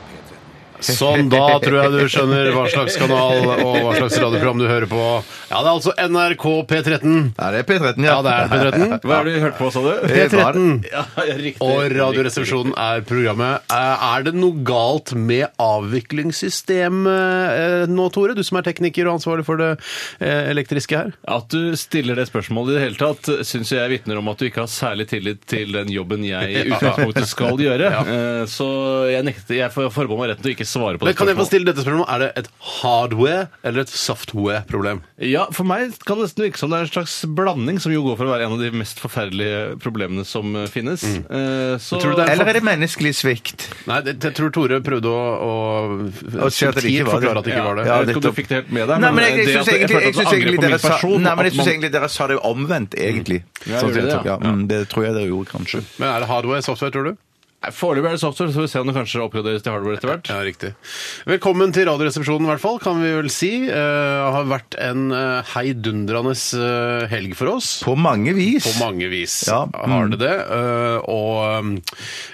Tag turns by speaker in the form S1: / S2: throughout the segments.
S1: Sånn, da tror jeg du skjønner hva slags kanal og hva slags radioprogram du hører på. Ja, det er altså NRK P13
S2: Er det P13,
S1: Ja, det er P13.
S3: Hva har du hørt på, sa du?
S2: P13.
S3: Ja, riktig.
S1: og Radioresepsjonen er programmet. Eh, Er det noe galt med avviklingssystemet eh, nå, Tore? Du som er tekniker og ansvarlig for det eh, elektriske her.
S3: At du stiller det spørsmålet i det hele tatt, syns jeg vitner om at du ikke har særlig tillit til den jobben jeg i utgangspunktet skal gjøre. Eh, Så jeg, nekter, jeg får forbeholder meg retten til å ikke svare på
S1: Men
S3: det
S1: kan jeg få
S3: spørsmålet.
S1: stille dette spørsmålet? Er det et hardware- eller et software-problem?
S3: Ja, For meg kan det nesten virke som det er en slags blanding, som jo går for å være en av de mest forferdelige problemene som eh, finnes. Eh, Så
S1: Tror du det er
S2: Eller er det menneskelig svikt?
S1: Nei, det, jeg tror Tore prprøvde å, å
S2: Å si at
S1: subtilt
S2: det ikke var det.
S1: forklare at det ikke var det.
S3: Ja, jeg vet ikke om
S2: nettopp.
S3: du fikk det helt med deg,
S2: Nei, men jeg, jeg,
S3: det
S2: synes
S3: at
S2: egentlig-
S3: følte
S2: jeg
S3: at det
S2: syns
S3: var
S2: egentlig,
S3: angrep på min
S2: dere sa-
S3: person,
S2: nei, men jeg
S3: at
S2: synes
S3: man- Mm.
S2: egentlig dere sa det omvendt, egentlig.
S3: Ja,
S2: Sånn
S3: gjorde
S2: sett,
S3: det, ja.
S2: mm, det tror jeg dere gjorde, kanskje.
S1: Men er det hardware software, tror du?
S3: Nei, Foreløpig er det software, så får vi se om det kanskje oppgraderes til hardware etter hvert.
S1: Ja, riktig. Velkommen til Radioresepsjonen, i hvert fall, kan vi vel si. Eh, Det har vært en eh, heidundrende eh, helg for oss.
S2: På mange vis.
S1: På mange vis
S2: Ja.
S1: har det det. eh, Og um,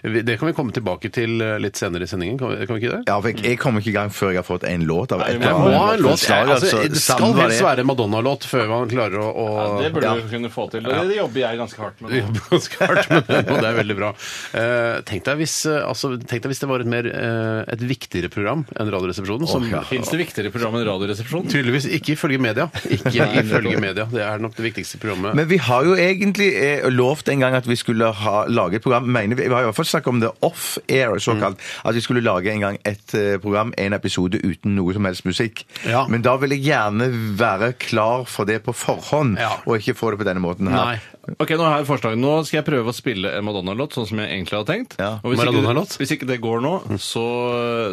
S1: vi- det kan vi komme tilbake til eh, litt senere i sendingen, kan vi, kan vi ikke det?
S2: Ja, for jeg, jeg kommer ikke i gang før jeg har fått en låt av et
S3: Nei,
S1: Det
S3: men
S1: må
S3: Ja,
S1: ha en låt.
S2: Slag,
S1: altså,
S2: altså,
S1: det skal
S2: Sandra,
S1: helst
S2: det-
S1: være en Madonna-låt før man klarer å, å
S3: Ja, det burde
S1: Ja.
S3: du kunne få til. og Det jobber jeg ganske hardt med.
S1: Vi
S3: nå.
S1: jobber ganske hardt med det, og det er veldig bra. Eh, tenk, deg hvis, eh, altså, tenk deg hvis det var et, mer, eh, et viktigere program enn Radioresepsjonen. Som
S3: Fins det viktigere program enn Radioresepsjonen?
S1: tydeligvis ikke ifølge media. Ikke ifølge media. Det er nok det viktigste programmet.
S2: Men vi har jo egentlig eh, lovt en gang at vi skulle ha, lage et program mener Vi vi har i hvert fall snakket om det off-air, såkalt.
S1: Mm.
S2: At vi skulle lage en gang et eh, program, en episode, uten noe som helst musikk.
S1: Ja.
S2: Men da vil jeg gjerne være klar for det på forhånd,
S1: Ja.
S2: og ikke få det på denne måten her.
S1: Nei.
S3: Ok, Nå har jeg forslag. Nå skal jeg prøve å spille en Madonna-låt, sånn som jeg egentlig hadde tenkt.
S2: Ja.
S3: Og hvis
S1: Maradona-låt? Mm.
S3: ikke, hvis ikke det går nå, så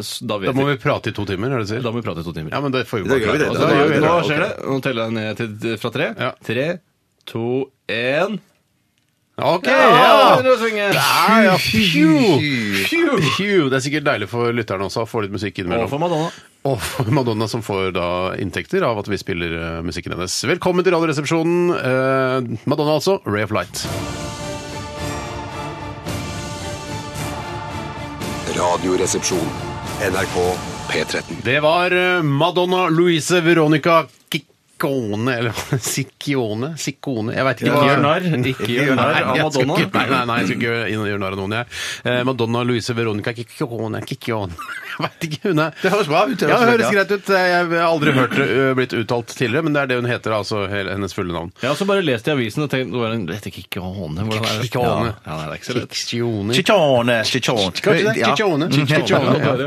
S3: s- da
S1: Da
S3: vet
S1: må
S3: vi.
S1: vi prate i to timer, er det du sier?
S3: Da må vi prate i to timer.
S1: Ja, men det får vi
S2: Da gjør vi det,
S3: Altså,
S1: Da
S3: nå,
S1: gjør vi det.
S3: nå skjer det. Nå teller jeg ned til, fra tre.
S1: Ja.
S3: Tre, to, én
S1: OK! Ja!
S3: begynner det å svinge.
S1: Ja, ja. Phew. Phew. Phew. Det er sikkert deilig for lytterne også å få litt musikk
S3: Og
S1: innimellom.
S3: for Madonna.
S1: Og for Madonna, som får da inntekter av at vi spiller eh, musikken hennes. Velkommen til Radioresepsjonen. Eh, Madonna, altså. Ray of Light.
S4: Radioresepsjon. NRK P13.
S1: Det var eh, Madonna Louise Veronica Ciccone Eller Siccione? Siccone? Jeg veit ikke.
S3: Ikke
S1: hva-
S3: gjør narr ikke gjør narr av
S1: Nei, jeg skal
S3: Madonna.
S1: ikke- Nei, nei, nei, jeg skal ikke gjøre- gjøre narr av noen, jeg. Eh, Madonna Louise Veronica Ciccone Ciccone. Jeg veit ikke, hun er
S2: Det høres bra ut.
S1: Ja, det høres
S2: ja.
S1: greit ut. Jeg har aldri hørt det ø, blitt uttalt tidligere, men det er det hun heter, altså hele- hennes fulle navn.
S3: Jeg har også bare lest i avisen og tenkt det var en- Det heter Kikkehåne. Hvordan er det?
S1: Kikkehåne.
S3: Ja, Ja, nei, det er ikke så lett.
S1: Ciccone.
S2: Chichone, chichone.
S1: Kanskje det?
S2: Eh, Ja. Mm,
S1: Ciccione.
S2: Ciccione, ja.
S1: Ciccione.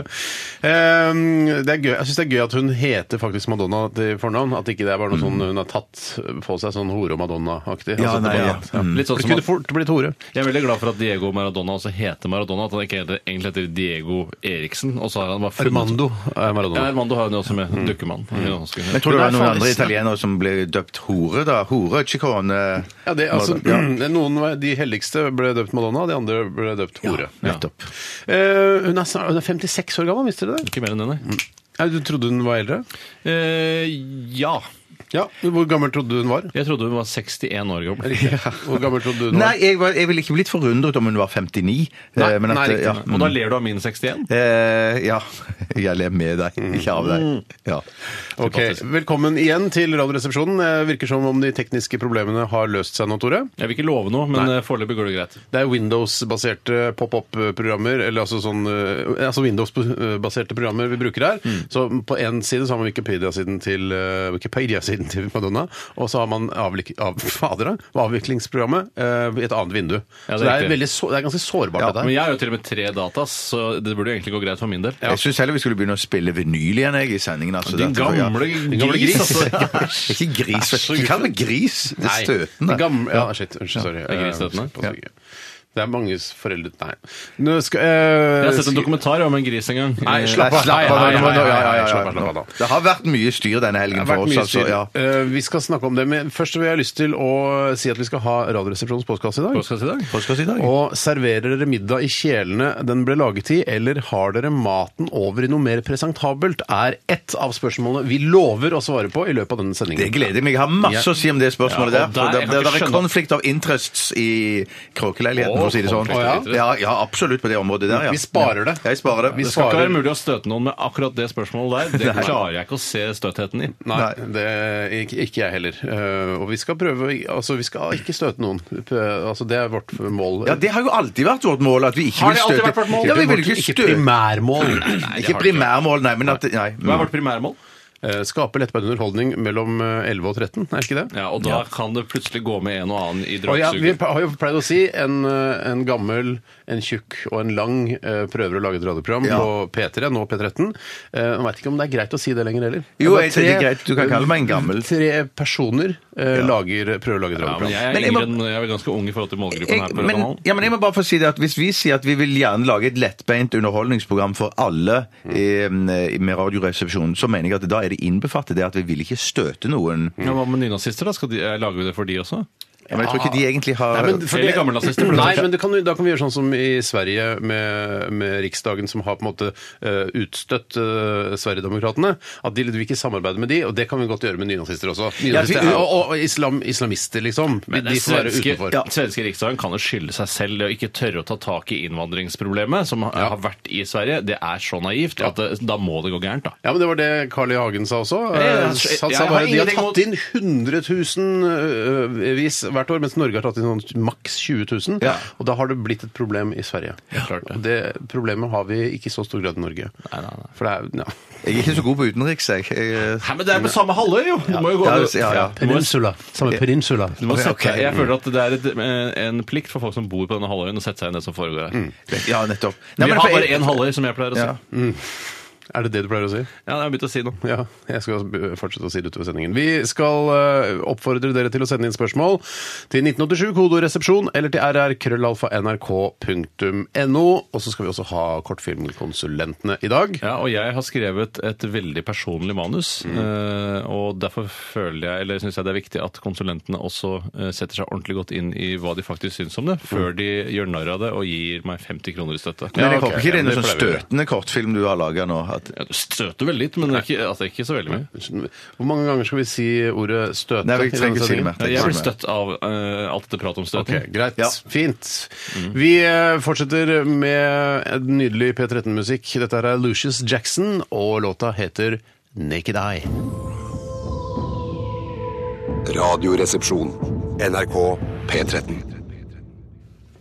S1: Ehm, Det er gøy. Jeg syns det er gøy at hun heter faktisk Madonna til fornavn. At ikke det er bare noe sånn hun har tatt på seg, sånn hore- og Madonna-aktig.
S2: Ja,
S1: Altså,
S2: nei,
S1: det
S2: ja.
S1: bare-
S3: Litt sånn
S1: Det
S3: som at,
S1: kunne fort blitt hore.
S3: jeg er veldig glad for at Diego Maradona også heter Maradona. At han ikke heter, egentlig heter Diego Eriksen. Og så har han bare funnet
S1: Armando er
S3: Ja,
S1: Maradona.
S3: Armando har han jo også med. Dukkemann. Han er ganske-
S2: Mm. Men tror
S1: Det
S2: du det var
S1: er
S2: noen
S1: faen
S2: andre
S1: nesten-
S2: italienere som ble døpt hore, da? Hore, chichone
S1: Ja, det, altså,
S2: Ja.
S1: noen, var- De helligste ble døpt Madonna, de andre ble døpt hore.
S2: Nettopp.
S1: Eh, hun, er, snart- hun er 56 år gammel, visste dere det?
S3: Ikke mer enn det,
S2: Mm.
S3: nei.
S1: Ja, du trodde hun var eldre?
S3: Eh, ja.
S1: Ja, Hvor gammel trodde du hun var?
S3: Jeg trodde hun var 61 år gammel.
S1: Hvor gammel trodde du hun
S2: Nei,
S1: var?
S2: jeg, var, jeg ville ikke blitt forundret om hun var 59.
S1: Nei,
S2: eh, men at,
S1: nei, riktig.
S2: ja,
S1: Og
S3: Og da ler du av min 61?
S2: Eh, ja. Jeg ler med deg,
S1: Mm.
S2: ikke av deg. Ja.
S1: Ok, Velkommen igjen til Radioresepsjonen. Eh, Virker som om de tekniske problemene har løst seg nå, Tore.
S3: Jeg vil ikke love noe, men eh, foreløpig går det greit.
S1: Det er Windows-baserte pop-up-programmer, eller altså, sånn, eh, altså Windows-baserte programmer vi bruker her.
S3: Mm.
S1: Så på én side så har man Wikipedia-siden til, eh, Wikipedia-siden til Madonna, og så har man avlik, av, fader, da, avviklingsprogrammet eh, i et annet vindu.
S3: Ja, det er
S1: så det er,
S3: riktig.
S1: veldig, så, det er ganske sårbart,
S2: Ja,
S1: dette
S3: Men
S1: her.
S3: jeg har jo til og med tre datas, så det burde jo egentlig gå greit for min del.
S2: Jeg syns heller vi skulle begynne å spille vinyl igjen jeg, i sendingen. Altså,
S3: Din
S2: Dette får jeg-
S3: gamle
S1: Din gamle
S3: gris,
S1: gris.
S3: altså.
S2: Ikke gris. Hva med gris? Det er
S1: Nei,
S2: støtende.
S1: gammel- Ja, shit. Unnskyld. Sorry.
S3: det er ikke støtende.
S1: Eh, Det er manges foreldre Nei. Nå skal, eh,
S3: Jeg har sett en
S1: skal-
S3: dokumentar om en gris en gang.
S1: Nei, slapp
S2: Nei,
S1: av.
S2: slapp av,
S1: Nei, nei,
S2: nå- nå-
S1: nei,
S2: ja, ja,
S1: nei,
S2: ja,
S1: slapp av,
S2: ja.
S1: slapp av da.
S2: Det har vært mye styr denne
S1: Det
S2: helgen
S1: har
S2: for
S1: vært
S2: oss.
S1: mye
S2: Altså,
S1: styr.
S2: ja.
S1: Eh, vi skal snakke om det, men først vil jeg ha lyst til å si at vi skal ha Radioresepsjonens postkasse i dag.
S3: Hva skal jeg si i dag?
S2: Postkasse i dag.
S1: Og serverer dere middag i kjelene den ble laget i, eller har dere maten over i noe mer presentabelt, er ett av spørsmålene vi lover å svare på i løpet av denne sendingen.
S2: Det gleder jeg meg. Jeg har masse å si om det spørsmålet
S3: Ja,
S2: der.
S3: og
S2: For
S3: der- jeg
S2: det, det,
S3: kan
S2: det
S3: ikke
S2: er
S3: skjønne-
S2: konflikt av interests i kråkeleiligheten,
S3: Å,
S2: for å si det sånn.
S3: konflikt av interest.
S2: Ja, ja, absolutt på det området der, ja.
S1: Vi sparer det.
S2: Jeg sparer det.
S1: Vi
S3: Det skal ikke
S1: svarer-
S3: være mulig å støte noen med akkurat det spørsmålet der. Det klarer jeg ikke å se støtheten i.
S1: Nei, det, ikke, ikke jeg heller. Eh, og vi skal prøve å- Altså, vi skal ikke støte noen. P- Altså, det er vårt mål.
S2: Ja, Det har jo alltid vært vårt mål. at vi ikke
S3: Har
S2: vil
S3: det alltid
S2: støte-
S3: vært vårt mål?
S2: Ja, vi vil ikke
S1: ikke
S2: støte
S1: primærmål.
S2: Nei, Ikke primærmål, nei, men at Nei.
S3: Hva er vårt primærmål?
S1: Eh, Skape lettbeint underholdning mellom eh, 11 og 13, er ikke det?
S3: Ja, Og da kan det plutselig gå med en og annen i
S1: Og ja, vi
S3: drapsuken.
S1: har jo pleid å si en, eh, en gammel, en tjukk og en lang eh, prøver å lage et radioprogram
S2: Ja.
S1: på P3, nå P13. Eh, Jeg veit ikke om det er greit å si det lenger heller.
S2: Jo,
S1: Det er
S2: jeg sier det er greit. Du kan kalle meg en gammel.
S1: Tre personer eh, lager, prøver å lage et
S3: Ja, men
S1: radioprogram.
S3: jeg er,
S2: Men jeg må-
S3: yngre enn- jeg er ganske ung i forhold til målgruppen her.
S2: Jeg,
S3: på
S2: men,
S3: kanalen.
S2: ja, men jeg må bare få si det at Hvis vi sier at vi vil gjerne lage et lettbeint underholdningsprogram for alle eh,
S3: Mm.
S2: med Radioresepsjonen, så mener jeg at da er det innbefattet det at vi vil ikke støte noen.
S3: Ja, Hva med nynazister? da? Skal de, eh, lager vi det for de også?
S2: Men jeg tror ikke de egentlig har
S1: Nei, men, for
S3: Eller
S1: det-
S3: gammelnazister, for det
S1: Nei,
S3: første.
S1: men det kan, da kan vi gjøre sånn som i Sverige med, med Riksdagen, som har på en måte eh, utstøtt uh, Sverigedemokraterna. At de vil ikke samarbeide med de, og det kan vi godt gjøre med nynazister også.
S2: Ja, vi-
S1: Nynazister, er- og og islam, islamister, liksom. De, de får være
S3: svenske,
S1: utenfor.
S3: ja. svenske riksdagen kan jo skylde seg selv og ikke tørre å ta tak i innvandringsproblemet som har- har vært i Sverige. Det er så naivt at det, da må det gå gærent, da.
S1: Ja, men Det var det Carl I. Hagen sa også.
S3: ja,
S1: Han
S3: jeg-
S1: sa
S3: jeg har
S1: bare, de har
S3: ingenting mot-
S1: tatt inn 100 000 vis hvert år, mens Norge har tatt inn sånn maks 20 000.
S2: Ja.
S1: Og da har det blitt et problem i Sverige.
S3: klart det.
S1: Og det problemet har vi ikke i så stor grad i Norge. For det er ja.
S2: Jeg er ikke så god på utenriks, jeg. jeg
S3: Nei, men det er på samme halvøy, jo! Du må jo gå
S2: Ja, ja, ja.
S3: Du må,
S1: Samme peninsula.
S3: du må
S2: Ok,
S3: sette,
S2: ok.
S3: Jeg føler at det er et, eh, en plikt for folk som bor på denne halvøyen, å sette seg inn i det som foregår her.
S2: eh, ja, nettopp.
S3: Vi
S2: men
S3: har
S2: for-
S3: bare én halvøy, som jeg pleier å si.
S2: Ja.
S3: Ja,
S1: Er det det du pleier å si?
S3: jeg har begynt å si noe.
S1: Ja, jeg skal b- fortsette å si det utover sendingen. Vi skal eh, oppfordre dere til å sende inn spørsmål til 1987, kode og resepsjon, eller til rrkrøllalfa.nrk.no. Og så skal vi også ha kortfilmkonsulentene i dag.
S3: Ja, og jeg har skrevet et veldig personlig manus.
S2: Mm.
S3: eh, Og derfor føler jeg, eller syns jeg det er viktig at konsulentene også eh, setter seg ordentlig godt inn i hva de faktisk syns om det, før de gjør narr av det og gir meg 50 kroner i støtte.
S2: Mm. Men jeg
S1: Ja, ok.
S2: håper ikke
S1: Ja,
S2: det er en
S1: det
S2: sånn
S1: pleier vi.
S2: støtende kortfilm du har laga nå. At,
S3: Ja, du støter vel litt, men det er ikke, altså, det er ikke så veldig mye.
S1: Hvor mange ganger skal vi si ordet støte?
S2: nei,
S1: i
S2: vi
S1: denne
S2: trenger ikke si det
S1: sendingen?
S2: mer.
S3: Ja, Jeg blir støtt av eh, alt det pratet om støt.
S1: Ok, Greit.
S2: Ja. Mm.
S1: Fint. Vi eh, fortsetter med en nydelig P13-musikk. Dette her er Lucius Jackson, og låta heter Naked Eye.
S4: Radioresepsjon. NRK P13.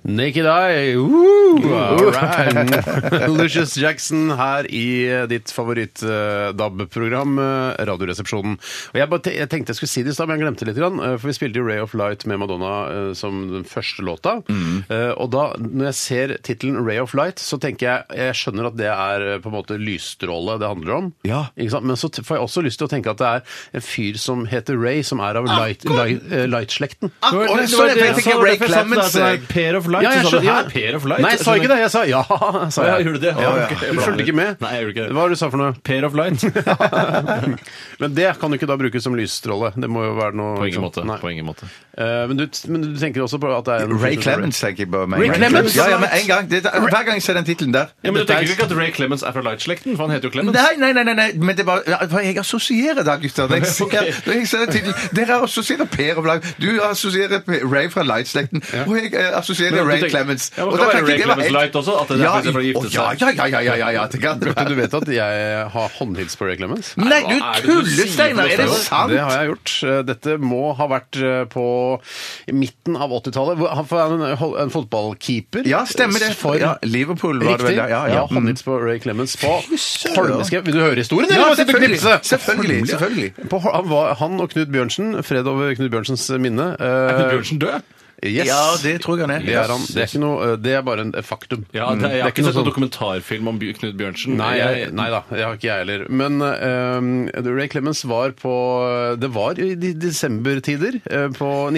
S1: Naked Eye! Woo! All right. Lucius Jackson her i ditt favoritt-DAB-program, eh, Radioresepsjonen. Og jeg, bare te jeg tenkte jeg skulle si det i stad, men jeg glemte litt. Grann, eh, for vi spilte jo Ray of Light med Madonna eh, som den første låta. Eh, Og da, når jeg ser tittelen Ray of Light, så tenker jeg Jeg skjønner at det er eh, på en måte lysstråle det handler om.
S2: Ja.
S1: Ikke sant? Men så t- får jeg også lyst til å tenke at det er en fyr som heter Ray, som er av light- light- eh, light-slekten.
S2: Akkurat,
S3: det
S2: så
S3: var
S2: jeg
S3: det-
S2: tenker
S3: så var det
S2: Ray
S3: derfor jeg sa
S2: Clemens,
S3: at det er
S2: jeg.
S3: Pair of Light.
S1: eh. Ja, jeg
S3: så sa du,
S1: skjønner-
S3: "Hæ, Pair of Light.
S1: Nei, jeg sa ikke det. Jeg sa ja, sa
S3: Ja,
S1: jeg.
S3: gjorde du det?
S1: Ja,
S3: Ja,
S1: ja.
S3: ok.
S1: Du fulgte ikke med?
S3: Nei, jeg gjorde ikke det.
S1: Hva var det du sa for noe?
S3: Pair of Light.
S1: Men det kan du ikke da brukes som lysstråle. Det må jo være noe sånn.
S3: På ingen måte.
S1: Nei.
S3: På ingen måte.
S1: Eh, men, du, men du tenker også på at det er en
S2: Ray Clemens, tenker jeg bare. med en
S1: Ray
S2: gang.
S1: Clemens?
S2: Ja, ja, men en gang. Det, hver gang jeg ser den tittelen der.
S3: Ja, men Du
S1: Dette er-
S3: tenker jo ikke at Ray Clemens er fra Light-slekten? For han heter jo Clemens.
S2: Nei, nei, nei, nei, nei, men det var ja, for Jeg assosierer da, gutter. Når jeg ser, når jeg ser den tittelen Dere assosierer Per og Blag. Du assosierer P- Ray fra Light-slekten. Og jeg eh, assosierer
S3: Men du
S2: Ray
S3: tenker-
S2: Clemens.
S3: Ja, men kan
S2: Og da
S3: være
S2: tenker
S3: Ray
S2: jeg det var
S3: Clemens
S2: helt-
S3: Light også, at det er
S2: ja,
S3: derfor de får
S2: i-
S3: gifte
S2: å, ja,
S3: seg.
S2: ja, ja, ja, ja, ja, ja, det kan det
S1: Bjarte,
S2: være.
S1: du vet at jeg har håndhilst på Ray Clemens?
S2: Nei, du
S3: Hva er det du
S2: tuller,
S3: sier
S2: Steinar!
S3: for
S2: Er det
S3: noe?
S2: sant?
S1: Det har jeg gjort. Eh, Dette må ha vært eh, på midten av 80-tallet. Hvor- Han var en, hol- en fotballkeeper.
S2: Ja, stemmer det.
S1: For,
S2: Ja, Liverpool var det
S1: Riktig.
S2: vel. Ja, ja, ja.
S1: Jeg har håndhilst på Ray Clemens på
S2: søren.
S1: Holmeske. Vil du høre historien? eller?
S2: Ja,
S1: Sitte og
S2: selvfølgelig.
S1: knipse.
S2: Selvfølgelig. selvfølgelig.
S1: På, han, var, han og Knut Bjørnsen, fred over Knut Bjørnsens minne eh,
S3: Er Knut Bjørnsen død?
S1: Yes.
S2: Ja, det tror jeg han er.
S1: Det er, han. Det er, ikke noe, eh, det er bare en et faktum.
S3: Ja, Mm, det, jeg
S1: Det er
S3: har ikke
S1: noe
S3: sett noen
S1: sånn-
S3: dokumentarfilm om Bj- Knut Bjørnsen.
S1: Nei, jeg,
S3: Jeg-
S1: nei da, det har ikke jeg heller. Men eh, Ray Clemens var på Det var i de- desembertider, eh, på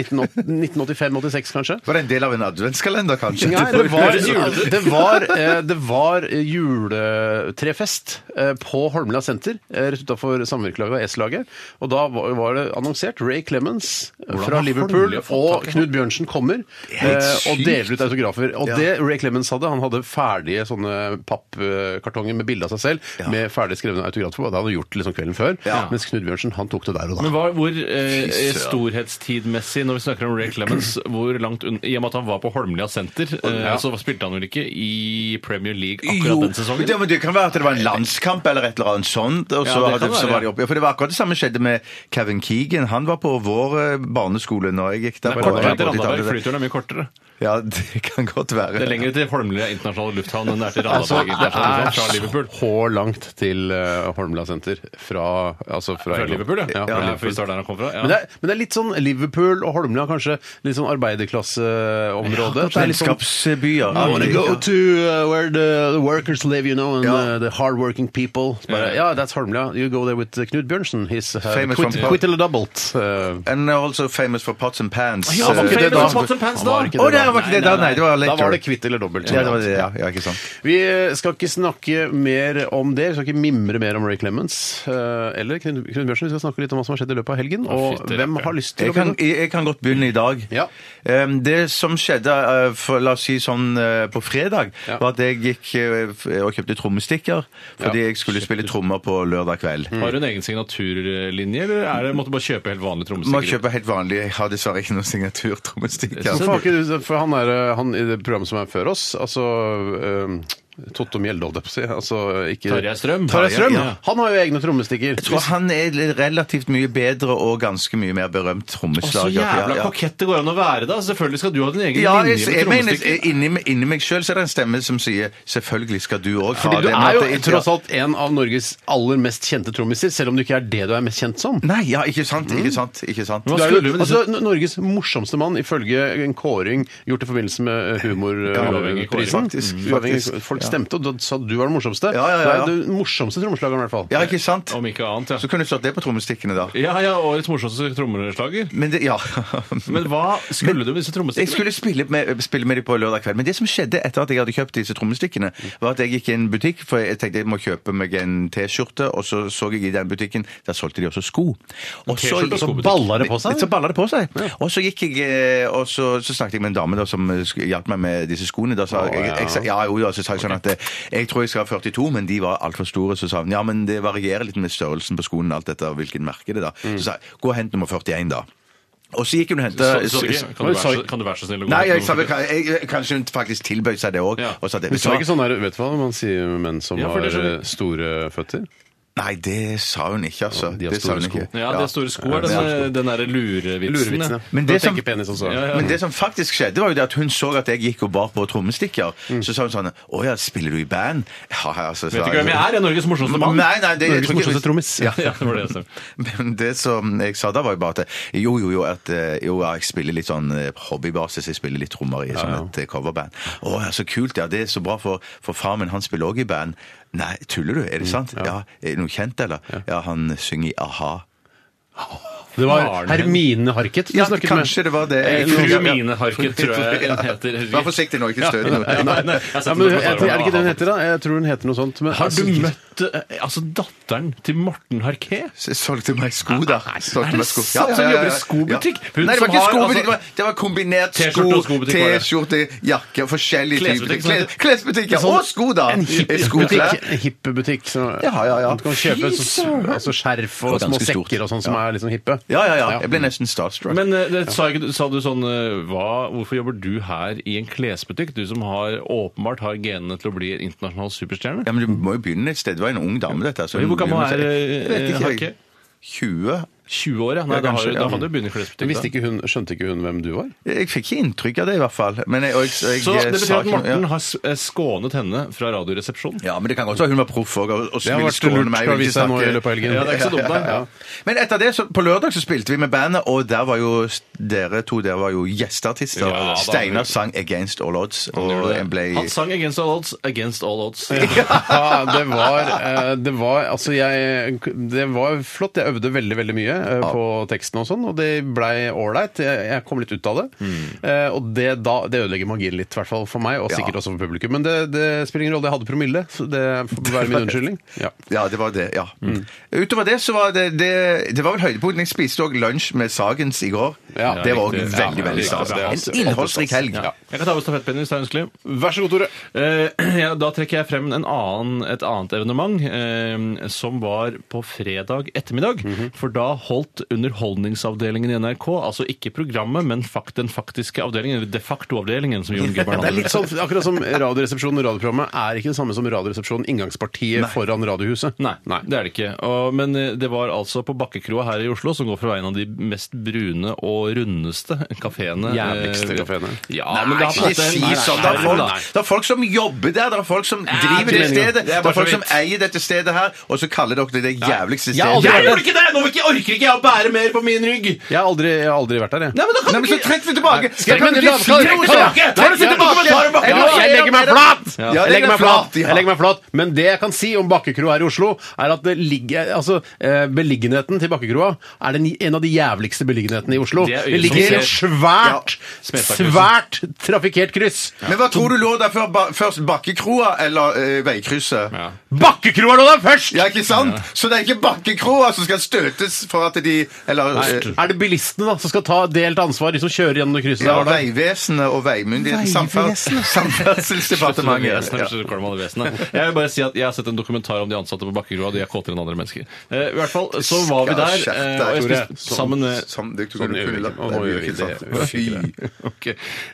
S1: 1985-86 kanskje.
S2: Var det en del av en adventskalender, kanskje?
S1: Nei, det var, det var, eh, det var eh, juletrefest eh, på Holmlia senter, eh, rett utafor samvirkelaget og S-laget. Og da var var det annonsert Ray Clemens eh, fra
S3: har
S1: Liverpool
S3: Holmlia fått
S1: og
S3: tak i
S1: Knut Bjørnsen kommer eh, og
S2: sykt.
S1: deler ut autografer. Og det Ray Clemens hadde, han hadde ferdige sånne pappkartonger med bilde av seg selv med ferdig skrevne autografer. på. Det hadde han gjort liksom kvelden før. Mens Knut Bjørnsen han tok det der og da.
S3: Men hva, hvor eh, storhetstidmessig, når vi snakker om Ray Clemens hvor langt unn, I og med at han var på Holmlia senter, eh,
S1: Ja.
S3: så spilte han vel ikke i Premier League akkurat
S2: Jo,
S3: den sesongen?
S2: det, men det kan være at det var en landskamp eller et eller annet sånt. Og
S3: Ja,
S2: så,
S3: det
S2: hadde,
S3: kan
S2: så
S3: være.
S2: var de oppe. Ja, for det var akkurat det samme skjedde med Kevin Keegan. Han var på vår eh, barneskole når jeg gikk der.
S3: Det er
S2: på-
S3: kortere
S2: på
S3: til
S2: 80-tallet.
S3: Randaberg. Flyturen er mye kortere.
S2: Ja, det kan godt være.
S3: Det er lenger til Holmlia internasjonale lufthavn enn det er til
S1: Altså,
S3: Randaberg internasjonale lufthavn fra Liverpool.
S1: så langt til eh, Holmlia senter fra, altså fra,
S3: Fra
S1: England.
S3: Liverpool, ja.
S1: fra
S3: ja,
S1: Liverpool.
S3: for vi står der han kom fra. Ja.
S1: Men, det er, men det er litt sånn Liverpool og Holmlia, kanskje litt sånn arbeiderklasseområde. Det er litt sånn
S2: Vennskapsbyer.
S1: I wanna go to uh, where the, the workers live, you know, and
S2: Ja.
S1: uh, the hardworking people. Bare, yeah, that's Holmlia. You go there with uh, Knut Bjørnsen. He's uh,
S2: Famous
S1: quit,
S2: from-
S1: quit eller doubled. Uh,
S2: And also famous for pots and pans.
S3: Ja, var
S2: Eh,
S3: ikke
S1: det
S3: det
S1: da?
S3: da? Pots and pans,
S1: Han
S3: da?
S1: var ikke
S2: Å, det var ikke det da, nei, det var
S1: da
S2: later.
S1: var det kvitt eller dobbelt.
S2: Ja, det var det, ja, ja, ikke sant.
S1: Vi skal ikke snakke mer om det, vi skal ikke mimre mer om Ray Clemens eh, eller Knut Knut Bjørnsen. Vi skal snakke litt om hva som har skjedd i løpet av helgen, og
S3: fytti
S1: hvem
S3: rakkeren.
S1: har lyst til
S2: Jeg
S1: å begynne?
S2: kan, jeg jeg kan godt begynne i dag.
S1: Ja.
S2: Ehm, Det som skjedde eh, for, la oss si sånn eh, på fredag,
S1: Ja.
S2: var at jeg gikk eh, f- og kjøpte trommestikker fordi
S1: Ja. Mm.
S2: jeg skulle spille trommer på lørdag kveld.
S3: Har du en egen signaturlinje, eller er det, måtte du bare kjøpe helt vanlig
S2: Må
S3: trommestikker?
S2: kjøpe helt vanlig. Jeg har dessverre ikke noen signaturtrommestikker.
S1: Hvorfor har ikke du For han er eh, han i det programmet som er før oss, altså eh, Totto Mjelde, holdt jeg på å si. Altså ikke
S3: Tarjei Strøm.
S1: Tarjei Strøm!
S3: Ja.
S1: Han har jo egne trommestikker.
S2: Jeg tror han er relativt mye bedre og ganske mye mer berømt
S3: Å, Så
S2: trommeslager.
S3: jævla
S2: Ja, ja.
S3: kokett det går an å være, da! Selvfølgelig skal du ha din egen
S2: Ja,
S3: linje
S2: jeg,
S3: med
S2: jeg mener,
S3: trommestikker.
S2: inni, meg- inni meg sjøl er det en stemme som sier 'selvfølgelig skal du òg ha
S1: Fordi du
S2: det'. men at
S1: er jo
S2: det-
S1: tross alt en av Norges aller mest kjente trommiser, selv om du ikke er det du er mest kjent som.
S2: Nei, ja, ikke sant,
S1: Mm.
S2: ikke sant. ikke sant.
S3: Hva
S1: Du er
S3: skulle
S1: jo,
S3: du med disse
S1: altså, N- Norges morsomste mann, ifølge en kåring gjort i forbindelse med eh,
S3: Ja, uavhengig kåring,
S1: humorprisen.
S2: faktisk, Mm, faktisk.
S1: Folk stemte, og da sa du var den morsomste.
S2: Ja, ja, ja, ja.
S1: Du er den morsomste trommeslageren, i hvert fall.
S2: Ja, ikke sant?
S3: Om ikke annet, ja.
S2: Så kunne du satt det på trommestikkene, da.
S3: Ja, ja, årets morsomste trommeslager.
S2: Men det, ja.
S3: Men hva skulle
S2: Men-
S3: du med disse
S2: Jeg
S3: trommestikkene?
S2: skulle spille med, spille med dem på lørdag kveld, men det som skjedde etter at jeg hadde kjøpt disse trommestikkene, var at jeg gikk i en butikk, for jeg tenkte jeg må kjøpe meg en T-skjorte, og så så jeg i den butikken, der solgte de også sko. Og så,
S3: T-skjorte og skobutikk.
S1: Balla det på seg?
S2: Så balla det på seg. Og så gikk jeg, eh, og så, så snakket jeg med en dame da, som eh, sk- hjalp meg med disse skoene. Da sa jeg, jeg, sa- ja, jo, ja, så sa jeg sånn at eh, jeg tror jeg skal ha 42, men de var altfor store. Så sa hun ja, men det varierer litt med størrelsen på skoen, alt etter hvilken merke det er. da.
S3: Mm.
S2: Så sa jeg gå og hent nummer 41, da. Og så gikk hun og
S3: Så-
S2: hentet
S3: så-
S2: s-
S3: Kan du være så- kan du være så snill å gå
S2: Nei, jeg,
S3: ut
S2: sa,
S3: med-
S2: vel, kan- jeg, jeg, kanskje hun faktisk tilbød seg det òg.
S3: Ja.
S2: Og sa det.
S1: Men så er det ikke sånn der, Vet du hva man sier om menn som
S3: Ja, for
S1: har
S3: det skjønner
S1: eh, store føtter?
S2: Nei, det sa hun ikke, altså.
S1: de har
S2: det sa
S1: store
S2: hun
S1: sko.
S2: ikke.
S3: Ja, det er store sko er
S1: Ja, det er store
S3: den, den derre lurevitsen.
S1: Lurevitsene.
S3: ja.
S2: Men
S1: Da
S2: det som-
S1: tenker penis også.
S3: Ja, ja.
S2: Men det som faktisk skjedde, var jo det at hun så at jeg gikk og bar på trommestikker. Så sa hun sånn Å ja, spiller du i band? Ja, ja, altså,
S3: Vet du ikke hvem jeg er? Jeg er Norges morsomste mann.
S2: Nei, nei, det, jeg
S1: Norges
S2: tror ikke-
S1: morsomste trommis.
S2: Ja.
S3: Ja, det var det jeg sa.
S2: Men det som jeg sa da, var jo bare at jo, jo, jo, at, eh, jo ja, jeg spiller litt sånn eh, hobbybasis. Jeg spiller litt trommer i sånn et eh, coverband. Å, ja, så kult. Ja, det er så bra, for, for far min han spiller òg i band. Nei, tuller du? Er det sant? Ja. Er det noe kjent, eller? Ja, han synger i a-ha.
S1: Det var
S3: Faren
S1: Hermine Harket du
S2: Ja,
S1: snakket
S2: kanskje det var det.
S1: Eh,
S2: Jeg
S3: Fru
S2: tror- ja.
S3: Mine Harket, tror jeg hun heter.
S2: Vær forsiktig nå, ikke støt
S3: Nei,
S2: noen.
S3: nei, nei. Altså- Jeg
S1: Ja,
S3: setter
S1: men,
S3: meg på
S1: jeg, er det ikke det hun
S3: svaret.
S1: heter, da? Jeg tror hun heter noe sånt. Men,
S3: Har du
S1: altså,
S3: møtt eh, altså datteren til Morten Harket?
S2: Så jeg Solgte meg sko, da. Solgte
S3: Ah, er det
S2: meg sko.
S3: sant? Hun jobber i skobutikk? Hun
S2: Nei, det var
S3: som
S2: ikke
S3: har,
S2: skobutikk.
S3: altså-
S2: det var- Det var kombinert sko,
S3: T-skjorte og skobutikk var det.
S2: T-skjorte, jakke, forskjellige typer.
S3: Klesbutikk, sånn.
S2: Kles- Klesbutikker og sko, da!
S1: En hipp butikk.
S2: Skoklær.
S1: en hipp butikk så-
S2: Ja, ja, ja.
S1: Du kan kjøpe
S2: Fy
S1: så, altså skjerf og små
S2: Det var ganske stort.
S1: sekker og sånn som er liksom hippe.
S2: Ja, ja, ja. Jeg ble nesten starstruck.
S3: Men eh, det, sa, ikke, du- sa du sånn eh, hva, Hvorfor jobber du her i en klesbutikk? Du som har, åpenbart har genene til å bli en internasjonal superstjerne?
S2: Ja, men Du må jo begynne et sted. Det var en ung dame, dette. så hun
S3: Hvor gammel
S2: begynner-
S3: er, eh,
S2: Jeg vet ikke, jeg-
S3: Harke?
S2: 20?
S3: 20 år, ja. Nei,
S2: Ja,
S3: da,
S2: kanskje,
S3: har, du- da
S2: ja.
S3: hadde du
S1: Men
S3: begynnerklesbutikk.
S1: visste ikke hun, skjønte ikke hun hvem du var?
S2: Jeg fikk ikke inntrykk av det, i hvert fall. Men jeg, og jeg, jeg,
S3: Så det betyr
S2: sa
S3: at
S2: ikke noe- ja.
S3: Morten har s- eh, skånet henne fra Radioresepsjonen.
S2: Ja, men det kan godt være hun var proff òg. Og, og
S1: Det har
S2: ville
S1: vært
S2: skåne
S1: lurt å
S2: meg og ikke
S1: vise seg nå i
S2: snakke-
S1: løpet av helgen.
S3: Ja, det er ikke så dumt, da.
S2: Ja. Men etter det, så, på lørdag så spilte vi med bandet, og der var jo s- dere to der var jo gjesteartister.
S3: Ja, da.
S2: Steinar sang 'Against All Odds', og jeg ble
S3: Han sang 'Against All Odds'. Against all odds.
S1: Ja, det var, eh, det var Altså, jeg Det var flott. Jeg øvde veldig, veldig mye eh, på teksten og sånn, og det blei ålreit. Jeg, jeg kom litt ut av det.
S3: Mm.
S1: Eh, Og det, da, det ødelegger magien litt, i hvert fall for meg, og sikkert også for publikum. Men det, det spiller ingen rolle. Jeg hadde promille, så det får være min unnskyldning. Ja.
S2: Ja, det var det. ja.
S3: Mm.
S2: Utover det så var det Det, det var vel høydepunkten. Jeg spiste òg lunsj med Sagens i går.
S1: Ja,
S2: det var òg
S3: riktig. Ja,
S2: veldig,
S3: ja,
S2: veldig
S3: riktig.
S2: stas.
S3: Det er
S2: En
S3: altså-
S2: innholdsrik helg.
S3: Ja. Jeg kan ta over stafettpinnen hvis det er ønskelig.
S1: Vær så god, Tore.
S3: Eh, ja, da trekker jeg frem en annen, et annet evenement, eh, som var på fredag ettermiddag. For da holdt Underholdningsavdelingen i NRK, altså ikke programmet, men fakt, den faktiske avdelingen, eller de facto-avdelingen, som Jon Gebhardt
S1: Det er litt sånn, akkurat som Radioresepsjonen og radioprogrammet er ikke det samme som Radioresepsjonen, inngangspartiet foran Radiohuset.
S3: Nei, det er det ikke. Og, men eh, det var altså på Bakkekroa her i Oslo, som går for å være en av de mest brune og rundeste kafeene. eh,
S1: Jævligste kafeene.
S3: Ja,
S2: Nei,
S3: men det har på en
S2: ikke
S3: måte
S2: si
S3: en
S2: sånn. Det er,
S3: skjerm, da.
S2: folk, det er folk som jobber der, det er folk som driver
S1: ikke
S2: det
S1: meningen.
S2: stedet,
S1: Det
S2: det
S1: er
S2: er
S1: bare
S2: folk
S1: så
S2: som eier dette stedet her, og så kaller dere det det jævligste
S3: Jeg, har aldri
S2: stedet.
S3: vært der. gjorde ikke det! Nå orker ikke jeg å bære mer på min rygg!
S1: Jeg har aldri, jeg har aldri vært der, jeg.
S3: Nei, men da
S2: Nei,
S3: kan
S2: men
S3: du
S2: så
S3: ikke
S2: trekk det tilbake!
S1: Skal jeg-
S2: Kan du
S1: men da-
S2: ikke si det
S1: Kom
S2: tilbake?
S1: tilbake!
S2: Nei, men sitt
S1: Ja,
S2: tilbake!
S1: ja,
S2: Ja,
S1: Jeg legger meg flat!
S2: Ja,
S1: Jeg legger meg flat.
S2: ja.
S1: Jeg legger meg flat. Men det jeg kan si om Bakkekroa her i Oslo, er at det ligger, altså, eh, beliggenheten til Bakkekroa er den, en av de jævligste beliggenhetene i Oslo.
S3: Det er øyet
S1: Det ligger i et
S3: som
S1: svært,
S3: Ja.
S1: svært trafikkert kryss.
S2: Men hva tror du lå der før? Ba- Først Bakkekroa eller eh, Veikrysset?
S3: Ja.
S1: Bakkekroa lå der først!
S2: Ja, ikke sant? Så det er ikke Bakkekroa som skal støtes for at de Eller eh,
S1: Er det bilistene da, som skal ta delt ansvar, de som kjører gjennom det krysset?
S2: ja,
S1: der, da?
S2: Vegvesenet og veimyndighetene. Samfer- Samferdselsdepartementet.
S3: Vesenet,
S2: Ja.
S3: slutt å kalle meg det vesenet. Jeg vil bare si at jeg har sett en dokumentar om de ansatte på Bakkekroa. De er kåtere enn andre mennesker. Eh, I hvert fall så var vi der,
S2: Skal
S3: eh,
S2: skjerpe deg,
S3: og jeg
S2: Tore.
S3: spiste sammen med
S2: Som, det,
S1: Sånn gjør vi ikke. Å, nå gjør vi det.
S2: Fy.
S1: Vi gjør ikke
S3: Ok.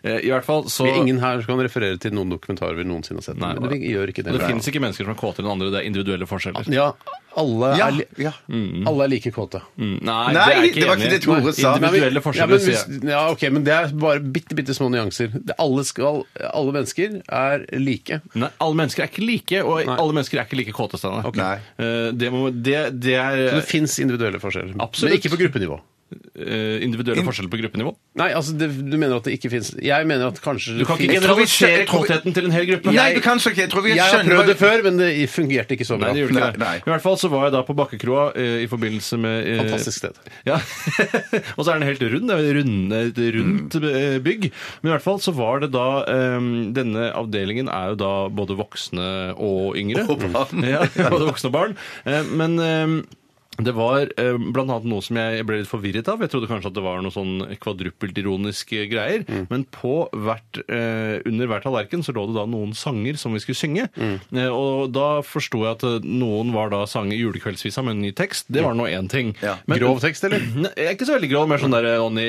S3: Eh, I hvert fall så
S1: Det er ingen her som kan referere til noen dokumentarer vi noensinne har sett.
S3: Nei,
S1: men det gjør ikke det.
S3: det finnes ikke mennesker som er kåtere enn andre. Det er individuelle forskjeller.
S1: Ja, alle
S2: Ja,
S1: er, li
S2: ja.
S1: alle er like kåte.
S3: Mm, Nei,
S2: Nei,
S3: det er jeg
S2: det
S3: ikke
S2: var
S3: enig
S2: ikke
S3: i.
S2: det Tore sa.
S3: Individuelle
S1: ja,
S3: forskjeller,
S1: men,
S3: sier
S1: hvis,
S3: jeg.
S1: ja, ok, men det er bare bitte, bitte små nyanser. Det, alle, skal, alle mennesker er like.
S3: Nei, alle mennesker er ikke like, og alle mennesker er ikke like kåte, Steinar.
S2: Nei.
S3: Eh, Det, må- det, det er
S1: Så det fins individuelle forskjeller.
S3: Absolutt.
S1: Men ikke på gruppenivå.
S3: eh, individuelle forskjeller på gruppenivå.
S1: Nei, altså, det, du mener at det ikke fins Jeg mener at kanskje
S3: Du kan ikke
S1: Jeg tror vi-
S3: generalisere
S2: jeg tror vi-
S3: kåtheten til en hel gruppe.
S2: Nei, du kan så ikke. Jeg tror vi
S1: Jeg har
S2: skjønner
S1: prøvd
S2: hva-
S1: det før, men det fungerte ikke så bra.
S3: Nei, det gjorde ikke det.
S2: Nei, nei.
S3: I hvert fall så var jeg da på Bakkekroa eh, i forbindelse med eh,
S1: Fantastisk sted.
S3: Ja. og så er den helt rund. Det er jo runde, et rundt eh, bygg. Men i hvert fall så var det da eh, Denne avdelingen er jo da både voksne og yngre.
S2: Og barn.
S3: Ja, både voksne og barn. Eh, men eh, det var eh, blant annet noe som jeg ble litt forvirret av. Jeg trodde kanskje at det var noe sånn kvadruppelt ironiske greier.
S1: Mm.
S3: Men på hvert, eh, under hver tallerken så lå det da noen sanger som vi skulle synge.
S1: Mm.
S3: Eh, og da forsto jeg at eh, noen var da sang julekveldsvisa med en ny tekst. Det var nå én ting.
S2: Ja.
S1: Grov tekst, eller?
S3: Nei, jeg er ikke så veldig grov, mer sånn der Ronny,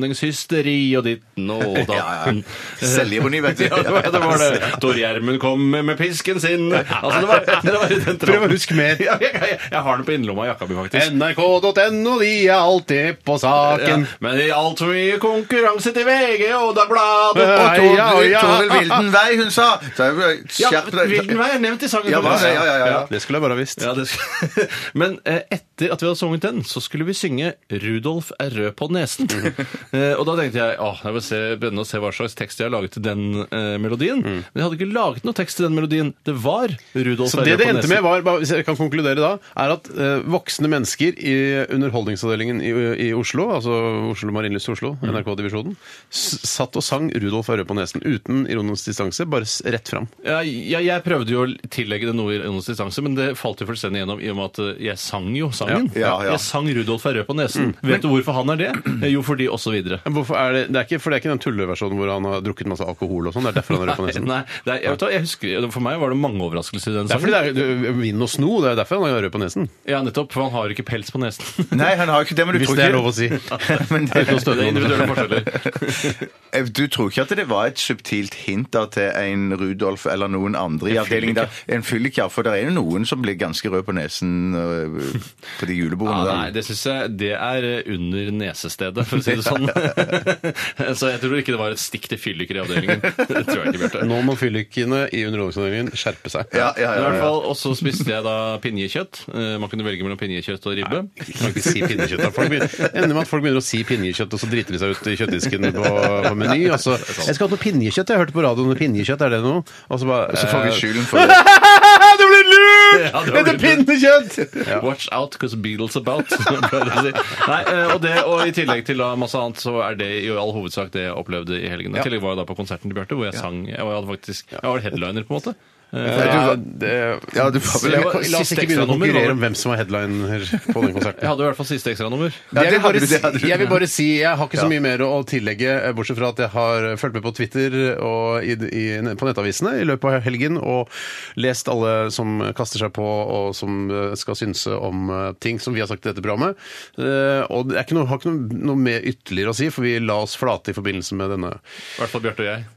S3: bemanningshysteri og ditten og datten.
S2: Selvironi, vet du.
S3: Ja, det var det. var det. Tor Gjermund kom med pisken sin. Altså, det var, det var i den
S1: Prøv å huske mer.
S3: Ja, jeg, jeg, jeg har den på innerlomma i jakka mi, faktisk.
S1: NRK.no, de er alltid på
S3: Ja,
S1: saken.
S3: men i altfor mye konkurranse til VG og Dagbladet
S1: Ja,
S3: og
S2: Og Toril
S1: ja, ja.
S2: Toril Vilden Vei, hun sa! Så jeg- Skjerp deg.
S3: Vilden Vei er nevnt i sangen.
S2: Ja, hva? Ja, ja, ja, ja.
S1: Det skulle jeg bare ha visst.
S3: Ja, det sk- Men eh, etter at vi hadde sunget den, så skulle vi synge 'Rudolf er rød på nesen'. Eh, og da tenkte jeg åh, det var se, spennende å se hva slags tekst jeg har laget til den eh,
S2: Mm.
S3: melodien. Men jeg hadde ikke laget noe tekst til den melodien. Det var 'Rudolf
S1: Så
S3: er
S1: det
S3: rød
S1: det
S3: på
S1: endte med
S3: nesen'.
S1: var, bare hvis jeg kan konkludere da, er at eh, voksne mennesker i underholdningsavdelingen i, i Oslo, altså Oslo Marienlyst Oslo, NRK-divisjonen, s- satt og sang Rudolf er rød på nesen uten ironisk distanse, bare s- rett fram.
S3: Ja, ja, jeg prøvde jo å tillegge det noe ironisk distanse, men det falt jo fullstendig gjennom i og med at eh, jeg sang jo sangen.
S2: Ja, Mm. ja, ja.
S3: Jeg sang 'Rudolf er rød på nesen'. Vet du hvorfor han er det? Eh, Jo, fordi og så videre.
S1: Men Hvorfor er det, det er ikke, for det er ikke den tulleversjonen hvor han har drukket masse alkohol og sånn, det er derfor han er rød på nesen.
S3: Nei, det er, jeg, vet, hva, jeg husker, For meg var det mange overraskelser i den
S1: Det er
S3: sangen.
S1: fordi det er du- vind og sno, det er derfor han er rød på nesen.
S3: Ja, nettopp, for han har ikke pels på nesen.
S2: Nei, han har jo ikke det, men du
S1: Hvis
S2: tror
S1: det er
S2: ikke
S1: lov å si.
S2: Men
S3: Det
S2: det- Eh,
S3: er individuelle forskjeller.
S2: Du tror ikke at det var et subtilt hint da til en Rudolf eller noen andre i avdelingen der? En fyllik, ja. For det er jo noen som blir ganske rød på nesen. øh, på de julebordene.
S3: Ja,
S2: der.
S3: nei, det syns jeg det er eh, under nesestedet, for å si det sånn. Så jeg tror ikke det var et stikk til fylliker i avdelingen. Det tror jeg ikke, Bjarte.
S1: Nå må fyllikene i underholdningsavdelingen skjerpe seg.
S2: Ja, ja,
S3: Men I
S2: ja,
S3: hvert
S2: ja.
S3: fall, Og så spiste jeg da pinjekjøtt. Eh, Man kunne velge mellom pinjekjøtt og ribbe.
S1: Du kan ikke si pinnekjøtt. da. Folk begynner, det ender med at folk begynner å si pinnekjøtt, og så driter de seg ut i kjøttdisken på, på Meny. og så, jeg skal ha noe pinnekjøtt. Jeg hørte på radioen om pinnekjøtt. Er det noe? Og så bare
S2: Så får vi
S1: eh,
S2: skylden for det.
S1: Du blir lurt!
S3: Ja, det
S1: det heter
S3: blir lurt.
S1: pinnekjøtt!
S3: Watch out, because Beatles about. pleier jeg å si. Nei, eh, og, det, og i tillegg til da masse annet, så er det i all hovedsak det jeg opplevde i helgen. I tillegg var jeg da på konserten til Bjarte, hvor jeg sang. Jeg var faktisk, jeg var headliner, på en måte. Eh,
S1: Ja, det-
S2: Ja, du får vel
S1: La oss
S3: Siste
S1: ikke begynne å
S3: ekstranummer,
S1: konkurrere
S3: da.
S1: om hvem som var headliner på den konserten.
S3: Jeg hadde i hvert fall siste ekstranummer.
S2: Ja,
S1: jeg,
S2: det
S1: vil
S2: hadde
S1: bare,
S2: du, det hadde
S1: si-
S2: du.
S1: jeg vil bare si jeg har ikke så mye mer å tillegge, eh, bortsett fra at jeg har fulgt med på Twitter og i, i, på nettavisene i løpet av helgen, og lest alle som kaster seg på og som eh, skal synse om eh, ting som vi har sagt i dette programmet. Eh, Og det er ikke noe, har ikke noe, noe mer ytterligere å si, for vi la oss flate i forbindelse med denne.
S3: I hvert fall Bjarte og jeg.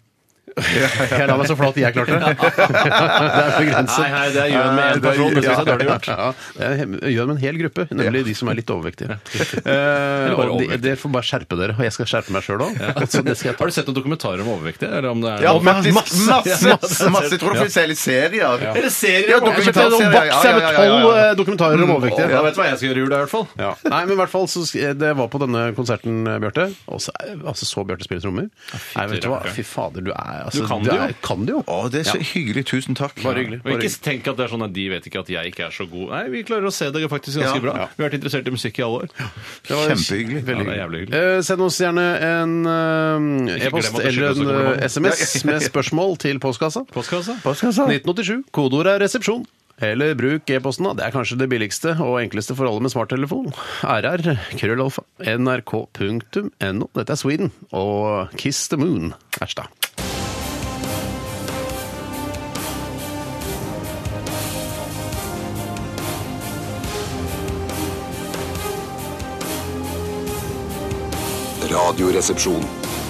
S1: Jeg la meg så flat jeg klarte det. Det er begrenset.
S3: Hei, hei, det er gjøn med en person, det synes jeg er dårlig gjort.
S1: Ja, det er- gjør med en hel gruppe, nemlig de som er litt overvektige. Eh,
S3: Eller bare
S1: og de-
S3: overvektige.
S1: Dere får bare skjerpe dere, og jeg skal skjerpe meg sjøl òg.
S3: Har du sett noen dokumentarer om overvektige? Eller om det er
S2: Ja,
S3: noe-
S2: faktisk
S1: masse,
S2: masse,
S1: masse.
S2: masse, masse. Jeg tror det finnes hele serier.
S3: Eller serier om overvektige.
S1: Jeg har sett
S2: Ja,
S1: noen
S2: Dokumentarer,
S1: boks
S2: ja, ja,
S1: med
S2: ja, ja,
S1: tolv
S2: ja.
S1: eh, dokumentarer om overvektige.
S3: Ja, vet du hva jeg skal gjøre i jula, i hvert fall?
S1: Ja. Nei, men i hvert fall så sk- Det var på denne konserten, eh, Bjarte. Og så eh, altså, så Bjarte spille trommer. Nei, vet du hva?
S3: rakker.
S1: Fy fader, du er altså,
S3: Du kan
S1: du
S3: det jo.
S1: er- kan det jo.
S2: Å, det er så hyggelig. Tusen takk.
S1: Bare hyggelig.
S3: Og
S1: Bare
S3: ikke
S1: hyggelig.
S3: tenk at det er sånn at de vet ikke at jeg ikke er så god. Nei, vi klarer å se det faktisk ganske
S2: Ja,
S3: bra.
S1: ja.
S3: Vi har vært interessert i musikk i alle år.
S1: Det var
S2: Kjempehyggelig.
S3: Ja, det er jævlig hyggelig.
S1: Eh, send oss gjerne en eh,
S3: Ikke
S1: e-post
S3: glem at det
S1: eller
S3: skyldes
S1: en
S3: å komme
S1: eh, SMS med spørsmål til postkassa.
S3: Postkassa?
S1: 1987. Kodeordet er resepsjon. Eller bruk e-posten, da. Det er kanskje det billigste og enkleste for alle med smarttelefon. RR, krøllalfa, nrk.no. Dette er Sweden og Kiss the Moon. Æsj, da.
S4: Radioresepsjon.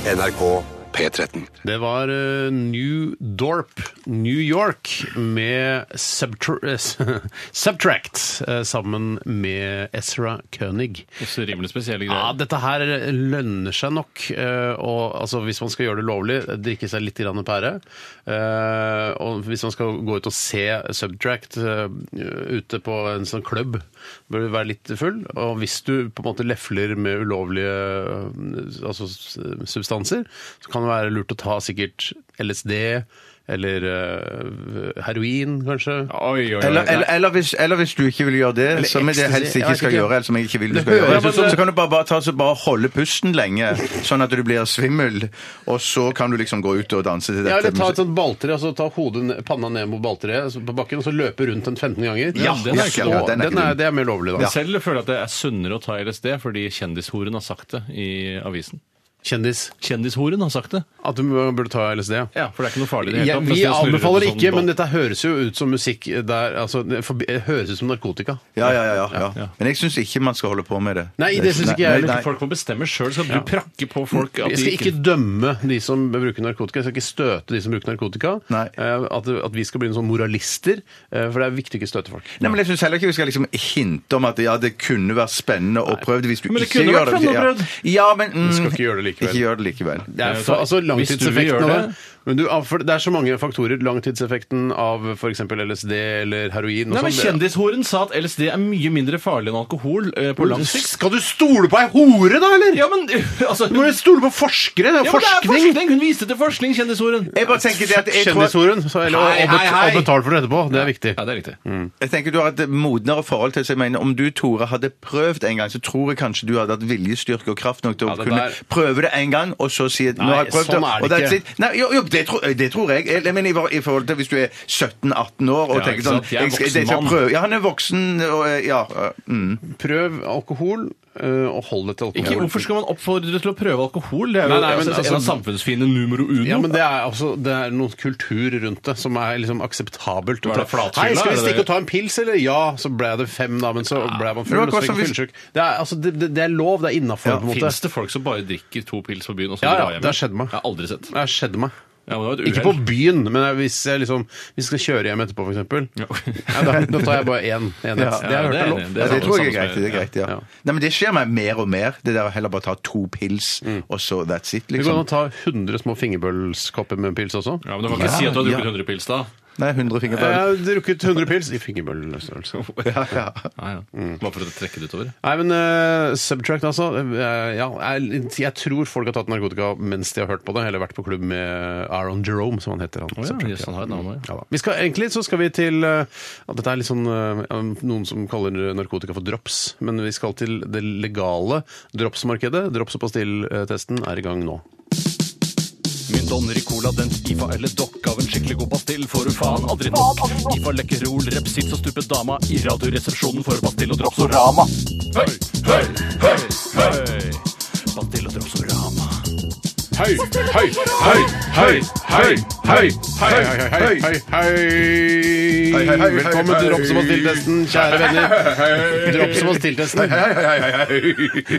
S4: NRK P13.
S1: Det var eh, New Dorp, New York, med Subtra eh, Subtract, eh, sammen med Ezra König.
S3: Også rimelig spesielle
S1: Ja,
S3: greier.
S1: dette her lønner seg nok. eh, Og altså, hvis man skal gjøre det lovlig, drikke seg litt grann pære. eh, Og hvis man skal gå ut og se Subtract eh, ute på en sånn klubb, bør du være litt full. Og hvis du på en måte lefler med ulovlige eh, altså, s- substanser, så kan det være lurt å ta sikkert LSD eller eh, heroin, kanskje.
S3: Oi, oi, oi.
S2: Eller, eller, eller, hvis, eller hvis du ikke vil gjøre det, som jeg
S1: ecstasy,
S2: helst
S1: jeg
S2: ikke
S1: vet
S2: skal
S1: ikke.
S2: gjøre, eller som jeg ikke vil du
S1: Det
S2: skal
S1: høres
S2: gjøre,
S1: ut som-
S2: så kan du bare, bare, ta, så bare holde pusten lenge, sånn at du blir svimmel, og så kan du liksom gå ut og danse til dette.
S1: Ja, eller ta et sånt balltre, altså ta hodet, ned- panna ned mot balltreet altså, på bakken, og så løpe rundt den 15 ganger.
S3: Ja, den er
S2: ikke dum. Ja, den er ikke dum.
S1: det er mer lovlig, da.
S3: Jeg Selv føler jeg at det er sunnere å ta LSD fordi kjendishoren har sagt det i avisen.
S1: Kjendis.
S3: Kjendishoren har sagt det.
S1: At du burde ta LSD, ja.
S3: Ja, For det er ikke noe farlig i det hele
S1: Ja,
S3: tatt.
S1: vi
S3: Hvis det snurrer
S1: anbefaler
S3: på sånn
S1: ikke, men
S3: båt.
S1: dette høres jo ut som musikk der altså, det forbi- det høres ut som narkotika.
S2: Ja, ja, ja, ja, ja. Men jeg syns ikke man skal holde på med det.
S1: Nei, det synes ikke jeg heller.
S2: nei.
S3: Folk må bestemme sjøl. Skal du prakke på folk at de
S1: Jeg skal ikke dømme de som bruker narkotika. Jeg skal ikke støte de som bruker narkotika.
S2: Nei.
S1: Eh, At, at vi skal bli noen sånne moralister. eh, For det er viktig å ikke støte folk.
S2: Nei, men jeg syns heller ikke vi skal liksom hinte om at ja, det kunne vært spennende å prøve det hvis du
S3: Men det
S2: ikke
S3: kunne
S2: gjør
S3: vært
S2: det.
S3: spennende å prøve
S2: ja. ja, men mm,
S1: skal ikke gjøre det likevel.
S2: Ikke gjør det likevel.
S1: Det
S3: Ja,
S1: er,
S3: så-
S1: fa- altså
S3: hvis du vil
S1: langtidseffekten
S3: gjøre
S1: av
S3: det-
S1: det. Men du, ah, for det er så mange faktorer. Langtidseffekten av f.eks. LSD eller heroin. og
S3: Nei, men
S1: sånn. Det-
S3: Kjendishoren sa at LSD er mye mindre farlig enn alkohol eh, på lang sikt.
S1: Skal du stole på ei hore, da, eller?!
S3: Ja, men altså,
S1: Du må jo stole på forskere! Det er
S3: ja, men det er
S1: forskning!
S3: forskning! Hun viste til forskning, kjendishoren.
S2: Jeg bare tenker det at jeg tror at-
S1: Kjendisorien. så- Eller,
S2: Hei,
S1: og, og,
S2: hei, hei.
S1: bet- og betal for det etterpå. Det er viktig. Mm.
S3: Ja, det er riktig.
S2: Jeg tenker du har et modnere forhold til så jeg mener, Om du, Tore, hadde prøvd en gang, så tror jeg kanskje du hadde hatt viljestyrke og kraft nok til å
S3: Ja, det
S2: kunne
S3: der-
S2: prøve det en gang, og så si at nå har jeg prøvd
S1: sånn er det
S2: og that's
S1: ikke.
S2: it. Nei, jo, jo det, tror, det tror jeg. jeg. Men i, for- i forhold til hvis du er 17-18 år
S3: Ja,
S2: og
S3: ikke
S2: tenker sånn
S3: sant? Jeg er
S2: skal-
S3: voksen
S2: skal
S3: mann.
S2: prøve. Ja, han er voksen og eh, ja. eh, Mm.
S1: Prøv alkohol, eh, og hold deg til alkohol.
S3: Ikke, hvorfor skal man oppfordre til å prøve alkohol? Det er jo
S1: Nei, nei, men
S3: altså,
S1: altså-
S3: en av samfunnsfiendene numero uno.
S1: ja, men det er, altså, det er noen kultur rundt det som er liksom akseptabelt. å
S3: Hva er det,
S1: ta.
S3: flatfylla,
S1: Hei, skal
S3: er
S1: vi
S3: det
S1: stikke
S3: det?
S1: og ta en pils, eller? Ja, så ble det fem, da, men så ble man full.
S2: Men
S1: Og så
S2: det var
S1: fikk
S2: akkurat
S1: man
S2: som
S1: fyllesyk. Det, er- altså, det, det, det er lov, det er innafor, på en måte.
S3: Fins det folk som bare drikker to pils på byen og så
S1: Ja, ja,
S3: drar hjem?
S1: det har skjedd meg.
S3: Jeg har aldri sett.
S1: Det har skjedd meg.
S3: Ja, men det var et
S1: Ikke på
S3: uhell.
S1: byen, men hvis jeg liksom Hvis jeg skal kjøre hjem etterpå, f.eks. Ja. da, da tar jeg bare én enhet.
S2: Ja,
S1: det har
S3: det
S1: jeg
S3: er
S1: hørt er
S3: enig.
S1: lov.
S3: Det
S2: Ja,
S3: er
S2: det tror jeg er
S3: samme
S2: greit.
S3: som-
S2: det er greit, ja.
S1: ja.
S2: Nei, men det skjer meg mer og mer. Det der å heller bare ta to pils,
S3: Mm.
S2: og så that's it,
S1: Det går an
S2: liksom.
S1: å ta 100 små fingerbølskopper med pils også.
S3: Ja, men du kan ikke
S2: Ja,
S3: si at du har drukket
S2: ja.
S3: 100 pils da.
S2: Nei, 100
S1: Jeg
S2: fingerbøl.
S1: har drukket 100 pils i fingerbøllestørrelse.
S2: Ja, ja.
S3: Nei, ja.
S1: Mm.
S3: Bare for å trekke det utover.
S1: Nei, men eh, Subtract, altså. eh, ja, jeg, jeg tror folk har tatt narkotika mens de har hørt på det, eller vært på klubb med Aaron Jerome, som han heter. Han,
S3: Å ja,
S1: Subtract,
S3: jøss, han har et navn også, ja.
S1: Ja da. vi skal, egentlig så skal vi til eh, ja, Dette er litt sånn eh, ja, noen som kaller narkotika for drops, men vi skal til det legale dropsmarkedet. Drops- og pastilltesten er i gang nå.
S5: Min Don Ricola, den skifa eller dokk av en skikkelig god pastill får du faen aldri nok. Skifa lekkerol, repsits og stupet dama i radioresepsjonen for pastill og dropsorama. Høy, høy, høy, høy. Pastill og dropsorama.
S1: Hei, hei, hei, hei, hei, hei, hei, hei, hei, hei, hei. Velkommen til Drops og Pastilltesten, kjære venner. Drops og Pastilltesten.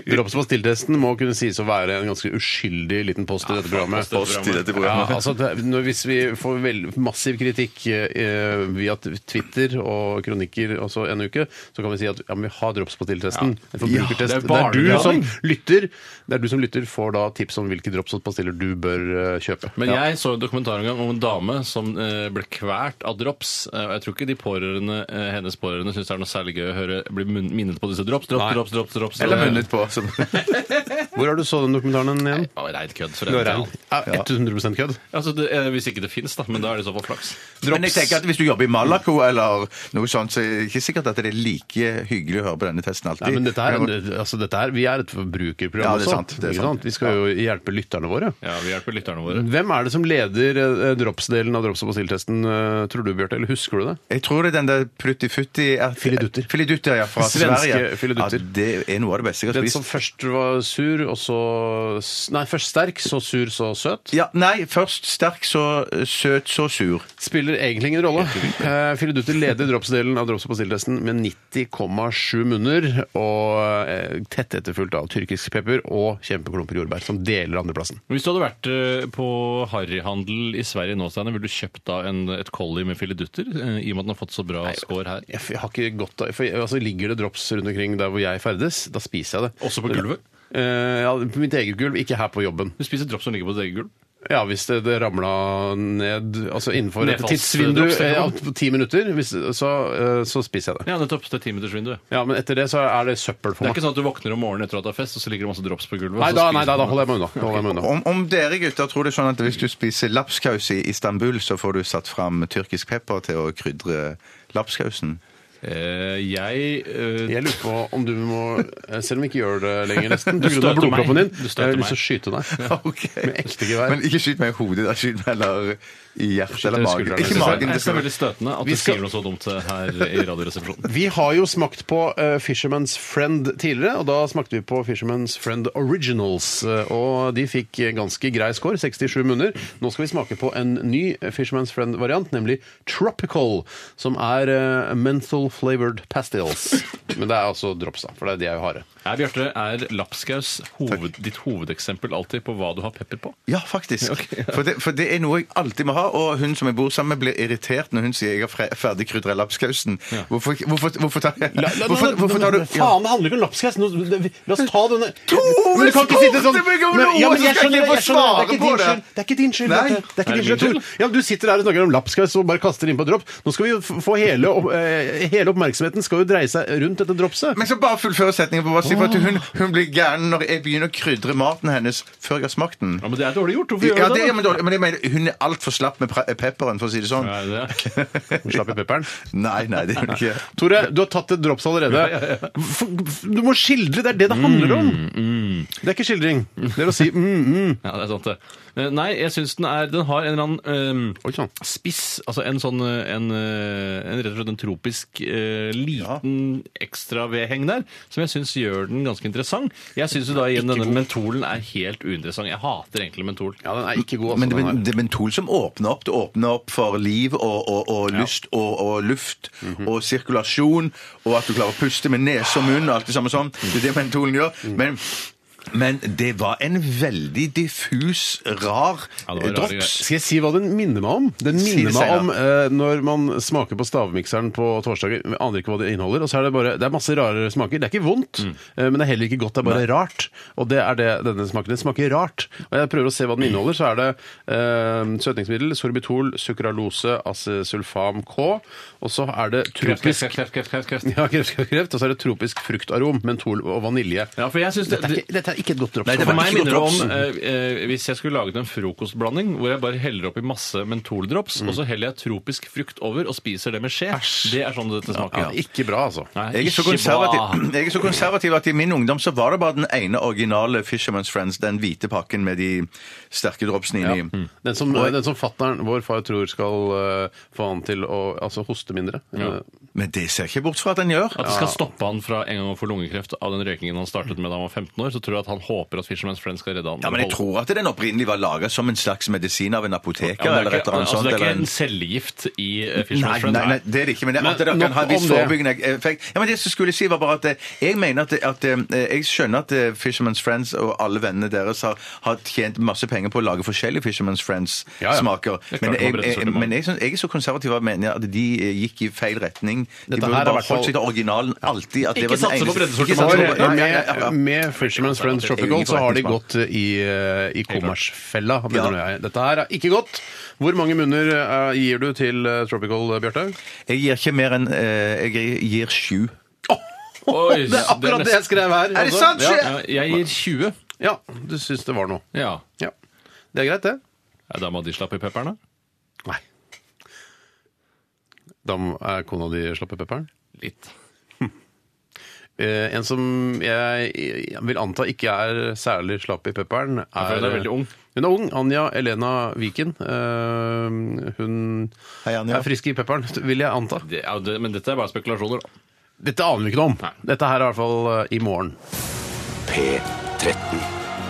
S1: Drops og Pastilltesten må kunne sies å være en ganske uskyldig liten post i dette programmet.
S2: Post i dette
S1: Ja,
S2: programmet.
S1: altså, det, når, hvis vi får vel, massiv kritikk eh, via t- Twitter og kronikker også en uke, så kan vi si at ja, men vi har drops på tiltesten. En forbrukertest.
S3: Ja, det er
S1: det, er du som
S3: barneunderholdning.
S1: lytter, det er du som lytter får da tips om hvilke drops og pastiller du bør eh, kjøpe.
S3: Men
S1: Ja.
S3: jeg så en dokumentar en gang om en dame som eh, ble kvært av drops. Eh, og jeg tror ikke de pårørende, eh, hennes pårørende syns det er noe særlig gøy å høre bli mun- minnet på disse drops. Drops,
S1: Nei.
S3: drops, drops, drops.
S2: Eller munnet på. Som,
S1: Hvor har du så den dokumentaren igjen?
S3: Ja, Reint kødd. Så
S1: Du
S3: det er
S1: har regn. Ja, 100 kødd.
S3: altså, det, eh, hvis ikke det fins, da. Men da er det i så fall flaks.
S2: men jeg tenker at hvis du jobber i Malaco eller noe sånt, så er det ikke sikkert at det er like hyggelig å høre på denne testen alltid.
S1: Nei, men dette her, altså dette her, vi er et forbrukerprogram
S2: Ja, det er
S1: også.
S2: sant, det er
S1: ikke
S2: sant.
S1: Vi skal jo hjelpe lytterne våre.
S3: Ja, Vi hjelper lytterne våre.
S1: Hvem er det som leder eh, drops-delen av drops- og pastilltesten, eh, tror du, Bjarte? Eller husker du det?
S2: Jeg tror det er den der Prutti-Futti ja,
S1: Filidutter.
S2: Filidutter, ja, fra
S1: Svenske
S2: Sverige.
S1: filidutter.
S2: Ja, det er noe av det beste jeg har
S1: Den som
S2: spist.
S1: først var sur, og så s- Nei, først sterk, så sur, så søt.
S2: Ja, nei, først sterk, så eh, søt, så sur.
S1: Spiller egentlig ingen rolle. Eh, Filidutter leder dropsdelen av drops- og pastilltesten med 90,7 munner, og eh, tett etterfulgt av tyrkisk pepper og kjempeklumper jordbær, som deler andreplassen.
S3: Hvis du hadde vært eh, på harryhandel i Sverige nå, Steiner, ville du kjøpt da en, et collie med filidutter? eh, I og med at den har fått så bra score her.
S1: Jeg, f- jeg har ikke godt av for jeg, altså, Ligger det drops rundt omkring der hvor jeg ferdes, da spiser jeg det.
S3: Også på gulvet?
S1: Eh, ja, på mitt eget gulv, ikke her på jobben.
S3: Du spiser drops som ligger på ditt eget gulv?
S1: Ja, hvis det, det ramla ned altså innenfor et
S3: Nedfalls-
S1: tidsvindu
S3: drops, tenker
S1: eh,
S3: du?
S1: på ti minutter, hvis, så, eh, så spiser jeg det.
S3: Ja, nettopp. Det er timinuttersvinduet.
S1: Ja, men etter det så er det søppel for
S3: Det er
S1: meg.
S3: ikke sånn at du våkner om morgenen etter at det er fest, og så ligger det masse drops på gulvet.
S1: Nei,
S3: og så
S1: da,
S3: spiser
S1: nei,
S3: du
S1: da, da
S3: det.
S1: holder jeg meg unna. Da holder jeg meg unna.
S2: Om, om dere gutter tror det er sånn at hvis du spiser lapskaus i Istanbul, så får du satt fram tyrkisk pepper til å krydre lapskausen?
S3: Eh, jeg eh,
S1: Jeg lurer på om du må, eh, selv om vi ikke gjør det lenger nesten, på grunn av
S3: støter meg.
S1: blodproppen din,
S3: Du
S1: jeg
S3: støter
S1: har lyst til å skyte deg.
S2: Ok.
S1: Med ekte gevær.
S2: Men ikke skyt meg i hodet, da. Skyt meg heller i hjertet eller magen.
S1: skulderen.
S3: jeg
S2: Ikke
S3: synes
S2: magen.
S3: det
S2: det
S3: er
S2: skal-
S3: veldig støtende at
S1: Vi
S3: du
S1: skal-
S3: sier noe så dumt her i Radioresepsjonen.
S1: Vi har jo smakt på eh, Fisherman's Friend tidligere, og da smakte vi på Fisherman's Friend Originals. eh, og de fikk eh, ganske grei score, 67 munner. Nå skal vi smake på en ny Fisherman's Friend-variant, nemlig Tropical, som er eh, menthol flavored pastilles. Men det er altså drops, da, for det er de jeg har.
S3: Er Bjarte, er lapskaus hoved, ditt hovedeksempel alltid på hva du har pepper på?
S2: Ja, faktisk. For, det, for det er noe jeg alltid må ha, og hun som jeg bor sammen med, blir irritert når hun sier jeg har fre- ferdig krydra lapskausen. Hvorfor, hvorfor, hvorfor tar jeg hvorfor, hvorfor tar du ja.
S1: Faen, det handler ikke om lapskaus! La oss ta denne
S2: Men du kan ikke sitte sånn- Men- ja, men jeg skjønner- jeg skjønner, det er ikke din skyld.
S1: Det er ikke din skyld.
S2: Nei.
S1: dette. Det er ikke
S3: Er det
S1: din
S3: min
S1: skyld. Tor. Ja, men du sitter her og snakker om lapskaus og bare kaster inn på drops. Nå skal vi jo f- få hele, opp- eh, hele oppmerksomheten skal jo dreie seg rundt dette dropset.
S2: Men så bare fullføre setningen på hva si, for at hun, hun blir gæren når jeg begynner å krydre maten hennes før jeg har smakt den.
S3: Ja, men Det er dårlig gjort. Hvorfor gjør
S2: Ja,
S3: du
S2: det
S3: det?
S2: er, men, dårlig, men jeg mener, hun er altfor slapp med pre- pepperen, for å si det sånn.
S3: da? Ja, det er.
S1: Slapp i pepperen.
S2: Nei, nei, det er hun ikke.
S1: Tore, du har tatt et drops allerede. F- f- Du må skildre! Det er det det handler om.
S2: Mm,
S1: Det er ikke skildring. Det er å si mm, mm.
S3: Ja, det er sant, det. Eh, Nei, jeg syns den er Den har en eller annen eh,
S1: Oi sånn. sann.
S3: spiss, altså en sånn eh, en, eh, en rett og slett en tropisk eh, liten ekstravedheng der, som jeg syns gjør den ganske interessant. Jeg syns jo da igjen denne mentolen er helt uinteressant. Jeg hater egentlig mentol.
S1: Ja, den er ikke god, altså.
S2: Men det,
S1: den her.
S2: men- det er mentol som åpner opp. Det åpner opp for liv og, og, og lyst og, og luft
S3: Mhm.
S2: og
S3: Mm.
S2: sirkulasjon, og at du klarer å puste med nese og munn og alt det samme sånn. Det er det mentolen gjør. Men Men det var en veldig diffus, rar
S3: Ja, det var rare
S2: drops.
S1: Skal jeg si hva den minner meg om? Den
S2: Si
S1: minner
S2: det,
S1: meg
S2: Steinar.
S1: om eh, når man smaker på stavmikseren på torsdager, vi aner ikke hva det inneholder, og så er det bare Det er masse rare smaker. Det er ikke vondt,
S3: Mm.
S1: eh, men det er heller ikke godt, det er bare rart. Og det er det denne smaken. Den smaker rart. Og jeg prøver å se hva den inneholder, så er det eh, søtningsmiddel, sorbitol, sukralose, acesulfam K, og så er det tropisk ja, kreft, kreft, kreft, og så er det tropisk fruktarom, mentol og vanilje.
S3: Ja, for jeg synes det,
S1: Dette er ikke, dette er ikke et godt drops.
S2: Nei, det
S3: For
S2: var
S3: meg
S2: ikke
S3: minner det
S2: noe
S3: om eh, eh, hvis jeg skulle laget en frokostblanding hvor jeg bare heller oppi masse
S1: Mm.
S3: mentoldrops, og så heller jeg tropisk frukt over og spiser det med skje. Det er sånn dette smaker.
S1: ja, ikke bra, altså.
S3: Nei,
S2: Jeg er, så
S3: ikke bra.
S2: konservativ, jeg er så konservativ at i min ungdom så var det bare den ene originale Fisherman's Friends, den hvite pakken med de sterke dropsene inni.
S3: Mm.
S1: Den som, den som fatteren vår far tror skal eh, få han til å altså, hoste mindre. Eh,
S2: Men det ser jeg ikke bort fra at den gjør.
S3: At det skal stoppe han fra en gang å få lungekreft av den røykingen han startet med da han var 15 år, så tror jeg at han håper at Fisherman's Friend skal redde han.
S2: Ja, men jeg tror at den opprinnelig var laga som en slags medisin av en apoteker
S3: Ja, men
S2: eller
S3: det er
S2: et
S3: ikke,
S2: eller annet
S3: altså,
S2: sånt.
S3: det er
S2: eller
S3: ikke
S2: en-
S3: en cellegift i eh,
S2: Nei,
S3: Fisherman's Friend.
S2: nei, nei, det er det ikke. Men det,
S1: Men
S2: at det kan
S1: nok
S2: ha en viss
S1: om det.
S2: forebyggende effekt. Ja, men det som skulle jeg si var bare at eh, jeg mener at, at eh, jeg skjønner at eh, Fisherman's Friends og alle vennene deres har, har tjent masse penger på å lage forskjellige
S1: Ja, ja.
S2: Fisherman's Friends-smaker.
S3: Det er klart
S2: Men,
S3: det må
S2: jeg,
S3: brettes
S2: jeg,
S3: sortiment.
S2: men jeg, synes- jeg er så konservativ at jeg mener at de eh, gikk i feil retning. De
S1: Dette
S2: burde
S1: her er
S2: bare
S1: hvert fall-
S2: holdt seg til originalen alltid. At
S3: Ikke
S2: det var den
S3: satse på
S2: eneste-
S3: breddesortiment.
S2: Ikke satse på-
S1: Med,
S2: Nei, ja, ja, ja.
S1: med, med Fisherman's Friends Tropical så har de gått eh, i, eh, i kommersfella, mener
S2: Ja.
S1: jeg. Dette her er ikke godt. Hvor mange munner eh, gir du til eh, Tropical, eh, Bjarte?
S2: Jeg gir ikke mer enn eh, Jeg gir sju.
S3: Oi,
S1: Det er akkurat det jeg skrev her.
S2: Er det
S1: altså.
S2: sant,
S1: Ja.
S2: sjef?
S3: nesten- Ja, Jeg gir 20.
S1: Ja, du syns det var noe.
S3: Ja.
S1: Ja. Det er greit, det.
S3: Ja, Da må de slappe i pepperen, da.
S1: Nei. Da må- er kona di slapp i pepperen?
S3: Litt.
S1: Eh, en som jeg, jeg vil anta ikke er særlig slapp i pepperen,
S3: for
S1: er eh,
S3: hun er veldig ung.
S1: Hun er ung. Anja Elena Viken. Eh, hun
S2: Hei, Anja.
S1: er frisk i pepperen, vil jeg anta.
S3: Det, ja, det, men dette er bare spekulasjoner, da.
S1: Dette aner vi ikke noe om.
S3: Nei.
S1: Dette her er i hvert fall eh, i morgen.
S6: P13.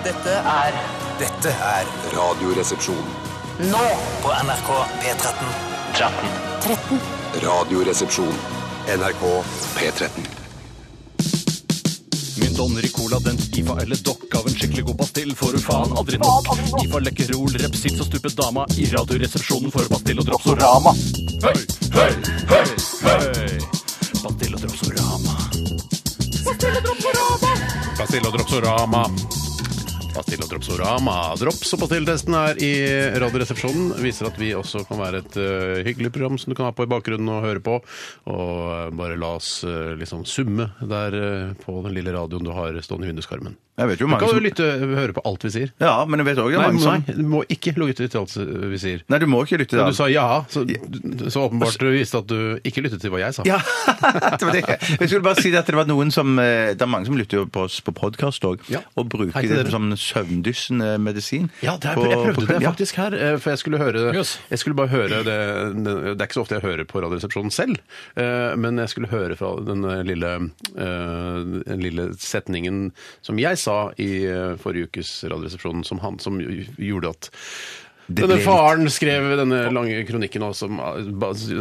S7: Dette er
S4: Dette er Radioresepsjon.
S7: nå på NRK P13.
S4: Radioresepsjon. NRK P13.
S5: Myntoneri Cola, den IFA eller dokk av en skikkelig god pastill får du faen aldri nok. IFA Lekkerol, Repsits og Stupe Dama i Radioresepsjonen får Pastill og Dropsorama. Høy, høy, høy, høy! Pastill og Dropsorama.
S1: Pastill og dropsorama. Pastill og dropsorama. Drops og pastilltesten her i Radioresepsjonen viser at vi også kan være et eh, hyggelig program som du kan ha på i bakgrunnen og høre på. Og eh, bare la oss eh, liksom summe der eh, på den lille radioen du har stående i vinduskarmen.
S2: Jeg vet jo
S1: Du
S2: mange
S1: kan jo
S2: som
S1: lytte, eh, høre på alt vi sier.
S2: Ja, men jeg vet òg det er
S1: Nei,
S2: mange som
S1: nei, du må ikke lytte til alt vi sier.
S2: Nei, du må ikke lytte til
S1: Men
S2: alt.
S1: du sa ja, så, så åpenbart du viste at du ikke lyttet til hva jeg sa.
S2: Altså- Ja, det var det. Jeg skulle bare si at det var noen som eh, Det er mange som lytter jo på oss på podkast òg,
S1: Ja.
S2: og bruker
S1: Hei til
S2: det
S1: dere.
S2: som søvndyssende medisin.
S1: Ja, det er,
S2: På-
S1: jeg
S2: på-
S1: prøvde det
S2: ja.
S1: faktisk her, eh, for jeg skulle høre
S3: Jøss.
S1: Jeg skulle bare høre det Det er ikke så ofte jeg hører på Radioresepsjonen selv, eh, men jeg skulle høre fra den eh, lille, eh, den lille setningen som jeg sa i eh, forrige ukes Radioresepsjon, som han som gjorde at
S2: ble
S1: denne
S2: litt-
S1: faren skrev denne lange kronikken, og, som, eh,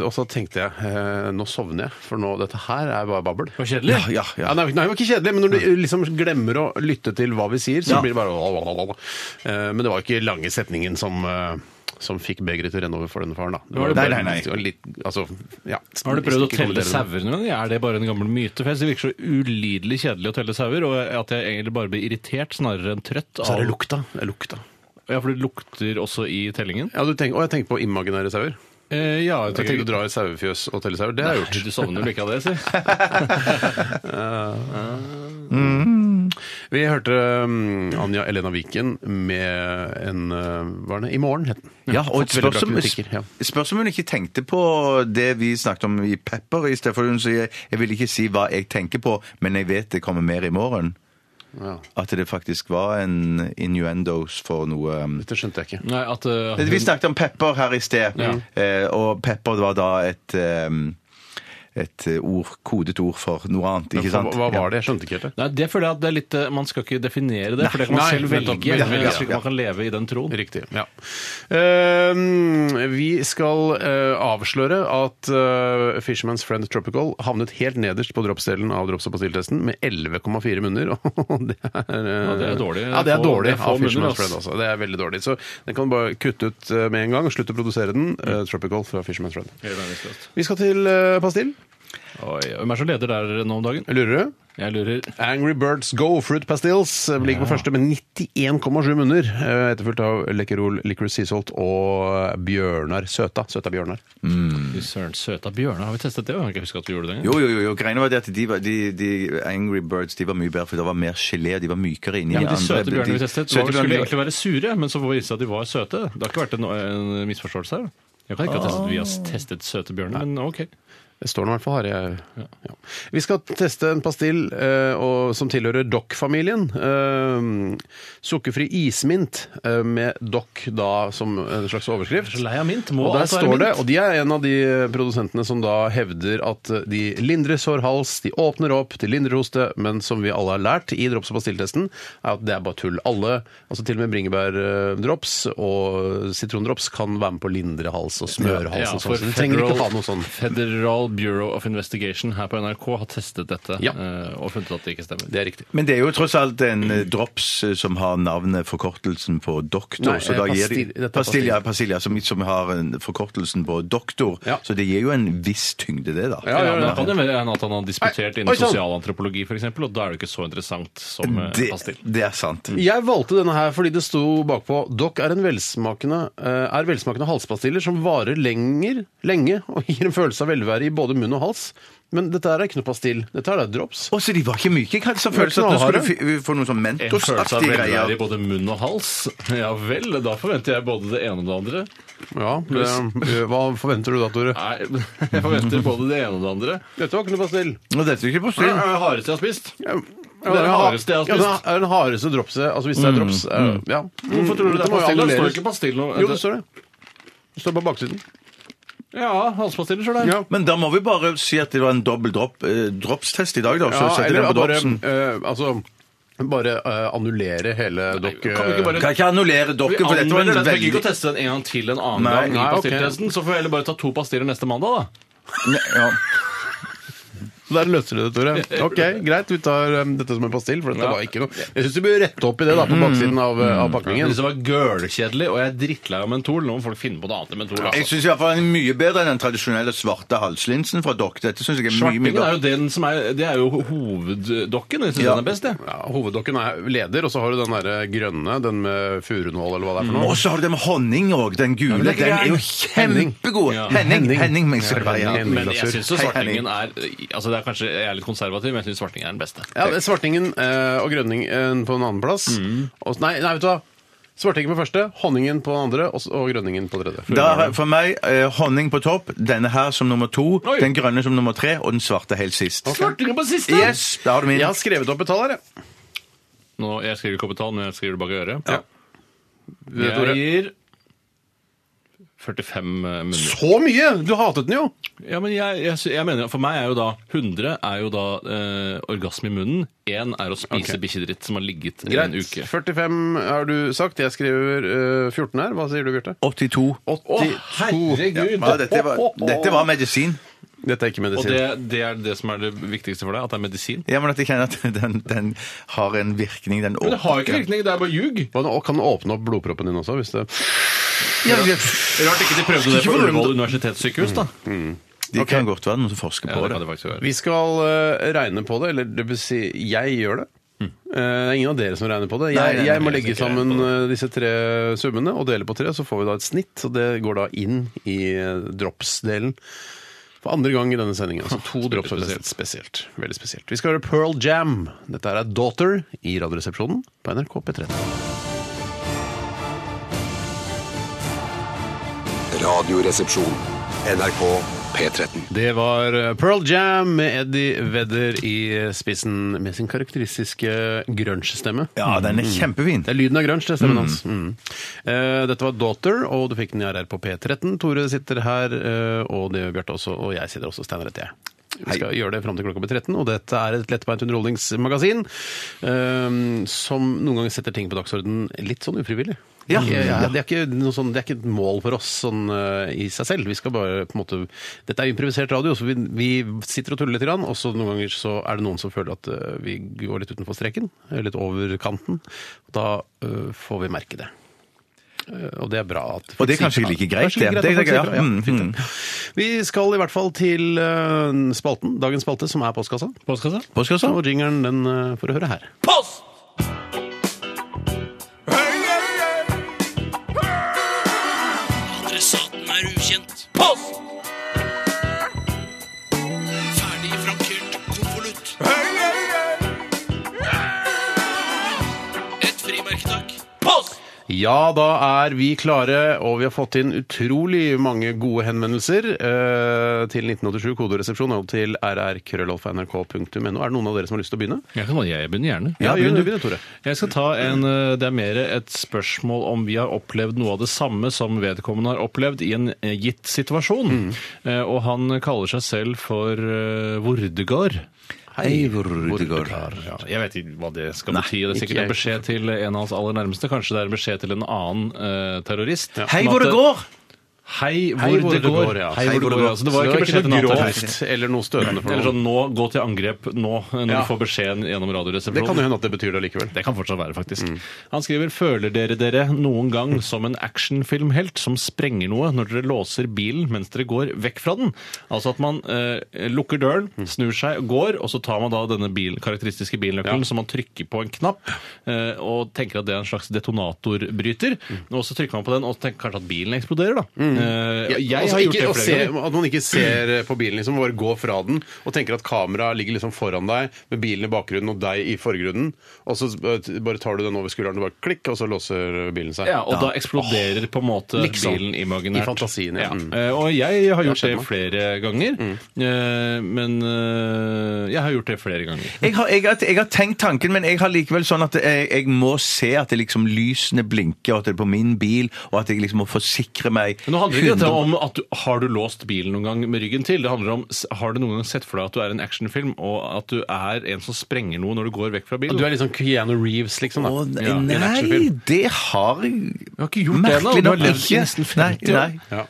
S1: og så tenkte jeg eh, nå sovner jeg, for nå, dette her er bare babbel.
S3: Det var kjedelig.
S2: Ja, ja,
S1: Ja.
S2: ja.
S1: nei, nei, det var ikke kjedelig, men når du liksom glemmer å lytte til hva vi sier, så blir det bare lalalala. Eh, Men det var jo ikke lange setningen som eh, som fikk begeret til å renne over for denne faren, da. Det
S3: Var det
S1: bare-
S2: Nei, nei, nei.
S1: det var Litt, altså, ja.
S3: Har du prøvd å
S1: Ikke
S3: telle
S1: kommentere det.
S3: sauer noen gang? Er det bare en gammel myte? For jeg synes Det virker så ulidelig kjedelig å telle sauer, og at jeg egentlig bare blir irritert snarere enn trøtt.
S1: Så er
S3: Av...
S1: det lukta. Det er lukta.
S3: Ja, for det lukter også i tellingen.
S1: Ja, du tenker, å, jeg tenker på imaginære sauer.
S3: Eh, ja,
S1: Jeg tenker å dra i sauefjøs og telle sauer. Det har jeg gjort.
S3: Nei, Du sovner vel ikke av det, si?
S1: Vi hørte um, Anja Elena Viken med en uh, Hva er det? I morgen, het den.
S2: Ja, og
S1: Mm. Fått veldig bra
S2: spørs om,
S1: kritikker, ja.
S2: spørs om hun ikke tenkte på det vi snakket om i Pepper, i stedet for hun sier 'jeg vil ikke si hva jeg tenker på, men jeg vet det kommer mer i morgen'.
S1: Ja.
S2: At det faktisk var en innuendos for noe um,
S1: Dette skjønte jeg ikke.
S3: Nei, at eh,
S2: Vi snakket om Pepper her i sted,
S3: Ja.
S2: eh, og Pepper var da et eh, et eh, ord, kodet ord for noe annet.
S1: Men
S2: ikke sant?
S1: Hva hva var det? Jeg skjønte ikke helt det.
S3: Nei, det føler jeg at det er litt eh, Man skal ikke definere det, for det kan man
S1: Nei,
S3: selv velge.
S1: nettopp, velge,
S3: Jeg tror
S1: ja.
S3: ikke man kan leve i den troen.
S1: Riktig. ja. Eh, vi skal eh, avsløre at eh, Fisherman's Friend Tropical havnet helt nederst på dropsdelen av drops- og pastilltesten med 11,4 munner. Og det er, eh,
S3: Ja, det er dårlig.
S1: Ja, det er
S3: Få-
S1: dårlig
S3: det er få
S1: av Fisherman's
S3: munner,
S1: Friend.
S3: ass.
S1: Altså. Det er veldig dårlig. Så den kan du bare kutte ut eh, med en gang. Slutte å produsere den. eh,
S3: Mm.
S1: Tropical fra Fisherman's Friend. Vi skal til eh, pastill.
S3: Oi, Hvem er som leder der eh, nå om dagen?
S1: Lurer du?
S3: Jeg lurer
S1: Angry Birds Go Fruit Pastilles eh, ligger på første med 91,7 munner. eh, Etterfulgt av Lekkerol Licorice Sea Salt og Bjørnar Søta. Søta Bjørnar.
S3: Fy søren, søta bjørner. Har vi testet det? Jeg kan ikke huske at vi gjorde det.
S2: Jo, jo, jo. jo. Greiene var det at de, var, de, de Angry Birds de var mye bedre, for det var mer gelé, og de var mykere inni
S3: Ja, men De
S2: andre-
S3: søte bjørnene vi testet
S2: søte
S3: var, skulle
S2: bjørnene-
S3: egentlig være sure, men så får vi vise at de var søte. Det har ikke vært en, en misforståelse her. Jeg kan ikke ha testet, Vi har testet søte bjørner, men OK.
S1: Det står nå i hvert fall her. Jeg, ja. Vi skal teste en pastill eh, og, som tilhører Dock-familien. Eh, sukkerfri ismint eh, med Dock da som en slags overskrift.
S3: Så lei av mint. Må
S1: Og der
S3: alt være
S1: står det,
S3: mint?
S1: og de er en av de eh, produsentene som da hevder at eh, de lindrer sår hals, de åpner opp, de lindrer hoste, men som vi alle har lært i drops- og pastilltesten, er at det er bare tull. Alle, altså til og med bringebærdrops og sitrondrops kan være med på å lindre hals og smøre hals
S3: Ja,
S1: og
S3: for
S1: sånn. Så du trenger ikke
S3: Federal-
S1: ha noe sånn.
S3: Federal Bureau of Investigation her på NRK har testet dette
S1: Ja.
S3: eh, og funnet at det ikke stemmer.
S1: Det er riktig.
S2: Men det er jo tross alt en eh, drops eh, som har navnet forkortelsen på doktor.
S1: Nei,
S2: så da
S1: eh,
S2: gir de,
S1: pastil- dette er pastil.
S2: pastilja, pastilja som, som har en forkortelsen på doktor.
S1: Ja.
S2: Så det gir jo en viss tyngde, det, da.
S1: Ja, ja,
S3: men
S1: ja.
S3: det kan jo være at han har disputert
S1: Nei,
S3: innen
S1: oi, sånn. sann.
S3: sosialantropologi, f.eks., og da er det jo ikke så interessant som eh,
S2: Det,
S3: pastill.
S2: det er sant.
S1: Jeg valgte denne her fordi det sto bakpå Dokk er, en velsmakende, eh, er velsmakende halspastiller som varer lenger, lenge og gir en følelse av velvære i både munn og hals. Men dette her er ikke noe pastill. Dette her er drops.
S2: Å, så de var ikke myke? Jeg hadde sånn følelse at nå
S1: Knallharde.
S2: skulle du fi- vi få noen sånn
S3: En følelse av
S2: Mentos-aktige
S3: velvære i
S2: greier.
S3: både munn og hals? Ja vel, da forventer jeg både det ene og det andre.
S1: Ja, det, eh, Hva forventer du da, Tore?
S3: Nei, jeg forventer både det ene og det andre.
S1: Dette var ikke noe pastill.
S2: Nå, dette er ikke
S3: Det er
S2: pastill.
S3: det hardeste jeg har spist.
S1: Ja,
S3: det er det hardeste jeg har
S1: ja, det
S3: spist. Mm,
S1: er den hardeste dropset. Altså hvis det er drops. eh, Ja.
S3: Hvorfor tror du det
S1: Dette
S3: er pastill?
S1: må jo
S3: Det står
S1: annulleres.
S3: ikke pastill nå.
S1: Jo, det står det. Det står på baksiden.
S3: Ja, halspastiller står der.
S1: Ja.
S2: Men da må vi bare si at det var en dobbel drop, eh, dropstest i dag, da. Så
S1: Ja,
S2: setter
S1: eller
S2: den på
S1: bare,
S2: dropsen.
S1: eh, altså, bare eh, annullere hele dokk... eh,
S3: kan vi ikke bare-
S2: Kan ikke annullere
S3: Vi
S2: dokken, for dette var
S3: anmelder
S2: en
S3: den. Veldig... ikke
S2: veldig
S3: å teste den en gang til en annen
S2: Nei,
S3: gang. i
S1: nei, ok.
S3: pastilltesten, Så får vi heller bare ta to pastiller neste mandag, da.
S2: Ja.
S1: Så Der løser du det, Tore. Ok, Greit, vi tar um, dette som en pastill. For dette
S3: Ja. Mm.
S1: var ikke noe Jeg syns du bør rette opp i det da, på baksiden av, uh, av
S3: Jeg
S1: pakningen.
S3: synes det var gølkjedelig, og jeg er drittlei av mentol. Nå må folk finne på noe annet enn mentol.
S2: Jeg
S3: Altså.
S2: syns iallfall den er mye bedre enn den tradisjonelle svarte halslinsen fra dokk. Dette synes jeg er mye, mye
S3: Svartingen er
S2: bedre.
S3: jo den som er Det er jo hoveddokken. og Jeg syns
S2: Ja.
S3: den er best, jeg.
S1: Ja, hoveddokken er leder, og så har du den derre grønne, den med furunål, eller hva det er for
S2: Og
S1: noe.
S2: så har du det med honning òg. Den gule.
S1: men det er ikke
S2: den er jo
S1: gærent.
S2: kjempegod.
S3: Ja.
S2: Henning.
S1: Henning.
S2: Henning, men
S1: Ja, Henning.
S3: Men jeg syns jo
S2: Hei,
S3: svartingen er Altså det er kanskje Jeg er litt konservativ, men jeg syns svartingen er den beste.
S1: Ja, det er Svartingen eh, og grønningen på en annen plass.
S3: Mm.
S1: Og, nei, nei, vet du hva. Svartingen på første, honningen på den andre, og, s- og grønningen på tredje.
S2: Da, har- for meg eh, honning på topp, denne her som nummer to,
S3: Oi.
S2: den grønne som nummer tre og den svarte helt sist.
S3: Svartingen på siste!
S2: Yes, da har du min.
S1: Jeg har skrevet opp et tall her, jeg.
S3: Nå, jeg skriver ikke opp et tall, men jeg skriver det bak i øret.
S1: Tore.
S3: Jeg gir eh, 45 minutter.
S1: Så mye! Du hatet den jo!
S3: Ja, men jeg, jeg, sy- jeg mener, For meg er jo da 100 er jo da eh, orgasme i munnen. Én er å spise
S1: Ok.
S3: bikkjedritt som har ligget i
S1: Greit.
S3: en uke.
S1: 45 har du sagt. Jeg skriver eh, 14 her. Hva sier du, Bjarte?
S2: 82.
S1: 82.
S2: Ja, dette, var, dette var medisin.
S1: Dette er ikke
S3: Og
S1: medisin.
S3: det, det er det som er det viktigste for deg? At det er medisin?
S2: Ja, men at jeg kjenner at den, den har en virkning. Den
S3: Men det har jo ikke virkning, det er bare ljug.
S1: Hva nå, kan den åpne opp blodproppen din også? Hvis det...
S2: Ja, de,
S3: Rart ikke de prøvde det på Ullevål universitetssykehus, da.
S2: de kan godt være noen som forsker på
S3: Ja, det kan
S2: det.
S3: det faktisk være.
S1: Vi skal eh, regne på det, eller det vil si, jeg gjør det. Eh, det er ingen av dere som regner på det. Jeg,
S2: Nei, nei, nei,
S1: jeg må
S2: jeg
S1: legge
S3: skal ikke
S1: sammen eh, disse tre summene og dele på tre, så får vi da et snitt. Og det går da inn i eh, drops-delen. For andre gang i denne sendingen. Altså to
S3: Veldig
S1: drops. Spesielt. spesielt. Veldig spesielt. Vi skal høre Pearl Jam. Dette her er Daughter i Radioresepsjonen på NRK P13.
S4: Radioresepsjon. NRK P13.
S1: Det var eh, Pearl Jam med Eddie Vedder i eh, spissen med sin karakteristiske grunge-stemme.
S2: Ja, den
S3: Mm.
S2: er kjempefin.
S1: Det er lyden av grunge, det er stemmen hans. Mm. Eh, dette var Daughter, og du fikk den i RR på P13. Tore sitter her, eh, og det gjør Bjarte også, og jeg sitter også. Steinar heter jeg. Vi skal gjøre det fram til klokka blir 13, og dette er et lettbeint underholdningsmagasin ehm, som noen ganger setter ting på dagsordenen litt sånn ufrivillig.
S2: Mm. Ja.
S1: Eh, Det, er ikke noe sånn, det er ikke et mål for oss sånn eh, i seg selv. Vi skal bare på en måte Dette er improvisert radio, så vi, vi sitter og tuller litt, grann, og så noen ganger så er det noen som føler at eh, vi går litt utenfor streken, eh, litt over kanten. Da eh, får vi merke det. Eh, Og det er bra at
S2: Og det er
S1: folk
S2: kanskje
S1: sier fra.
S2: like greit,
S1: Kanskje like greit
S2: det.
S1: at
S2: Det er
S1: folk
S2: greit,
S1: sier
S2: ja.
S1: fra,
S2: Mm,
S1: fint,
S2: mm.
S1: det. Vi skal i hvert fall til eh, spalten, dagens spalte, som er postkassa.
S3: Postkassa?
S2: Postkassa?
S1: Og jingeren den eh, får du høre her.
S8: Adressaten er ukjent. Post! Ferdig frankert konvolutt. Et frimerke, takk. Post!
S1: Ja, da er vi klare, og vi har fått inn utrolig mange gode henvendelser eh, til 1987 kodoresepsjon og til rrkrøllalfa.nrk.no. Er det noen av dere som har lyst til å begynne?
S3: Jeg kan jeg begynner gjerne.
S1: Ja,
S3: Jeg
S1: begynn du,
S3: begynner.
S1: begynn, Tore.
S3: Jeg skal ta en, eh, Det er mer et spørsmål om vi har opplevd noe av det samme som vedkommende har opplevd i en eh, gitt
S1: Mm.
S3: situasjon. Eh, Og han kaller seg selv for eh, Vordegard.
S2: Hei, Vordegård.
S3: Ja, jeg vet ikke hva det skal
S2: Nei,
S3: bety. Det er
S1: ikke
S3: sikkert en
S1: jeg.
S3: beskjed til en av hans aller nærmeste. Kanskje det er en beskjed til en annen eh, terrorist.
S2: Hei,
S3: Sånn at-
S2: hvor det går!
S3: Hei, hvor, det går.
S1: ja.
S3: Hei, hvor det går. Så det var ikke beskjed til en
S1: noe
S3: annen terrorist.
S1: grovt eller noe støtende for
S3: Eller
S1: noen.
S3: sånn nå, gå til angrep nå, når
S1: Ja.
S3: du får beskjeden gjennom
S1: Det kan jo
S3: radioresepsjonen.
S1: hende at det betyr det likevel.
S3: Det kan fortsatt være, faktisk.
S1: Mm.
S3: Han skriver føler dere dere noen gang som en actionfilmhelt som sprenger noe når dere låser bilen mens dere går vekk fra den. Altså at man eh, lukker døren,
S1: Mm.
S3: snur seg, går, og så tar man da denne bil, karakteristiske bilnøkkelen som man trykker på en knapp, eh, og tenker at det er en slags detonatorbryter.
S1: Mm.
S3: Og så trykker man på den, og så tenker kanskje at bilen eksploderer, da. Eh, jeg
S1: Altså,
S3: har gjort
S1: ikke,
S3: det
S1: å
S3: flere
S1: se,
S3: ganger.
S1: at man ikke ser på bilen, liksom, bare gå fra den og tenker at kameraet ligger liksom foran deg med bilen i bakgrunnen og deg i forgrunnen, og så eh, bare tar du den over skulderen og bare klikk, og så låser bilen seg.
S3: Ja, og da eksploderer på en måte
S1: Liksom.
S3: bilen imaginært.
S1: I fantasien, ja.
S3: ja.
S1: Mm.
S3: Eh, Og jeg har gjort
S1: skjedd
S3: det
S1: meg.
S3: flere ganger, eh, men eh, jeg har gjort det flere ganger.
S2: Jeg har, jeg, har, jeg har tenkt tanken, men jeg har likevel sånn at jeg, jeg må se at det liksom lysene blinker, og at det er på min bil, og at jeg liksom må forsikre meg
S3: Men nå handler ikke dette
S2: 100
S3: om at du, har du låst bilen noen gang med ryggen til. Det handler om s- har du noen gang sett for deg at du er en actionfilm, og at du er en som sprenger noe når du sånn går vekk fra bilen.
S1: Du er liksom Keanu Reeves, liksom. da.
S2: Å, nei,
S1: Ja, i en
S2: nei,
S1: actionfilm.
S2: det har jeg
S3: har ikke gjort det ennå,
S2: Merkelig
S3: du har
S2: nok
S3: levd i
S2: ikke.
S3: nesten
S2: Nei,
S3: 50 år.
S2: nei.
S1: Ja.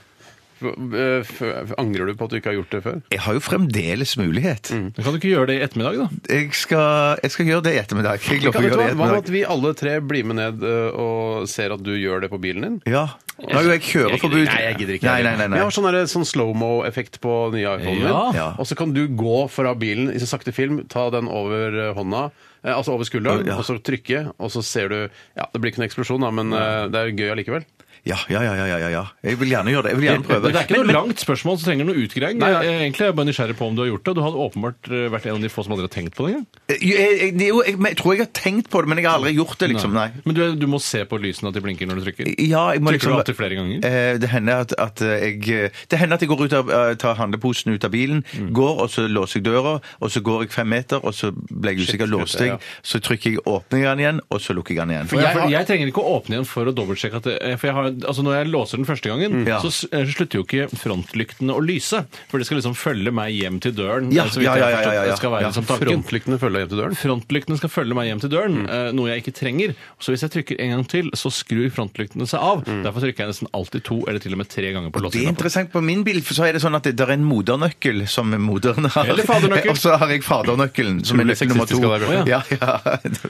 S1: F- eh, f- Angrer du på at du ikke har gjort det før?
S2: Jeg har jo fremdeles mulighet.
S3: Men Kan du ikke gjøre det i ettermiddag, da?
S2: Jeg, skal, jeg skal gjøre det i ettermiddag. Jeg
S1: Kan
S2: lover å
S1: du ta,
S2: gjøre det i
S1: hva med
S2: ettermiddag.
S1: at vi alle tre blir med ned eh, og ser at du gjør det på bilen din?
S2: Ja. Nå har jo jeg kjøreforbud.
S1: Nei, jeg gidder ikke.
S2: Nei, nei, nei,
S1: Vi
S2: nei.
S1: har sånn, derre- sånn slow-mo-effekt på den nye iPhonen
S3: Ja.
S1: min.
S2: Ja.
S1: Og så kan du gå fra bilen i så sakte film, ta den over eh, hånda, eh, altså over skulderen,
S2: Ja.
S1: og så trykke, og så ser du Ja, det blir ikke noen eksplosjon, da, men eh, det er jo gøy allikevel.
S2: Ja, ja, ja, ja, ja, ja, ja. Jeg vil gjerne gjøre det. Jeg vil gjerne prøve.
S3: Det er ikke
S2: Men-
S3: noe langt spørsmål som trenger noe utgreiing.
S1: Nei, nei.
S3: Eh, Egentlig er jeg bare nysgjerrig på om du har gjort det. Du hadde åpenbart eh, vært en av de få som aldri har tenkt på det engang.
S2: Eh, Jeg, jeg, det er jo- jeg, men jeg tror jeg har tenkt på det, men jeg har aldri gjort det, liksom. Nei.
S3: Men du, du må se på lysene at de blinker når du trykker?
S2: Ja, jeg må
S3: Trykker
S2: liksom...
S3: du alltid flere ganger?
S2: Eh, Det hender at, at eh, jeg Det hender at jeg går ut av, eh, tar handleposen ut av bilen,
S3: Mm.
S2: går, og så låser jeg døra, og så går jeg fem meter, og så ble jeg usikker, låste jeg, så trykker jeg åpner jeg den igjen, og så lukker jeg den igjen.
S3: For jeg, for jeg trenger ikke å åpne igjen for å dobbeltsjekke at det, for jeg har, altså Når jeg låser den første gangen,
S1: Mhm.
S2: Ja.
S3: så s- eh, slutter jo ikke frontlyktene å lyse. For det skal liksom følge meg hjem til døren.
S2: Ja,
S3: eh, så vidt
S2: ja,
S3: jeg
S2: ja,
S3: har
S2: ja,
S3: forstått
S2: ja, ja.
S3: det skal være
S2: Ja,
S3: liksom tanken.
S1: Frontlyktene følger deg hjem til døren. Mm.
S3: Frontlyktene skal følge meg hjem til døren, eh, noe jeg ikke trenger. Så hvis jeg trykker en gang til, så skrur frontlyktene seg av.
S1: Mm.
S3: Derfor trykker jeg nesten alltid to eller til og med tre ganger på
S2: Det er
S3: låseknappen.
S2: interessant. På min bil for så er det sånn at det der er en modernøkkel som moderen har.
S3: Eller fadernøkkel.
S2: Og så har jeg fadernøkkelen som er
S1: Utrolig
S2: nøkkel nummer to.
S1: sexistisk av deg, Bjørte.
S2: ja, ja.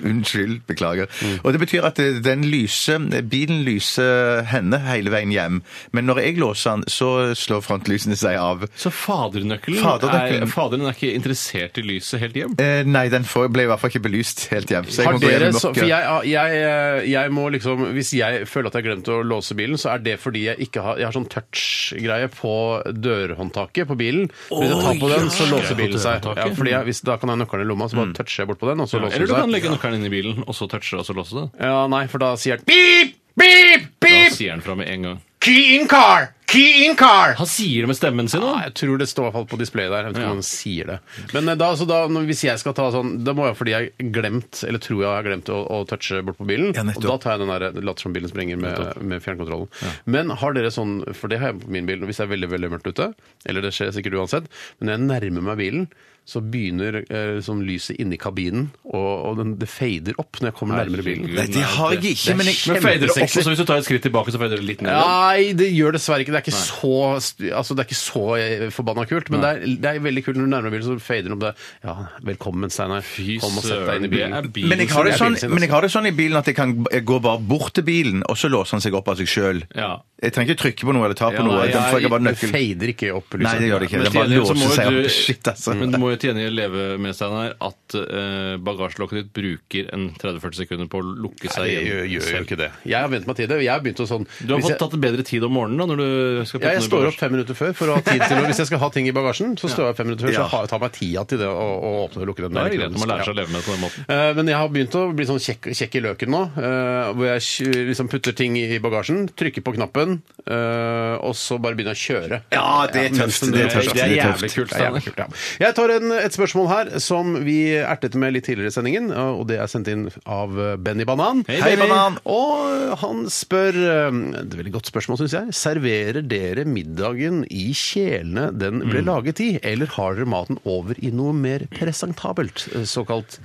S2: Unnskyld. Beklager. Og det betyr at eh, den lyser, bilen lyser henne hele veien hjem. Men når jeg låser den, så slår frontlysene seg av.
S3: Så fadernøkkelen,
S2: Fadernøkkelen.
S3: Er, faderen er ikke interessert i lyset helt hjem?
S2: Eh, nei, den får, ble i hvert fall ikke belyst helt hjem. Så jeg
S1: Har
S2: må gå hjem
S1: dere,
S2: i
S1: så, for
S2: mørket.
S1: jeg, ah, jeg, jeg må liksom Hvis jeg føler at jeg har glemt å låse bilen, så er det fordi jeg ikke har Jeg har sånn touch-greie på dørhåndtaket på bilen. Hvis jeg tar på den, så låser bilen seg. Ja, fordi jeg, hvis, Da kan jeg ha nøkkelen i lomma, så bare toucher jeg bort på den, og så låser
S3: Eller du kan
S1: den seg.
S3: legge nøkkelen inn i bilen, og så touche og så låse det.
S1: Ja, nei, for da sier den beep, beep,
S3: Da
S1: beep,
S3: sier han fra med en gang.
S1: key in car, Key in car!
S3: Han sier det med stemmen sin
S1: Ja,
S3: nå.
S1: jeg tror det står i hvert fall på displayet der. Jeg vet ikke
S3: Ja.
S1: om han sier det. Men eh, da, så da, når- hvis jeg skal ta sånn, da må jeg fordi jeg glemt, eller tror jeg har glemt å, å touche bort på bilen.
S2: Ja, nettopp.
S1: og da tar jeg den der later som bilen sprenger med, med fjernkontrollen. Men har dere sånn, for det har jeg på min bil hvis det er veldig, veldig mørkt ute, eller det skjer sikkert uansett, men når jeg nærmer meg bilen, så begynner eh, liksom lyset inni kabinen, og, og den, det fader opp når jeg kommer nærmere bilen.
S2: Nei, det har jeg ikke, men jeg
S3: Men fader det opp,
S2: kjempesexy.
S3: og så hvis du tar et skritt tilbake, så fader det litt ned?
S1: Nei, det gjør dessverre ikke. Det er ikke så st- altså, det er ikke så eh, forbanna kult, men det er, det er veldig kult når du nærmer deg bilen, så fader den opp der. Ja, velkommen, Steinar. Kom og sett deg inn i bilen.
S3: bilen.
S2: Men jeg, har det
S1: som er
S2: sånn,
S1: bilen sin,
S2: men jeg har det sånn i bilen at jeg kan jeg går bare bort til bilen, og så låser han seg opp av seg sjøl.
S3: Ja.
S2: Jeg trenger ikke trykke på noe eller ta på
S3: Ja,
S2: noe.
S3: nei,
S2: Den får jeg bare
S1: Det
S2: nøkkel.
S1: fader ikke opp liksom.
S2: Nei, det gjør det ikke.
S3: Men
S2: Den bare
S3: til gjengjeld så må
S2: låser seg
S3: jo
S2: opp.
S3: du-
S2: Shit, altså.
S3: Men du må jo til gjengjeld leve med Steinar, at eh, bagasjelokket ditt bruker en 30-40 sekunder på å lukke seg
S1: Nei, jeg gjør,
S3: igjen.
S1: gjør jo
S3: selv.
S1: ikke det. Jeg har vent meg til det. Jeg har begynt å sånn
S3: Du har
S1: hvis
S3: fått
S1: jeg-
S3: tatt bedre tid om morgenen da, når du skal putte
S1: ja, jeg
S3: den i
S1: står opp
S3: bagasjen.
S1: fem minutter før for å ha tid til å, Hvis jeg skal ha ting i bagasjen, så står jeg opp fem minutter før. Så
S2: Ja.
S1: jeg har- tar meg tida til det å, å åpne og lukke den.
S3: Da er det
S1: der.
S3: greit at man lærer seg å leve med det på den måten.
S1: Eh, Men jeg har begynt å bli sånn kjekk, kjekk i løken nå. eh, hvor jeg kj- liksom putter ting i bagasjen, trykker på knappen, eh, og så bare begynner jeg å kjøre.
S2: Ja, det er tøft. Det er tøft.
S3: Det er
S2: det er
S3: jævlig
S2: tøft.
S3: kult.
S1: Det er
S3: Steinar.
S1: jævlig kult, ja. Jeg tar en, et spørsmål her som vi ertet med litt tidligere i sendingen. Og det er sendt inn av eh, Benny Banan.
S3: Hei,
S2: Hei, Banan.
S1: Og han spør eh, Det er veldig godt spørsmål, syns jeg. Serverer dere middagen i kjelene den ble laget i, eller har dere maten over i noe mer presentabelt? eh, Såkalt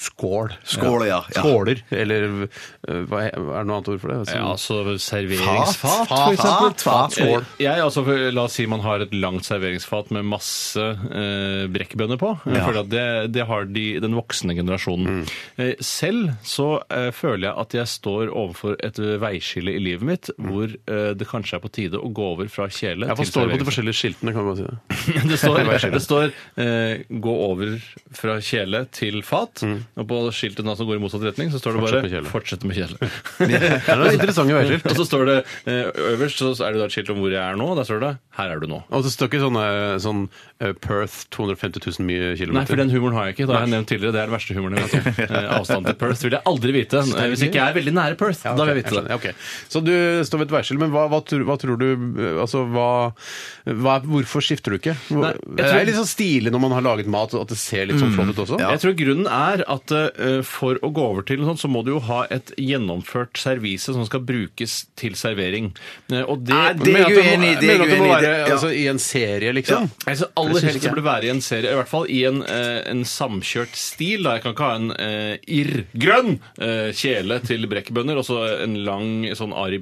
S1: skål.
S2: Skål, ja. Ja.
S1: Skåler, eller eh, hva er er det noe annet ord for det?
S3: Ja, altså
S2: Fat,
S3: serveringsfat,
S2: fat,
S3: for eksempel.
S2: fat, fat, skål.
S3: Eh, Jeg, altså, for- la oss si man har et langt serveringsfat med masse eh, brekkbønner på. Jeg føler at det, det har de, den voksne generasjonen. Eh, selv så eh, føler jeg at jeg står overfor et veiskille i livet mitt, hvor eh, det kanskje er på tide å gå over fra kjele
S1: jeg forstår det på de forskjellige skiltene, kan man si det.
S3: det står, det står eh, 'gå over fra kjele til fat', og på skiltet nå som går i motsatt retning, så står det
S1: Mm. Fortsett med
S3: bare
S1: kjele.
S3: 'fortsett med kjele'.
S1: Det er noen interessante veiskilt.
S3: Og så står det eh, øverst så er det da et skilt om hvor jeg er nå. og Der står det 'her er du nå'.
S1: Og så står ikke sånn, eh, sånn eh, Perth 250 000 mye kilometer.
S3: Nei, for den humoren har jeg ikke. Det har jeg nevnt tidligere. Det er den verste humoren jeg vet om. Eh, Avstanden til Perth vil jeg aldri vite. Eh, Hvis ikke jeg er veldig nære Perth,
S1: Ja,
S3: da
S1: ok,
S3: vil jeg vite
S1: skjønner.
S3: det.
S1: Ja, ok. Så du står ved et veiskille, men hva, hva, tror- hva tror du eh, Altså, hva, hva Hvorfor skifter du ikke? Hvor,
S3: Nei, jeg tror- Mm.
S1: Det er litt sånn stilig når man har laget mat, og at det ser litt sånn flott ut også.
S3: Jeg tror grunnen er at eh, for å gå over til noe sånt, så må du jo ha et gjennomført servise som skal brukes til servering. Eh, Og det,
S2: Nei, det er
S1: Men at
S2: jeg
S1: det må-
S2: uenig i, det er
S1: men at
S2: jeg
S1: det må
S2: uenig i,
S1: være
S2: det- ja.
S1: altså, i en serie, liksom.
S3: Altså,
S1: Det
S3: aller
S1: synes
S3: helst
S1: ikke jeg.
S3: burde være i en serie, i hvert fall i en, eh, en samkjørt stil. Da. Jeg kan ikke ha en eh, irrgrønn eh, kjele til brekkbønner og så en lang sånn Ari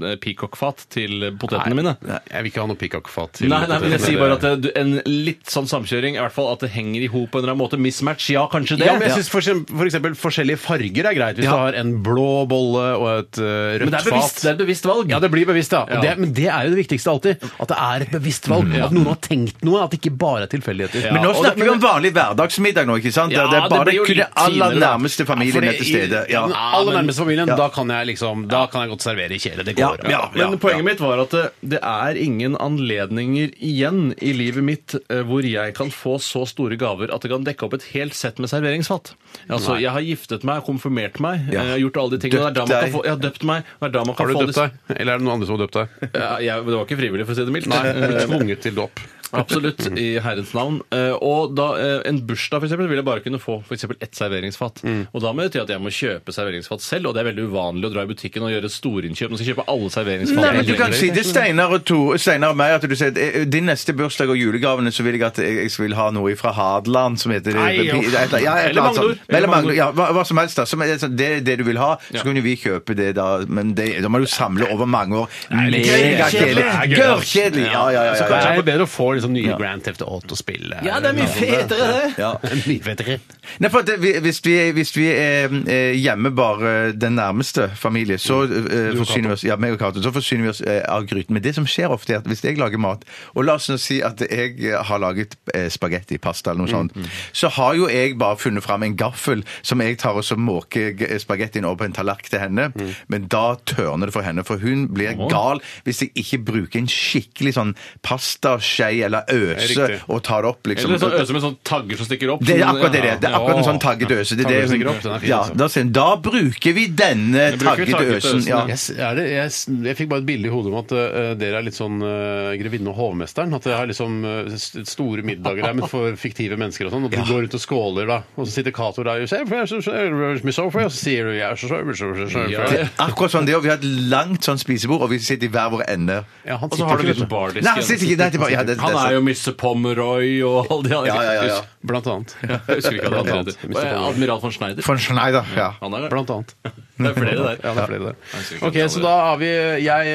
S3: Behn-peacock-fat til potetene mine.
S1: Nei, jeg vil ikke ha noe pikkakfat til
S3: Nei, nei, men jeg sier bare at det, du- en litt sånn samkjøring, i hvert fall at det henger i hop på en eller annen måte. Mismatch, ja, kanskje det.
S1: ja, men jeg synes for, eksempel, for eksempel forskjellige farger er greit. Hvis
S3: Ja.
S1: du har en blå bolle og et eh,
S3: Men
S1: rødt
S3: det er bevisst,
S1: fat.
S3: det er et bevisst valg.
S1: Ja, det blir bevisst, ja. Og
S3: Ja. Mm,
S1: Det, men det er jo det viktigste alltid. At det er et bevisst valg. At noen har tenkt noe. At det ikke bare er tilfeldigheter.
S2: Men nå snakker vi om vanlig hverdagsmiddag nå, ikke sant?
S3: Ja,
S2: det er bare
S3: det blir jo
S2: kun det
S3: litt
S2: aller
S3: finere, da.
S2: nærmeste familien er til stede.
S1: Ja,
S2: Ja.
S1: den aller nærmeste familien,
S2: Ja.
S1: da kan jeg liksom Da kan jeg godt servere i kjele. Det går.
S2: Ja, ja.
S3: Men poenget mitt var at det, det er ingen anledninger igjen i livet mitt eh, hvor jeg kan få så store gaver at det kan dekke opp et helt sett med serveringsfat. Altså, Jeg har giftet meg, konfirmert meg,
S2: Ja.
S3: eh, jeg har gjort alle de tingene.
S2: Døpt
S3: Det er da man
S2: deg.
S3: kan få, jeg har døpt meg. Det Eh, er da man kan
S1: Har du
S3: få
S1: døpt deg? Eller er det noen andre som har døpt deg?
S3: Ja, jeg, det var ikke frivillig, for å si det mildt.
S1: Nei,
S3: Eh,
S1: tvunget til dåp.
S3: Absolutt, i herrens navn. Eh, Og da, eh, en bursdag for eksempel, vil jeg bare kunne få for eksempel ett serveringsfat.
S2: Mm.
S3: Og da må det til at jeg må kjøpe serveringsfat selv, og det er veldig uvanlig å dra i butikken og gjøre storinnkjøp. Man skal kjøpe alle serveringsfat.
S2: Nei, men du kan si det Steinar og, to, Steinar og meg at du sier at eh, din neste bursdag og julegavene så vil jeg at jeg jeg vil ha noe fra Hadeland som heter
S3: Nei,
S2: ja, et eller- ja,
S3: Eller
S2: et eller annet
S3: Magnor.
S2: sånt. Eller Magnor. Ja, hva, hva som helst. Da. Som, er sånn, det er det du vil ha, så
S3: Ja.
S2: kan jo vi kjøpe det da. Men det, da må du samle over mange år.
S3: litt
S2: Megakjedelig.
S3: kjedelig.
S2: Gørrkjedelig! Ja, ja, ja.
S1: Så
S2: ja,
S1: kanskje det
S2: ja.
S1: er bedre å få liksom nye Grand Theft Auto-spill.
S3: Ja, det er mye fetere, det.
S2: Ja.
S1: Mye fetere.
S2: Nei, for at det, vi- hvis, vi, hvis vi er eh, hjemme bare den nærmeste familie, så, eh, forsyner, vi oss, ja, meg og Cato, så forsyner vi oss eh, av gryten. Men det som skjer ofte, er at hvis jeg lager mat, og la oss nå si at jeg eh, har laget eh, spagetti, pasta eller noe sånt, så har jo jeg bare funnet fram en gaffel som jeg tar og så måker g- eh, spagettien over på en tallerken til henne, men da tørner det for henne, for hun blir gal hvis jeg ikke bruker en skikkelig sånn pastaskje eller øse
S1: Riktig.
S2: og tar opp, liksom.
S3: Eller sånn øse med sånn tagger som stikker opp.
S2: Det er
S3: sånn-
S2: akkurat det det er. Det er akkurat en sånn tagget øse. Det, er det,
S1: Tagget stikker opp, den er fin,
S2: ja,
S1: altså.
S2: da, sier hun, da bruker vi denne
S3: Da bruker vi
S2: taggete
S3: tagget
S2: øsen.
S3: øsen,
S2: Ja.
S3: ja.
S1: Jeg, s- er det, jeg, s- jeg fikk bare et bilde i hodet om at eh, dere er litt sånn uh, grevinne og hovmesteren. At dere har liksom eh, s- store middager der med for fiktive mennesker og sånn. Og du går rundt og skåler da, og så sitter Cato der og sier «Fresh, fresh, me so fresh», og så sier du «Jeg er så fresh, fresh, fresh,
S3: Ja.
S1: fresh».
S2: Akkurat sånn det, og Vi har et langt sånn spisebord, og vi sitter i hver vår ende.
S1: Ja, han
S3: Og så
S1: sitter
S3: har du
S1: ikke
S3: litt
S1: der.
S3: bardisk
S2: liksom- Nei, sitter ikke der tilbake. Ja, det, det,
S3: Han er
S2: det, sånn.
S3: jo Mr. Pomeroy og alle de andre.
S2: Ja, ja, ja, ja.
S1: Blant annet.
S3: Jeg husker ikke hva det
S1: Blant
S3: andre
S1: annet, Mr.
S3: heter.
S1: Pomeroy.
S3: Admiral von Schneider.
S2: Von Schneider, ja.
S3: Han er der.
S1: Blant annet.
S3: Det er flere
S1: Ja,
S3: der.
S1: det er flere
S3: sikkert
S1: der.
S3: ikke
S1: Ok,
S3: alle.
S1: så da har vi Jeg,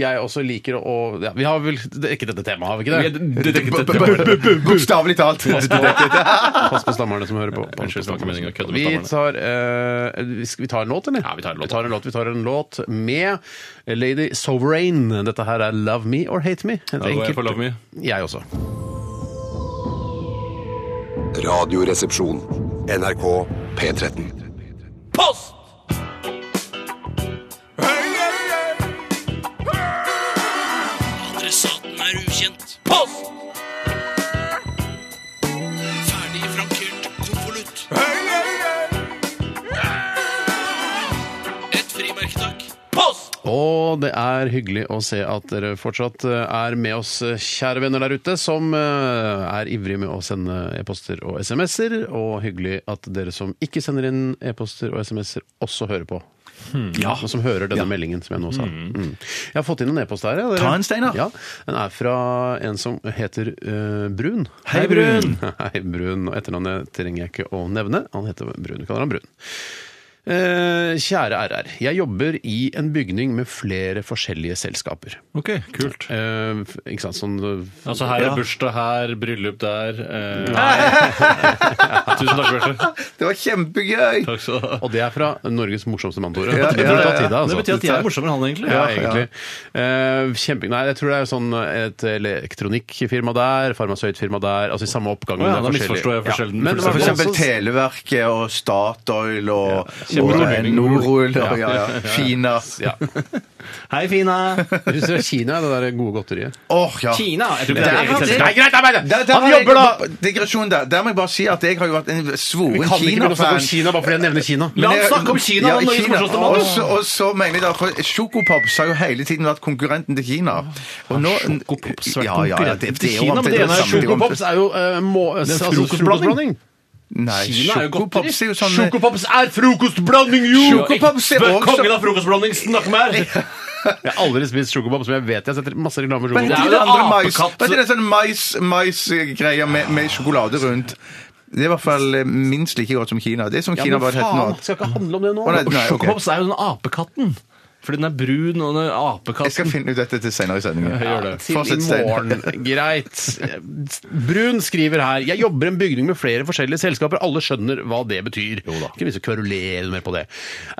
S1: jeg også liker å ja, Vi har vel dekket dette temaet, har vi
S3: Vi
S1: ikke
S3: er
S1: det?
S3: detektet
S2: Bu- bu- bu- bu- Bokstavelig talt.
S1: Pass på stammerne som hører på.
S3: Unnskyld, det var ikke meningen å kødde med
S1: Vi
S3: stammerne.
S1: tar, eh, vi skal- vi tar en låt, eller?
S3: Ja, vi tar en låt.
S1: Vi tar en låt, vi tar en låt med Lady Sovereign. Dette her er Love Me or Hate Me.
S3: Da går jeg for Love Me.
S1: Jeg også.
S4: Radioresepsjon. NRK P13.
S8: Post! Adressaten er ukjent. Post! Ferdig frankert konvolutt. Et frimerke, takk. Post!
S1: Og det er hyggelig å se at dere fortsatt eh, er med oss, eh, kjære venner der ute, som eh, er ivrige med å sende e-poster og SMS-er. Og hyggelig at dere som ikke sender inn e-poster og SMS-er, også hører på.
S2: Hmm.
S1: Ja. Som hører denne meldingen som jeg nå sa. Mm. Jeg har fått inn en e-post her. ja, dere.
S2: Ta en, Steinar.
S1: Ja, Den er fra en som heter eh, Brun.
S2: Hei, Brun.
S1: Hei, Brun. Og etternavnet trenger jeg ikke å nevne. Han heter Brun. Vi kaller han Brun. Eh, kjære RR. Jeg jobber i en bygning med flere forskjellige selskaper.
S3: Ok, kult.
S1: Eh, f- ikke sant, sånn eh,
S3: Altså her
S2: Ja.
S3: er bursdag her, bryllup der eh, Tusen takk, Bjarte.
S2: Det var kjempegøy!
S3: Takk skal du ha.
S1: Og det er fra Norges morsomste mann, Tore.
S2: Ja, ja,
S1: Det burde
S2: ja,
S1: tatt i deg, altså.
S3: Det betyr at jeg er morsommere enn han, egentlig.
S1: Ja, egentlig. Eh, kjempe... Nei, jeg tror det er sånn et elektronikkfirma der, farmasøytfirma der, altså i samme oppgang.
S3: Å ja, da
S1: men det er forskjellig.
S3: misforstår jeg forskjellen.
S1: Men det
S2: For
S1: var sånn-
S2: eksempel
S1: også-
S2: Televerket og Statoil og,
S3: Ja,
S2: og
S3: kjempebra.
S2: eh, Norol og ja, ja. Fina. Åh,
S1: Ja.
S3: Hei, Fina.
S1: Jeg synes det er Kina, det der gode godteriet.
S2: ja.
S3: Kina. Jeg tror ikke
S2: Der-
S3: det er eget selskap.
S2: Nei, greit, nei, nei, der- der
S1: Han
S2: har jeg-
S1: jobber da-
S2: Digresjon der. Der må jeg bare si at jeg har jo vært en
S1: Vi
S2: svoren
S1: kan ikke begynne å snakke om
S2: Kina-fan.
S1: Kina bare fordi jeg nevner Kina.
S3: La oss snakke om Kina!
S2: Ja,
S3: da, Norges
S2: Kina.
S3: morsomste mann.
S2: Og så- Og så mener jeg da, for Sjokopops har jo hele tiden vært konkurrenten til Kina. Og nå,
S1: Sjokopops
S2: ja, ja, ja, det, det er jo
S1: Kina, men
S2: omtrent
S1: det ene er
S2: samme, det er omtrent-
S1: Sjokopops er jo eh, må, altså, frokostblanding.
S2: Nei,
S3: Kina er jo
S2: Sjokopops er jo sånn
S1: Sjokopops er frokostblanding, jo!
S2: Sjokopops er
S3: Spør
S2: også
S3: kongen av frokostblanding, snakk med her!
S1: Jeg har aldri spist sjokopops, men jeg vet jeg setter masse reklame for
S2: Men det
S1: sjokopops.
S2: er jo
S3: Det er
S2: det
S3: jo
S2: andre mais.
S3: apekatt.
S2: Men det er sånn mais- mais-greier med, med sjokolade rundt. Det er i hvert fall eh, minst like godt som Kina. Det er som Kina bare heter nå.
S1: skal ikke handle om det nå.
S2: Å, nei, nei, ok.
S3: Sjokopops er jo den apekatten. Fordi den er brun, og den er apekatt.
S2: Jeg skal finne ut dette til senere i sendingen.
S3: gjør det.
S1: Til i
S2: Fortsett, Stein.
S1: morgen. Greit. Brun skriver her Jeg jobber i en bygning med flere forskjellige selskaper. Alle skjønner hva det betyr. Ikke vise å kverulere mer på det.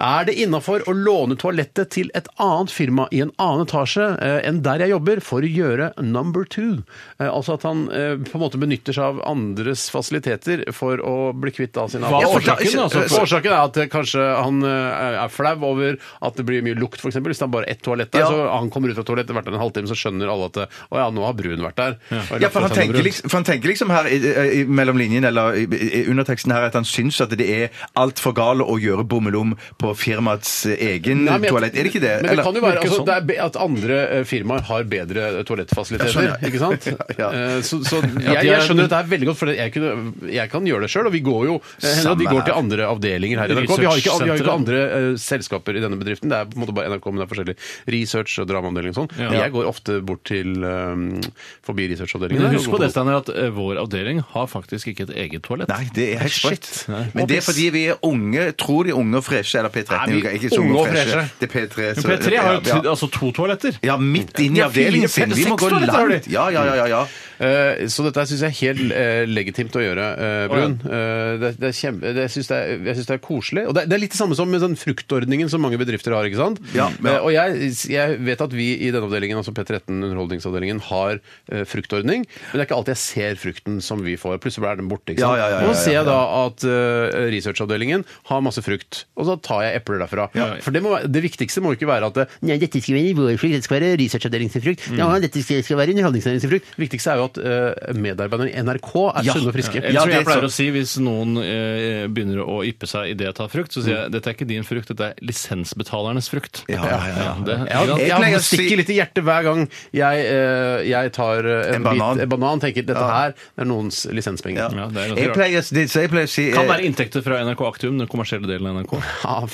S1: Er det innafor å låne toalettet til et annet firma i en annen etasje eh, enn der jeg jobber, for å gjøre number two? Eh, altså at han eh, på en måte benytter seg av andres fasiliteter for å bli kvitt av sine
S3: Hva er
S2: Ja, for da-
S3: årsaken, altså?
S1: Eh, så Årsaken er at eh, kanskje han eh, er flau over at det blir mye lukt, f.eks. Hvis det er bare ett toalett der,
S2: Ja.
S1: så han kommer ut fra toalettet hvert en halvtime, så skjønner alle at eh, å ja, nå har Brun vært der. Og
S2: Ja, for han
S1: lagt seg sammen med
S2: tenker,
S1: Brun.
S2: liksom, for han tenker liksom her i, i, i- mellom linjene, eller i, i underteksten her, at han syns at det er altfor galt å gjøre bommelom på firmaets eh, egen
S1: Nei, men jeg-
S2: toalett. Er det ikke det?
S1: Men det
S2: Eller-
S1: kan jo være
S2: Virker
S1: altså,
S2: sånn.
S1: det er be- at andre eh, firmaer har bedre eh, toalettfasiliteter.
S2: Ja, sånn, ja.
S1: Ikke sant?
S2: Ja.
S1: Eh, Så, så
S3: Ja,
S1: jeg,
S3: de er-
S1: jeg skjønner dette her veldig godt, for jeg, kunne, jeg kan gjøre det sjøl. Og vi går jo eh, hender at vi
S2: Samme
S1: går
S2: her.
S1: til andre avdelinger her i NRK. Vi har ikke, vi har
S3: Researchsenteret.
S1: ikke andre eh, selskaper i denne bedriften. Det er på en måte bare NRK, men det er forskjellig research og dramaavdeling og sånn.
S3: Ja.
S1: Men Jeg går ofte bort til eh, forbi researchavdelingen.
S3: Men husk på det, Steiner, at eh, vår avdeling har faktisk ikke et eget toalett.
S2: Nei, det er helt sprøtt.
S3: Nei.
S2: Men det er fordi vi er unge, tror de er unge og freshe, eller P13
S1: Nei, vi-
S2: er ikke så
S1: unge
S2: unge
S1: og
S2: og freshe.
S1: freshe.
S2: Det er P3.
S3: Men
S2: så-
S3: P3 har jo
S2: ja,
S3: t-
S2: ja.
S3: altså to toaletter.
S2: ja, midt inn i
S3: Ja, fire,
S2: avdelingen sin.
S3: fem,
S2: Vi må
S3: seks
S2: gå
S3: toaletter har de.
S2: langt. Ja, ja, ja, ja, ja.
S1: Eh, Så dette syns jeg er helt eh, legitimt å gjøre, eh, Brun.
S3: Å,
S1: Eh, Det, det er kjempe, det synes det er, jeg syns det er koselig. Og det, det er litt det samme som med den fruktordningen som mange bedrifter har. ikke sant?
S2: Ja, ja.
S1: Eh, Og jeg, jeg vet at vi i denne avdelingen, altså P13 underholdningsavdelingen, har eh, fruktordning. Men det er ikke alltid jeg ser frukten som vi får. Plutselig er den borte. ikke sant?
S2: Ja, ja, ja,
S1: Og
S2: ja,
S1: nå
S2: ja,
S1: ser jeg
S2: ja.
S1: da at eh, researchavdelingen har masse frukt, og så tar jeg epler derfra.
S3: Ja.
S1: For det, må, være- det viktigste må jo ikke være at eh, det,
S2: Mm.
S9: Nei, dette skal være vår frukt, dette skal være researchavdelingens frukt. Ja, dette skal skal være underholdningsavdelingens frukt.
S1: det viktigste er jo jo at eh, medarbeiderne i NRK er sunne og friske.
S3: Eller
S2: Ja,
S3: som
S2: det
S3: jeg
S2: er
S3: pleier
S2: sant.
S3: å si hvis noen eh, begynner å yppe seg idet jeg tar frukt, så sier jeg dette er ikke din frukt, dette er lisensbetalernes frukt.
S2: Mm. Ja, ja, ja.
S3: det,
S1: Jeg, har- jeg,
S2: Jeg pleier å
S1: har-
S2: si-
S1: stikker litt i hjertet hver gang jeg, eh, jeg tar eh, en,
S2: En
S1: banan.
S2: banan.
S1: Bit, en banan. Tenker dette
S2: Ja.
S1: her er noens lisenspenger.
S2: Ja.
S1: Ja.
S3: Ja, det er ganske
S2: jeg,
S3: rart.
S2: pleier, det, så jeg pleier å si
S3: kan være inntekter fra NRK Aktium, den kommersielle delen av NRK.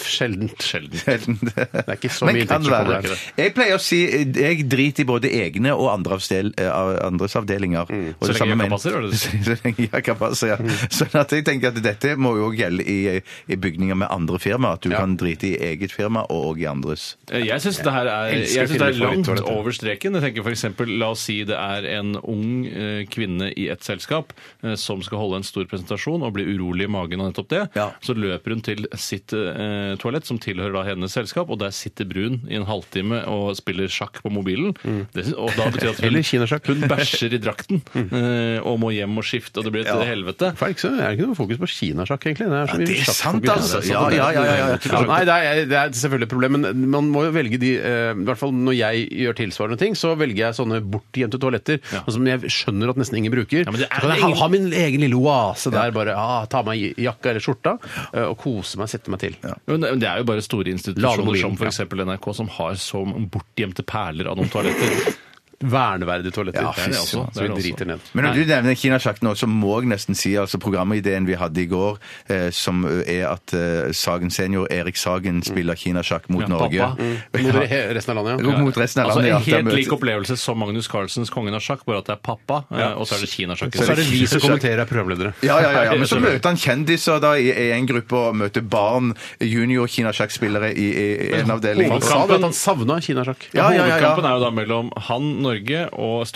S1: sjeldent.
S3: Sjelden.
S2: Det
S1: er ikke så mye
S2: kan
S1: inntekter som
S2: være.
S1: kommer her.
S2: Jeg pleier å si eh, jeg driter i både egne og andre avstel, eh, av- andres avdelinger. Og
S3: Mm. Så
S2: det
S3: lenge
S2: samme
S3: jakka
S2: mener-
S3: passer, var det du Mm. sa?
S2: Så lenge jakka passer, ja. Sånn at jeg tenker at dette må jo gjelde i, i bygninger med andre firma. At du kan drite i eget firma og, og i andres.
S3: Eh, Jeg syns det her er,
S1: elsker
S3: jeg synes det er
S1: filmer på
S3: langt
S1: toalettet.
S3: over streken. Jeg tenker for eksempel, La oss si det er en ung eh, kvinne i et selskap eh, som skal holde en stor presentasjon og blir urolig i magen av nettopp det.
S2: Ja.
S3: Så løper hun til sitt eh, toalett, som tilhører da hennes selskap, og der sitter Brun i en halvtime og spiller sjakk på mobilen. Det, syns- og da betyr at
S1: Mm. Eller
S3: hun,
S1: kinasjakk. Mm.
S3: hun bæsjer i drakten eh, og må hjem og skifte, og det blir et
S2: Ja.
S3: helvete.
S1: For det er ikke så- det er ikke noe fokus på kinasjakk, egentlig. Det er, så mye
S2: det er
S1: sjakk
S2: sant,
S1: på grunn av
S2: altså.
S1: det.
S2: Ja, ja, ja, ja, ja.
S1: Ja, nei, det er, det er selvfølgelig et problem, men man må jo velge de eh, I hvert fall når jeg gjør tilsvarende ting, så velger jeg sånne bortgjemte toaletter
S3: Ja.
S1: og som jeg skjønner at nesten ingen bruker.
S3: men det er
S1: så kan jeg
S3: ingen-
S1: ha, ha min egen lille oase der, bare ah, ta av meg jakka eller skjorta eh, og kose meg, sette meg til.
S3: Men det det er jo bare store
S1: Lave
S3: institusjoner
S1: mobilen,
S3: som f.eks. NRK, som har så bortgjemte perler av noen toaletter.
S1: Verneverdige toaletter.
S3: Ja, fy søren, det er
S1: Så vi
S3: det
S1: driter ned.
S2: Men når du nevner kinasjakk nå, så må jeg nesten si altså programideen vi hadde i går, eh, som er at eh, Sagen senior, Erik Sagen, spiller kinasjakk mot
S3: Mm. Ja,
S2: Norge.
S3: pappa. Mm.
S1: Mot re- resten av landet, ja.
S2: Ja. Mot resten av
S3: altså,
S2: landet, ja.
S3: En
S2: Det
S3: helt
S2: er-
S3: lik opplevelse som Magnus Carlsens 'Kongen av sjakk', bare at det er pappa, eh, og så er det kinasjakk.
S1: Og så er det vi som kommenterer, er programledere.
S2: Ja, ja, ja, ja, men så møter han kjendiser da i i en gruppe, og møter barn, junior kinasjakkspillere i, i i en avdeling.
S1: Han sa det at han savna kinasjakk.
S2: Ja, ja, ja,
S3: Hovedkampen
S2: ja.
S3: er jo da mellom han, Norge, og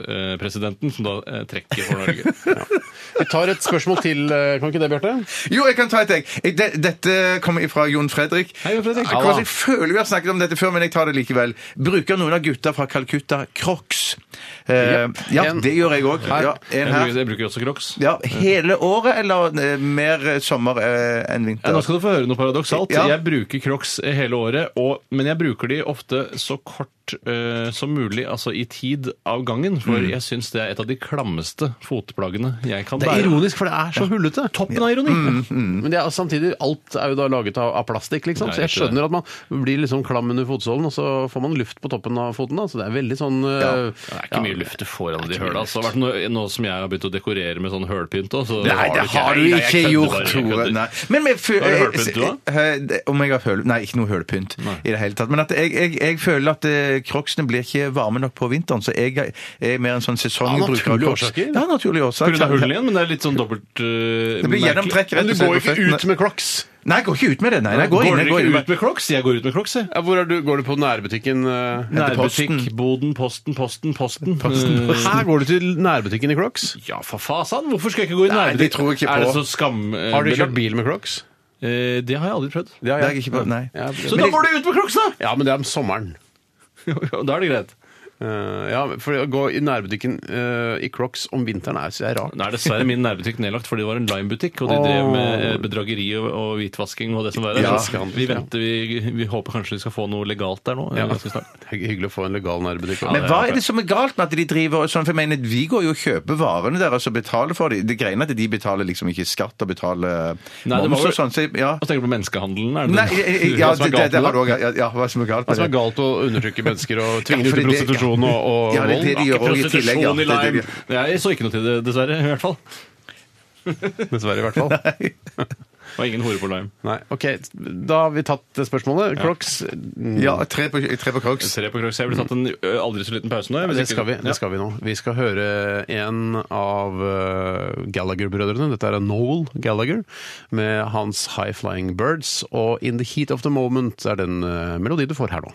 S3: stortingspresidenten, som da eh, trekker for Norge.
S1: Vi tar et spørsmål til, eh, kan ikke det, Bjarte?
S2: Jo, jeg kan ta et, jeg. jeg. de- Dette kommer fra Jon Fredrik.
S3: Hei, Jon Fredrik.
S2: Akkurat, jeg føler vi har snakket om dette før, men jeg tar det likevel. Bruker noen av gutta fra Calcutta Crocs? Eh, ja,
S1: En.
S2: det gjør jeg òg. Ja,
S3: Jeg
S2: en
S3: bruker,
S2: her.
S3: jeg bruker også crocs.
S2: Ja, hele året, eller eh, mer eh, sommer eh,
S3: Ja,
S2: enn
S3: nå
S2: vinter?
S3: skal du få høre noe paradoksalt.
S2: Ja.
S3: Jeg bruker Crocs eh, hele året, og, men jeg bruker de ofte så kort eh, som mulig, altså i tid av gangen, for
S2: Mm.
S3: jeg syns det er et av de klammeste fotplaggene jeg kan
S1: Det er
S3: bære.
S1: ironisk, for det er så hullete. Mm,
S3: Toppen av ironi!
S1: Men det er, samtidig, alt er jo da laget av, av plastikk, liksom.
S3: Nei,
S1: Så jeg
S3: ikke det.
S1: skjønner at man blir liksom klam under fotsålen, og så får man luft på toppen av foten. Da. Så det er veldig sånn eh,
S3: Det er ikke
S1: ja.
S3: mye luft du får av de høla. Altså. Hvert nå, nå som jeg har begynt å dekorere med sånn hølpynt òg, så
S2: Nei, det har du
S3: Nei, jeg
S2: ikke
S3: kødder bare,
S2: gjort,
S3: jeg
S2: Tore.
S3: kødder.
S2: Nei. Men med fø-
S3: Har du hølpynt, du,
S2: Eh, det- Om jeg har høl... Nei, ikke noe hølpynt i det hele tatt. Men at jeg, jeg, jeg føler at eh, crocsene blir ikke varme nok på vinteren, så jeg er- er mer en sånn sesongbruker
S1: naturlige
S2: crocs.
S1: årsaker.
S2: Ja, naturlige
S3: På grunn av
S2: årsaker.
S3: hullene igjen, men det er litt sånn dobbelt eh,
S2: Det blir
S3: merkelig.
S2: gjennomtrekk,
S1: Men
S2: rett og
S1: du
S2: slett.
S1: går
S2: på
S1: ikke
S2: føttene.
S1: ut med crocs?
S2: Nei, jeg går ikke ut med det. Nei, nei, jeg går
S3: Går
S2: inn. Jeg
S3: dere
S2: går
S3: ikke
S2: ut.
S3: ut med crocs? Jeg går ut med crocs, jeg.
S1: Ja, hvor er du, går du på nærbutikken? eh?
S2: posten.
S3: Nærbutikk, boden, posten, posten, posten. Eh,
S1: Her går du til nærbutikken i crocs?
S3: Ja, for fasan! Hvorfor skal jeg ikke gå i
S2: Nei,
S3: nærbutikk?
S2: det tror jeg ikke
S3: Er
S2: på.
S3: det så skam... eh,
S1: Har du
S3: belagt?
S1: kjørt bil med crocs?
S3: Eh, det har jeg aldri prøvd.
S1: Det
S2: Det er jeg ikke på. Nei.
S1: Ja,
S3: Så
S1: men,
S3: da går du ut med crocs, da!
S1: ja, men det er om sommeren.
S3: da er det greit.
S1: Eh, ja, for å gå i nærbutikken eh, i crocs om vinteren er, så er det rart.
S3: Nå er dessverre min nærbutikk nedlagt, for det var en Lime-butikk, og de drev med eh, bedrageri og, og hvitvasking og det som verre.
S1: Ja.
S3: Så vi venter, vi, vi håper kanskje de skal få noe legalt der nå. eh, ganske snart.
S1: Det er hyggelig å få en legal nærbutikk. også.
S2: Men hva er det som er galt med at de driver og sånn? For jeg mener, Vi går jo og kjøper varene deres og betaler for dem. Det greiene er at de betaler liksom ikke skatt og betaler
S3: Nei, det var
S2: moms og
S3: vel-
S2: sånn. Så, ja.
S3: Og tenker du på menneskehandelen? Er det
S2: Nei,
S3: det,
S2: ja,
S3: hva som er
S2: det, det,
S3: galt
S2: det
S3: med
S2: har du òg. Ja, ja, hva som er galt
S1: Hva som
S2: med det?
S1: er galt å undertrykke mennesker og
S2: Ja,
S1: tvinge dem ut i
S2: fordi det-
S1: prostitusjon og, og
S2: Ja, det
S1: vold?
S2: er det de
S3: Ikke
S2: gjør også i tillegg. Ja.
S3: prostitusjon i
S2: Det er det de
S3: Lime.
S2: gjør.
S3: Jeg så ikke noe til det, dessverre. i hvert fall.
S1: Dessverre, i hvert fall.
S3: Det var ingen hore på Lime.
S1: Nei, ok, Da har vi tatt det spørsmålet. Crocs mm,
S2: Ja, tre på, tre på Crocs.
S3: Tre på Crocs. Jeg ville tatt en ø, aldri så liten pause nå. jeg, hvis
S1: det,
S3: ikke-
S1: skal vi,
S3: Ja.
S1: det skal vi nå. Vi skal høre en av eh, Gallagher-brødrene. Dette er Noel Gallagher med hans High Flying Birds. Og In The Heat Of The Moment er den eh, melodi du får her nå.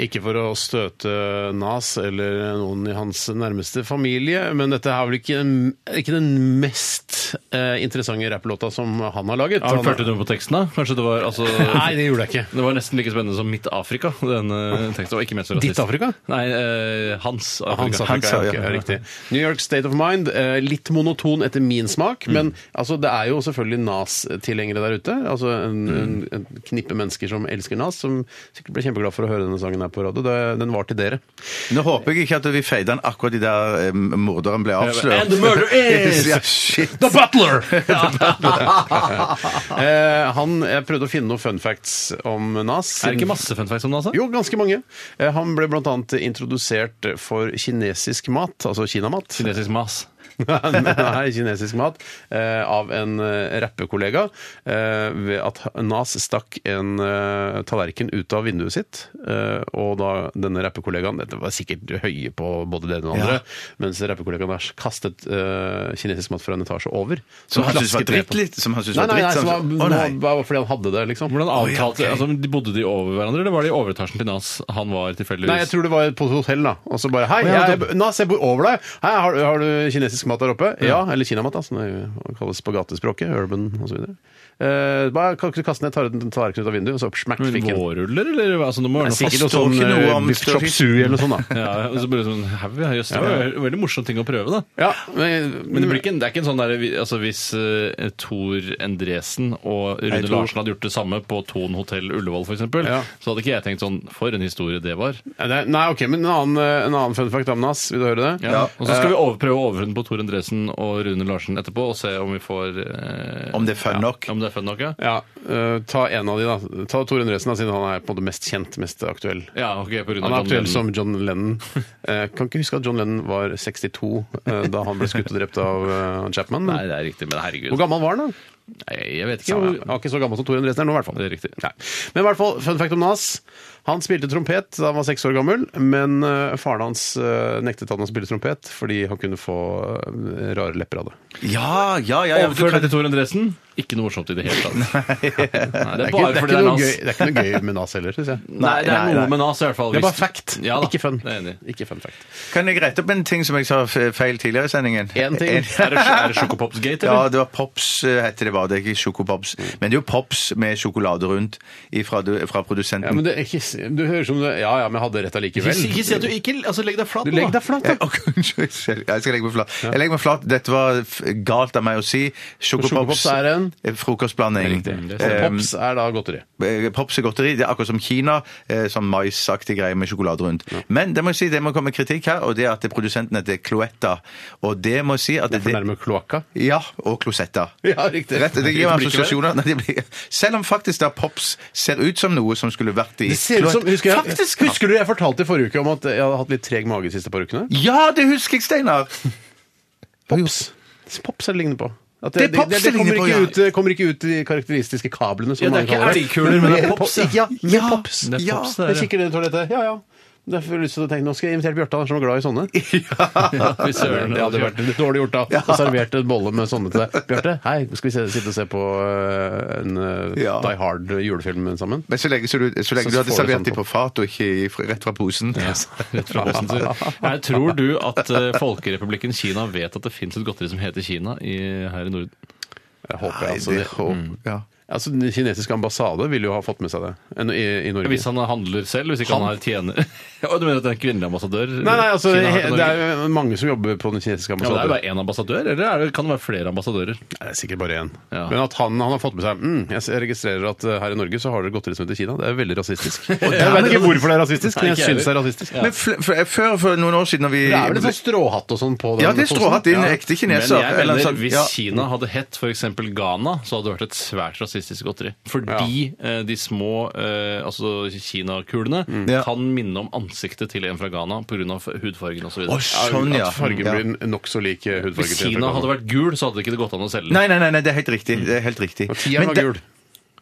S1: Ikke for å støte Nas eller noen i hans nærmeste familie, men dette er vel ikke, ikke den mest eh, interessante rapplåta som han har laget.
S3: Ja, men
S1: Han-
S3: Fulgte du med på teksten, da? Kanskje det var altså
S1: Nei, det gjorde jeg ikke.
S3: Det var nesten like spennende som Mitt Afrika. Denne teksten var ikke ment så rasistisk.
S1: Ditt Afrika?
S3: Nei, eh, Hans Afrika.
S1: Hans Afrika,
S2: Hans, ja,
S1: ja, ok,
S2: ja.
S1: riktig. New York State of Mind, eh, litt monoton etter min smak,
S3: Mm.
S1: men altså, det er jo selvfølgelig Nas-tilhengere der ute. Altså en,
S3: Mm.
S1: en, en knippe mennesker som elsker Nas, som sikkert ble kjempeglad for å høre denne sangen her på radio. Det, den var til dere.
S2: Nå håper jeg ikke at vi feida den akkurat de der eh, morderen ble avslørt.
S3: And the murder is-
S2: ja, shit.
S1: The Butler! eh, han, jeg prøvde å finne noen fun facts om Nas.
S3: Er det ikke masse fun facts om det, altså?
S1: Jo, ganske mange. Eh, Han ble blant annet introdusert for kinesisk mat, altså kinamat.
S3: Kinesisk mas.
S1: Nei, kinesisk mat eh, av en eh, rappekollega eh, ved at Nas stakk en eh, tallerken ut av vinduet sitt. Eh, og da denne rappekollegaen Dette var sikkert høye på både det ene og det andre. Mens rappekollegaen der kastet eh, kinesisk mat fra en etasje over.
S2: Som han
S1: klasket
S2: syntes var
S1: ned på.
S2: dritt litt? Som han syntes
S1: Nei,
S2: var
S1: nei, nei,
S2: dritt?
S1: som var,
S2: sånn- Å, nei.
S1: var fordi han hadde det, liksom.
S3: Hvordan
S2: ja,
S3: avtalte
S2: ok.
S3: altså, de Bodde de over hverandre, eller var de i overetasjen til Nas? Han var tilfeldigvis
S1: Nei, jeg tror det var på et hotell, da. Og så bare Hei, jeg, Nas, jeg bor over deg. Hei, har, har du kinesisk mat der oppe? Ja. Eller kinamat, da, som det kalles på gatespråket. Urban osv. Eh, bare kan ikke du kaste ned tar- tallerkenen ut av vinduet, og så smekk
S3: Men
S1: fikk den.
S3: Vårruller, eller? hva? Altså, det må være
S1: Det er
S3: noe
S1: Sikkert noe
S3: fast.
S1: sånn
S2: står ikke noe om-
S1: biff
S2: står
S1: chop
S2: ikke-
S1: sui eller noe sånt, da.
S3: Ja, og så bare sånn, Haug, ja, jøss, det var en veldig morsom ting å prøve, da.
S1: Ja, men,
S3: Men det, blir ikke, en- det er ikke en sånn der, vi- altså Hvis uh, Tor Endresen og Rune
S1: Tor.
S3: Larsen hadde gjort det samme på Thon hotell Ullevål, f.eks.,
S1: Ja.
S3: så hadde ikke jeg tenkt sånn For en historie det var.
S1: Nei, eh, det er- Nei, OK, men en annen, eh, en annen fun fact om Nas. Vil du høre det?
S3: Og så skal vi over, prøve å overhøre den på Tor Endresen og Rune Larsen etterpå, og se om vi får eh,
S2: Om det er fun nok.
S3: Om det er fun nok, ja.
S1: Ja, eh, Ta en av de, da. Ta Tore Endresen, da, siden han er på en måte mest kjent, mest aktuell.
S3: ja ok, på grunn
S1: Han er
S3: av
S1: aktuell
S3: John
S1: som John Lennon. Eh, kan ikke huske at John Lennon var 62 eh, da han ble skutt og drept av eh, Chapman.
S3: Lennon. Nei,
S1: Men
S3: det er riktig, men herregud.
S1: hvor gammel var han, da?
S3: Nei, jeg vet ikke.
S1: Ja,
S3: hvor-
S1: han var ikke så gammel som Tore Endresen er nå, i hvert fall.
S3: Det er riktig.
S1: Nei. Men i hvert fall, fun fact om Nas. Han spilte trompet da han var seks år gammel, men eh, faren hans eh, nektet han å spille trompet fordi han kunne få eh, rare lepper av det.
S2: Ja, ja, ja. ja, men du
S3: Overfør
S2: kan-
S3: det til Tor Endresen. Ikke noe morsomt i det hele tatt. Nei, det er
S1: Det
S3: bare fordi det
S1: er, ikke, det, er
S3: er
S1: ikke noe
S3: Nas.
S1: gøy, det er ikke noe gøy med Nas heller, syns jeg.
S3: Nei, det er
S2: Nei, nei,
S3: noe
S2: nei.
S3: med Nas i hvert fall.
S1: Det er bare
S3: hvis-
S1: fact,
S3: Ja, da.
S1: ikke fun.
S3: Det er jeg enig i.
S1: Ikke fun fact.
S2: Kan jeg rette opp en ting som jeg sa f- feil tidligere i sendingen?
S1: En ting.
S3: Er det, er det Sjokopopsgate, eller?
S2: Ja, det var Pops, eh, heter det bare. Det er ikke Sjokopops. Men det er jo Pops med sjokolade rundt ifra, du- fra produsenten.
S1: Ja, men det, er ikke, du hører som du Ja ja, men jeg hadde rett allikevel.
S3: Ikke, ikke si at du ikke altså, Legg deg flat,
S1: Du legger deg flat, da.
S2: Eh, ok, unnskyld, selv. Jeg skal legge meg flat. Jeg legger meg flat. Dette var f- galt av meg å si. Sjokopops
S1: Sjokopops er en?
S2: eh, frokostblanding.
S1: Så
S2: Eh,
S1: Pops er da godteri.
S2: eh, Pops er godteri. Det er akkurat som Kina. eh, Sånn maisaktig greie med sjokolade rundt. Men det må jeg si, det må komme kritikk her, og det er at det er produsenten heter Cloetta. Og det må jeg si at det,
S1: For nærme kloakka.
S2: Ja, og Closetta.
S1: Ja, riktig.
S2: Rett, det gir meg
S1: Blir ikke
S2: assosiasjoner. Nei, det blir, selv om faktisk da Pops ser ut som noe som skulle vært i
S1: Det ser ut som, husker, jeg,
S2: Faktisk!
S1: husker du jeg fortalte i forrige uke om at jeg hadde hatt litt treg mage de siste par ukene?
S2: Ja, det husker jeg, Steinar!
S1: Pops. Pops er det ligner på. At
S2: Det er Pops det
S1: kommer,
S2: ligner på,
S1: ikke
S2: ja.
S1: ut, det kommer ikke ut i de karakteristiske kablene. Som
S3: Ja, det er
S1: mange
S3: ikke
S1: kaller
S3: elgkuler, men det er
S1: mer
S3: Pops,
S1: Ja, mer
S2: Ja,
S1: Pops.
S3: det er
S2: ja.
S3: Pops, det er
S1: Jeg kikker ned i toalettet. Ja, ja. Derfor har jeg lyst til å tenke, Nå skal jeg invitere Bjarte, han er så glad i sånne.
S3: Fy søren,
S1: Det hadde vært litt dårlig gjort da. Og servert en bolle med sånne til deg. Bjarte, hei, skal vi se, sitte og se på eh, en eh,
S2: Ja.
S1: Die Hard julefilm sammen?
S2: Men så lenge, så du, så
S1: Så
S2: lenge du
S1: får du
S2: hadde servert
S1: sånn
S2: dem på fat og ikke i- fra- rett fra posen.
S3: Rett fra posen, sier du. Jeg tror du at eh, Folkerepublikken Kina vet at det fins et godteri som heter Kina i, her i Norden?
S1: Jeg håper
S2: Nei,
S1: jeg, altså.
S2: det
S1: Det,
S2: håper- ja.
S1: altså. Den kinesiske ambassade ville jo ha fått med seg det en- i, i Norge.
S3: Hvis han handler selv, hvis ikke han,
S1: Han?
S3: har tjener Ja, Du mener at det er en kvinnelig ambassadør?
S1: Nei, nei, altså,
S3: Kina har til
S1: he- det
S3: Norge?
S1: er jo mange som jobber på den kinesiske
S3: ja, men det er
S1: ambassaden.
S3: jo bare én ambassadør, eller er det, kan det være flere ambassadører?
S1: Nei, det er sikkert bare én.
S3: Ja.
S1: Men at han, han har fått med seg mm, Jeg s- jeg registrerer at eh, her i Norge så har dere godteri som heter Kina. Det er veldig rasistisk. jeg vet ikke hvorfor det er rasistisk, men
S3: Nei,
S1: jeg
S3: ikke
S1: syns det er
S3: heller.
S1: rasistisk.
S3: Ja.
S2: Men fl- f- før for noen år siden når vi
S1: Det er vel en sånn stråhatt og sånn på den
S2: Ja, det er
S1: posen?
S2: stråhatt. Det er en
S1: Ja.
S2: ekte
S3: Men
S2: kineser.
S3: jeg
S2: eller
S3: mener,
S2: sånn-
S3: hvis
S2: ja.
S3: Kina hadde hett f.eks. Ghana, så hadde det vært et svært rasistisk godteri. Fordi eh, de små eh, altså kinakulene
S2: Mm. Ja.
S3: kan minne om ansiktet til en fra Ghana pga. hudfargen osv.
S2: Å, sånn, ja.
S1: At fargen
S2: Ja.
S1: blir nokså lik eh, hudfargen
S3: Hvis Kina hadde vært gul, så hadde det ikke gått an å selge.
S2: Nei, nei, nei, nei, det er helt riktig. Det er helt riktig.
S1: Tieren
S2: Men
S1: var
S2: det-
S1: gul.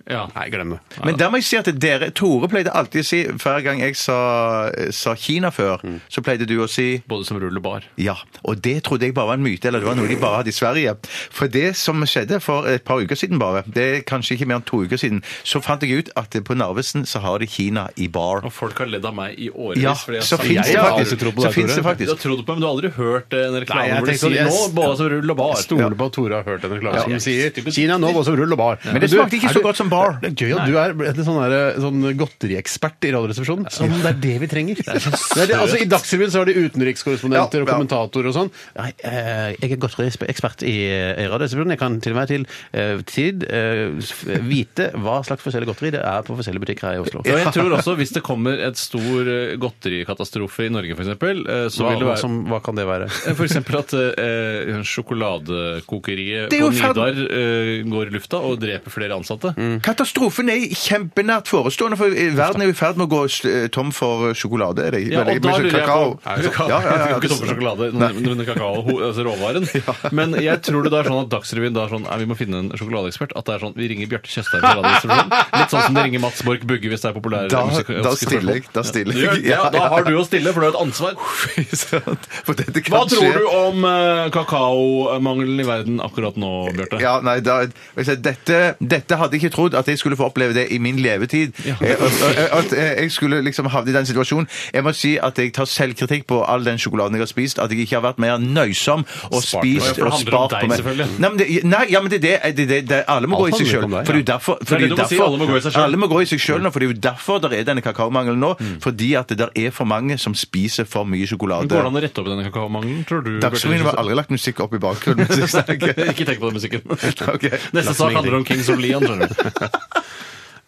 S3: Ja.
S1: Nei, glem det.
S2: Men der må jeg si at dere, Tore pleide alltid å si, hver gang jeg sa, sa Kina før, så pleide du å si
S3: Både som rullebar.
S2: ja, og det trodde jeg bare var en myte, eller det var noe de bare hadde i Sverige. For det som skjedde for et par uker siden bare, det er kanskje ikke mer enn to uker siden, så fant jeg ut at på Narvesen så har de Kina i bar.
S3: Og folk har ledd av meg i årevis.
S2: Ja,
S3: fordi jeg
S2: så
S3: sa-
S2: finnes
S3: Jeg
S2: det
S3: har
S2: faktisk.
S3: aldri trodd på
S2: Så
S3: deg,
S2: finnes
S3: Tore.
S2: det faktisk.
S3: Du har trodd på meg, men du har aldri hørt en reklame
S1: Nei, jeg
S3: hvor de
S1: tenkte
S3: sier
S1: yes.
S3: 'nå bare som rull og bar'.
S1: Stoler på at Tore har hørt en reklame som
S3: Ja.
S1: sier 'Kina nå, både som rull og bar'.
S2: Men det
S1: Du,
S2: smakte ikke
S1: er
S2: så
S1: du-
S2: godt som bar.
S1: Det er gøy at du er en sånn, der, sånn godteriekspert i Radioresepsjonen. Som det er det vi trenger. Det er det, altså, I Dagsrevyen så har de utenrikskorrespondenter
S2: Ja,
S1: og
S2: ja.
S1: kommentatorer og sånn. Nei, eh, jeg er godteriekspert i, eh, i Radioresepsjonen. Jeg kan til og med til eh, tid eh, f- vite hva slags forskjellig godteri det er på forskjellige butikker her i Oslo.
S3: Og jeg tror også Hvis det kommer et stor eh, godterikatastrofe i Norge, f.eks., så
S1: Hva,
S3: vil det
S1: hva,
S3: være
S1: som, hva kan det være?
S3: F.eks. at eh, sjokoladekokeriet
S2: Det er
S3: på
S2: jo fem-
S3: Nidar eh, går i lufta og dreper flere ansatte.
S2: Mm. Katastrofen er kjempenært forestående, for verden er jo i ferd med å gå s- tom for sjokolade. er Det,
S3: Ja, og
S2: Eller,
S3: da
S2: men
S3: lurer jeg
S2: kakao.
S3: på Nei, kakao.
S2: Ja, ja, ja.
S3: Jeg kan ikke stoppe sjokolade, men men kakao, ho- altså råvaren. Men jeg tror det da er sånn at Dagsrevyen da er sånn Nei, vi må finne en sjokoladeekspert. At det er sånn Vi ringer Bjarte Tjøstheim fra Radioresepsjonen. Litt sånn som de ringer Mats Borch Bugge hvis det er populære
S2: Da-
S3: musikk-
S2: da stiller jeg, da
S3: Ja.
S2: stiller
S3: Du gjør
S2: jeg.
S3: det, Ja,
S2: Ja,
S3: da
S2: ja.
S3: har du å stille, for du har et ansvar.
S2: For dette kan
S3: Hva
S2: skje.
S3: tror du om eh, kakaomangelen i verden akkurat nå, Bjarte?
S2: Ja, nei, da, jeg sier, dette, dette hadde jeg ikke trodd at jeg skulle få oppleve det i min levetid. Eh, og- og- At eh, jeg skulle liksom havne i den situasjonen. Jeg må si at jeg tar selvkritikk på all den sjokoladen jeg har spist, at jeg ikke har vært mer nøysom og
S3: Spart. Ja, for
S2: spist
S3: det
S2: og
S3: handler om
S2: spart
S3: deg,
S2: på meg.
S3: selvfølgelig.
S2: Nei, men det, nei, ja, men det, er det, det, det, det alle må
S1: Alt
S2: gå i seg
S1: handler
S2: sjøl.
S1: om deg,
S2: For det er
S1: ja.
S2: jo derfor,
S3: Det er
S2: for
S3: det
S2: det er
S3: du må si, alle må gå i seg
S2: derfor,
S3: selv. Mm.
S2: alle må gå i seg sjøl nå, for det er jo derfor det er denne kakaomangelen nå. Fordi at det der er for mange som spiser for mye
S3: Går det
S2: sjokolade.
S3: an å rette opp i denne kakaomangelen, tror du? Bjarte
S2: Dagsrevyen har
S3: Tjøstheim?
S2: aldri lagt musikk opp i bakgrunnen. mens jeg snakker.
S3: Ikke tenk på den musikken.
S2: Ok.
S3: Neste sak handler om Kings of Leon, skjønner du.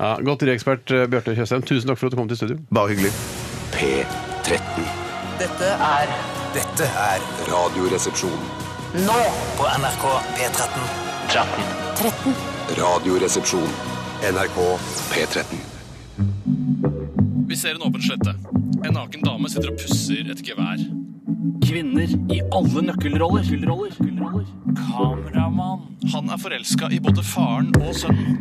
S1: Ja, Godteriekspert eh, Bjarte Tjøstheim, tusen takk for at du kom til studio.
S2: Bare hyggelig.
S6: P13.
S7: Dette er Dette er
S4: Radioresepsjon.
S7: nå på NRK P13.
S4: Radioresepsjon. NRK P13.
S8: Vi ser en åpen slette. En naken dame sitter og pusser et gevær. Kvinner i alle nøkkelroller. Kameramann. Han er forelska i både faren og sønnen.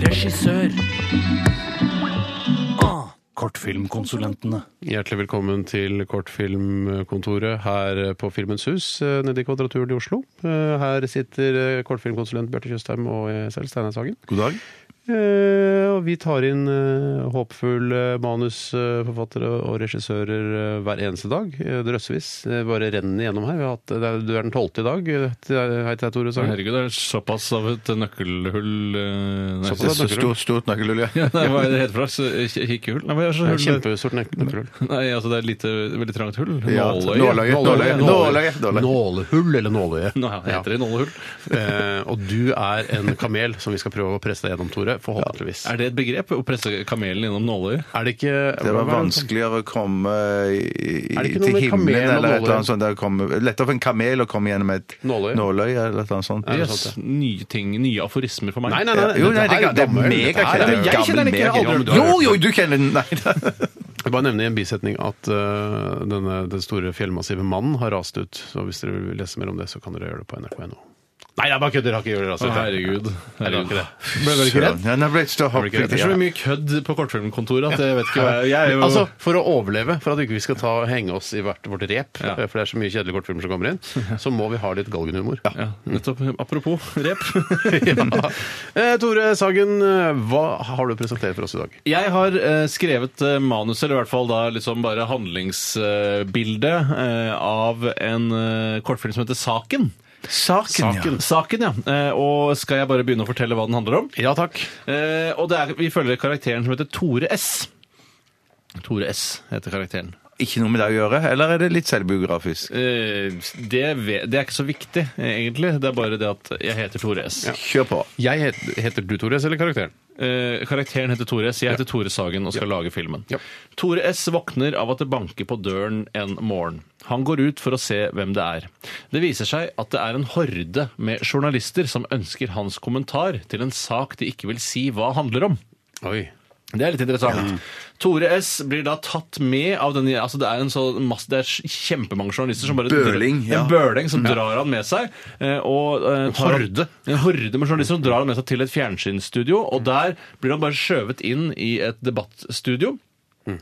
S8: Regissør. Ah, Kortfilmkonsulentene.
S1: Hjertelig velkommen til Kortfilmkontoret her på Filmens hus eh, nede i Kvadraturen i Oslo. Eh, Her sitter eh, kortfilmkonsulent Bjarte Tjøstheim og jeg selv, Steinar Sagen.
S2: God dag.
S1: Eh, Og vi tar inn eh, håpefulle manusforfattere og regissører eh, hver eneste dag. eh, Drøssevis. Det bare renner gjennom her. Vi har hatt, det er, du er den tolvte i dag. eh, til- Hei til deg, Tore Sagen.
S3: Herregud, det er såpass av et nøkkelhull eh, nei,
S1: Såpass av et
S3: så-
S1: nøkkelhull?
S2: Stort, stort nøkkelhull, ja.
S3: Ja, nei, Hva er det heter for noe? Så- k- Kikkehull? Nei, men det er så
S1: Det er
S3: hull
S1: et Kjempestort nøk- nøkkelhull.
S3: Nei, altså det er lite, veldig trangt hull.
S2: Ja,
S3: Nåløye.
S2: nåløye.
S1: Nåløye.
S2: Nåløye. Nåløye.
S1: Nålehull eller nåløye?
S3: Nå heter det nålehull.
S1: Eh, og du er en kamel som vi skal prøve å presse deg gjennom, Tore. Forhåpentligvis.
S3: Er det et begrep? Å presse kamelen gjennom nåløyet?
S1: Er det ikke
S2: Det var
S1: hva er
S2: vanskeligere å komme i,
S1: Er det
S2: i,
S1: ikke noe
S2: til
S1: med
S2: himmelen
S1: kamel og
S2: eller et
S1: nåløye?
S2: eller annet sånt. der å komme- Lettere for en kamel å komme gjennom et
S1: Nåløye.
S2: eller et eller annet sånt.
S1: det
S3: Yes, nye ting, nye aforismer for meg.
S1: Nei, nei, nei.
S2: Jo, nei, det,
S1: Dette her
S2: er- det er
S1: gammel. Dette her er-
S2: megakjent.
S1: Jeg kjenner den ikke, jeg har aldri hørt den.
S2: Jo, jo, du kjenner den! Nei, da.
S1: Jeg bare nevner i en bisetning at eh, denne, den store fjellmassive mannen har rast ut. Så hvis dere vil lese mer om det, så kan dere gjøre det på nrk.no. Nei, jeg bare kødder. Har ikke gjort det.
S3: Å,
S1: Altså.
S3: herregud.
S1: det var
S3: herregud.
S1: ikke det.
S3: Ble dere ikke redd?
S2: Ja, nå ble jeg stå
S1: Ble ikke
S3: Det er så
S1: Ja.
S3: mye kødd på kortfilmkontoret at jeg vet ikke hva jeg, jeg er jo
S1: Altså, For å overleve, for at ikke vi ikke skal ta, henge oss i hvert vårt rep,
S3: Ja.
S1: eh, for det er så mye kjedelige kortfilmer som kommer inn, så må vi ha litt galgenhumor.
S3: ja, nettopp. Apropos rep.
S1: Eh, Tore Sagen, eh, hva har du presentert for oss i dag?
S3: Jeg har eh, skrevet eh, manuset, eller i hvert fall da liksom bare handlingsbildet, eh, av en eh, kortfilm som heter Saken.
S2: Saken, ja.
S3: Saken, ja. Eh, og skal jeg bare begynne å fortelle hva den handler om?
S1: Ja takk.
S3: Eh, og det er, vi følger karakteren som heter Tore S. Tore S heter karakteren.
S2: Ikke noe med deg å gjøre, eller er det litt selvbiografisk?
S3: Eh, det, ve- det er ikke så viktig, eh, egentlig. Det er bare det at jeg heter Tore S.
S2: Kjør på.
S1: Jeg heter, heter du Tore S, eller karakteren?
S3: Eh, karakteren heter Tore S. Jeg heter Tore Sagen og skal lage filmen.
S1: Ja.
S3: Tore S våkner av at det banker på døren en morgen. Han går ut for å se hvem det er. Det viser seg at det er en horde med journalister som ønsker hans kommentar til en sak de ikke vil si hva handler om.
S1: Oi.
S3: Det er litt interessant. Tore S. blir da tatt med av den altså Det er en så masse, det er kjempemange journalister som bare
S2: Bøling, ja.
S3: En bøling som drar han med seg. eh, Og, eh, tar han-
S1: horde.
S3: En horde med journalister som drar han med seg til et fjernsynsstudio. Og der blir han bare skjøvet inn i et debattstudio.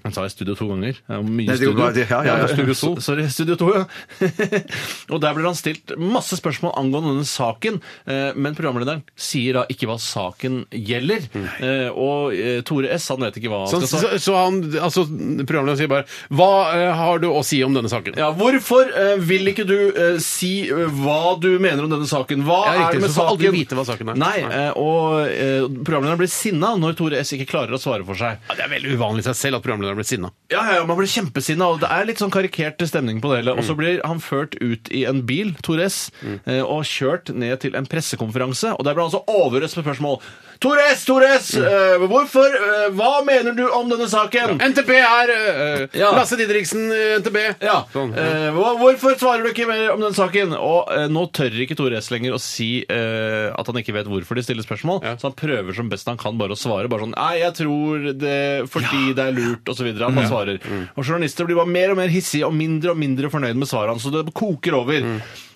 S3: Han sa jeg studio to ganger. Det er mye
S2: Mm. Nei, det er jo
S3: studio.
S2: bare det, ja, ja, ja.
S3: Studio to. Sorry, Studio 2, ja. og der blir han stilt masse spørsmål angående denne saken, eh, men programlederen sier da ikke hva saken gjelder. Eh, Og eh, Tore S, han vet ikke hva
S1: Så,
S3: han skal
S1: Sånn, så,
S3: svare.
S1: så han, altså, programlederen sier bare Hva eh, har du å si om denne saken?
S3: Ja, hvorfor eh, vil ikke du eh, si eh, hva du mener om denne saken? Hva
S1: Ja, riktig,
S3: er det med
S1: så får
S3: saken?
S1: aldri vite hva saken er.
S3: Nei,
S1: Nei.
S3: eh, og eh, programlederen blir sinna når Tore S ikke klarer å svare for seg.
S1: Ja, det er veldig uvanlig i seg selv at programlederen blir sinna.
S3: Ja, ja, ja, man blir kjempesinna, og det er litt sånn karikert stemning på det hele. Og så blir han ført ut i en bil, Tore S, eh, og kjørt ned til en pressekonferanse. Og der ble han altså overøst med spørsmål. Tore S, Tore S, eh, hvorfor eh, Hva mener du om denne saken?
S1: NTP er eh,
S3: Ja.
S1: Lasse Didriksen, eh, NTB.
S3: Ja.
S1: Sånn, ja.
S3: Eh, hva- hvorfor svarer du ikke mer om den saken? Og eh, nå tør ikke Tore S lenger å si eh, at han ikke vet hvorfor de stiller spørsmål, så han prøver som best han kan bare å svare. Bare sånn Nei, jeg tror det fordi det er lurt, osv. Han
S1: Mm.
S3: bare svarer. Og journalister blir bare mer og mer hissige og mindre og mindre fornøyd med svarene hans, så det koker over.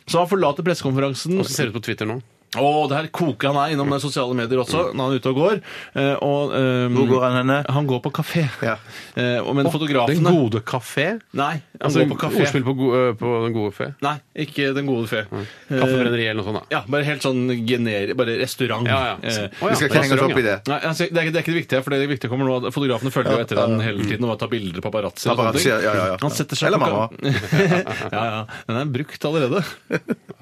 S3: Så han forlater pressekonferansen.
S1: Hvordan Mm. ser det ut på Twitter nå?
S3: Og der koker han er innom de sosiale medier også,
S1: Mm.
S3: når han er ute og går. Eh, og, eh,
S2: Hvor går han henne?
S3: Han går på kafé.
S2: Ja.
S3: Eh, og, men
S1: Den
S3: fotografene
S1: gode kafé?
S3: Nei, han
S1: Altså,
S3: går på kafé.
S1: Ordspill på, go eh, på Den gode fe?
S3: Nei, ikke Den gode fe.
S2: Mm.
S3: Eh,
S1: Kaffebrenneri eller noe sånt? da.
S3: ja, bare helt sånn generi... Bare restaurant.
S1: Ja, ja.
S3: Eh,
S1: Å,
S2: Vi
S1: ja.
S2: skal ikke henge oss opp i det.
S3: Nei, altså, det, er, ikke- det er ikke det viktige, for det viktige kommer nå at fotografene følger jo etter han hele tiden og bare tar bilder paparazzi. og
S2: Paparazzi,
S3: sånne ting.
S2: ja, ja, ja.
S3: Han setter seg på
S2: Eller mamma.
S3: ka- ja, ja. Den er brukt allerede.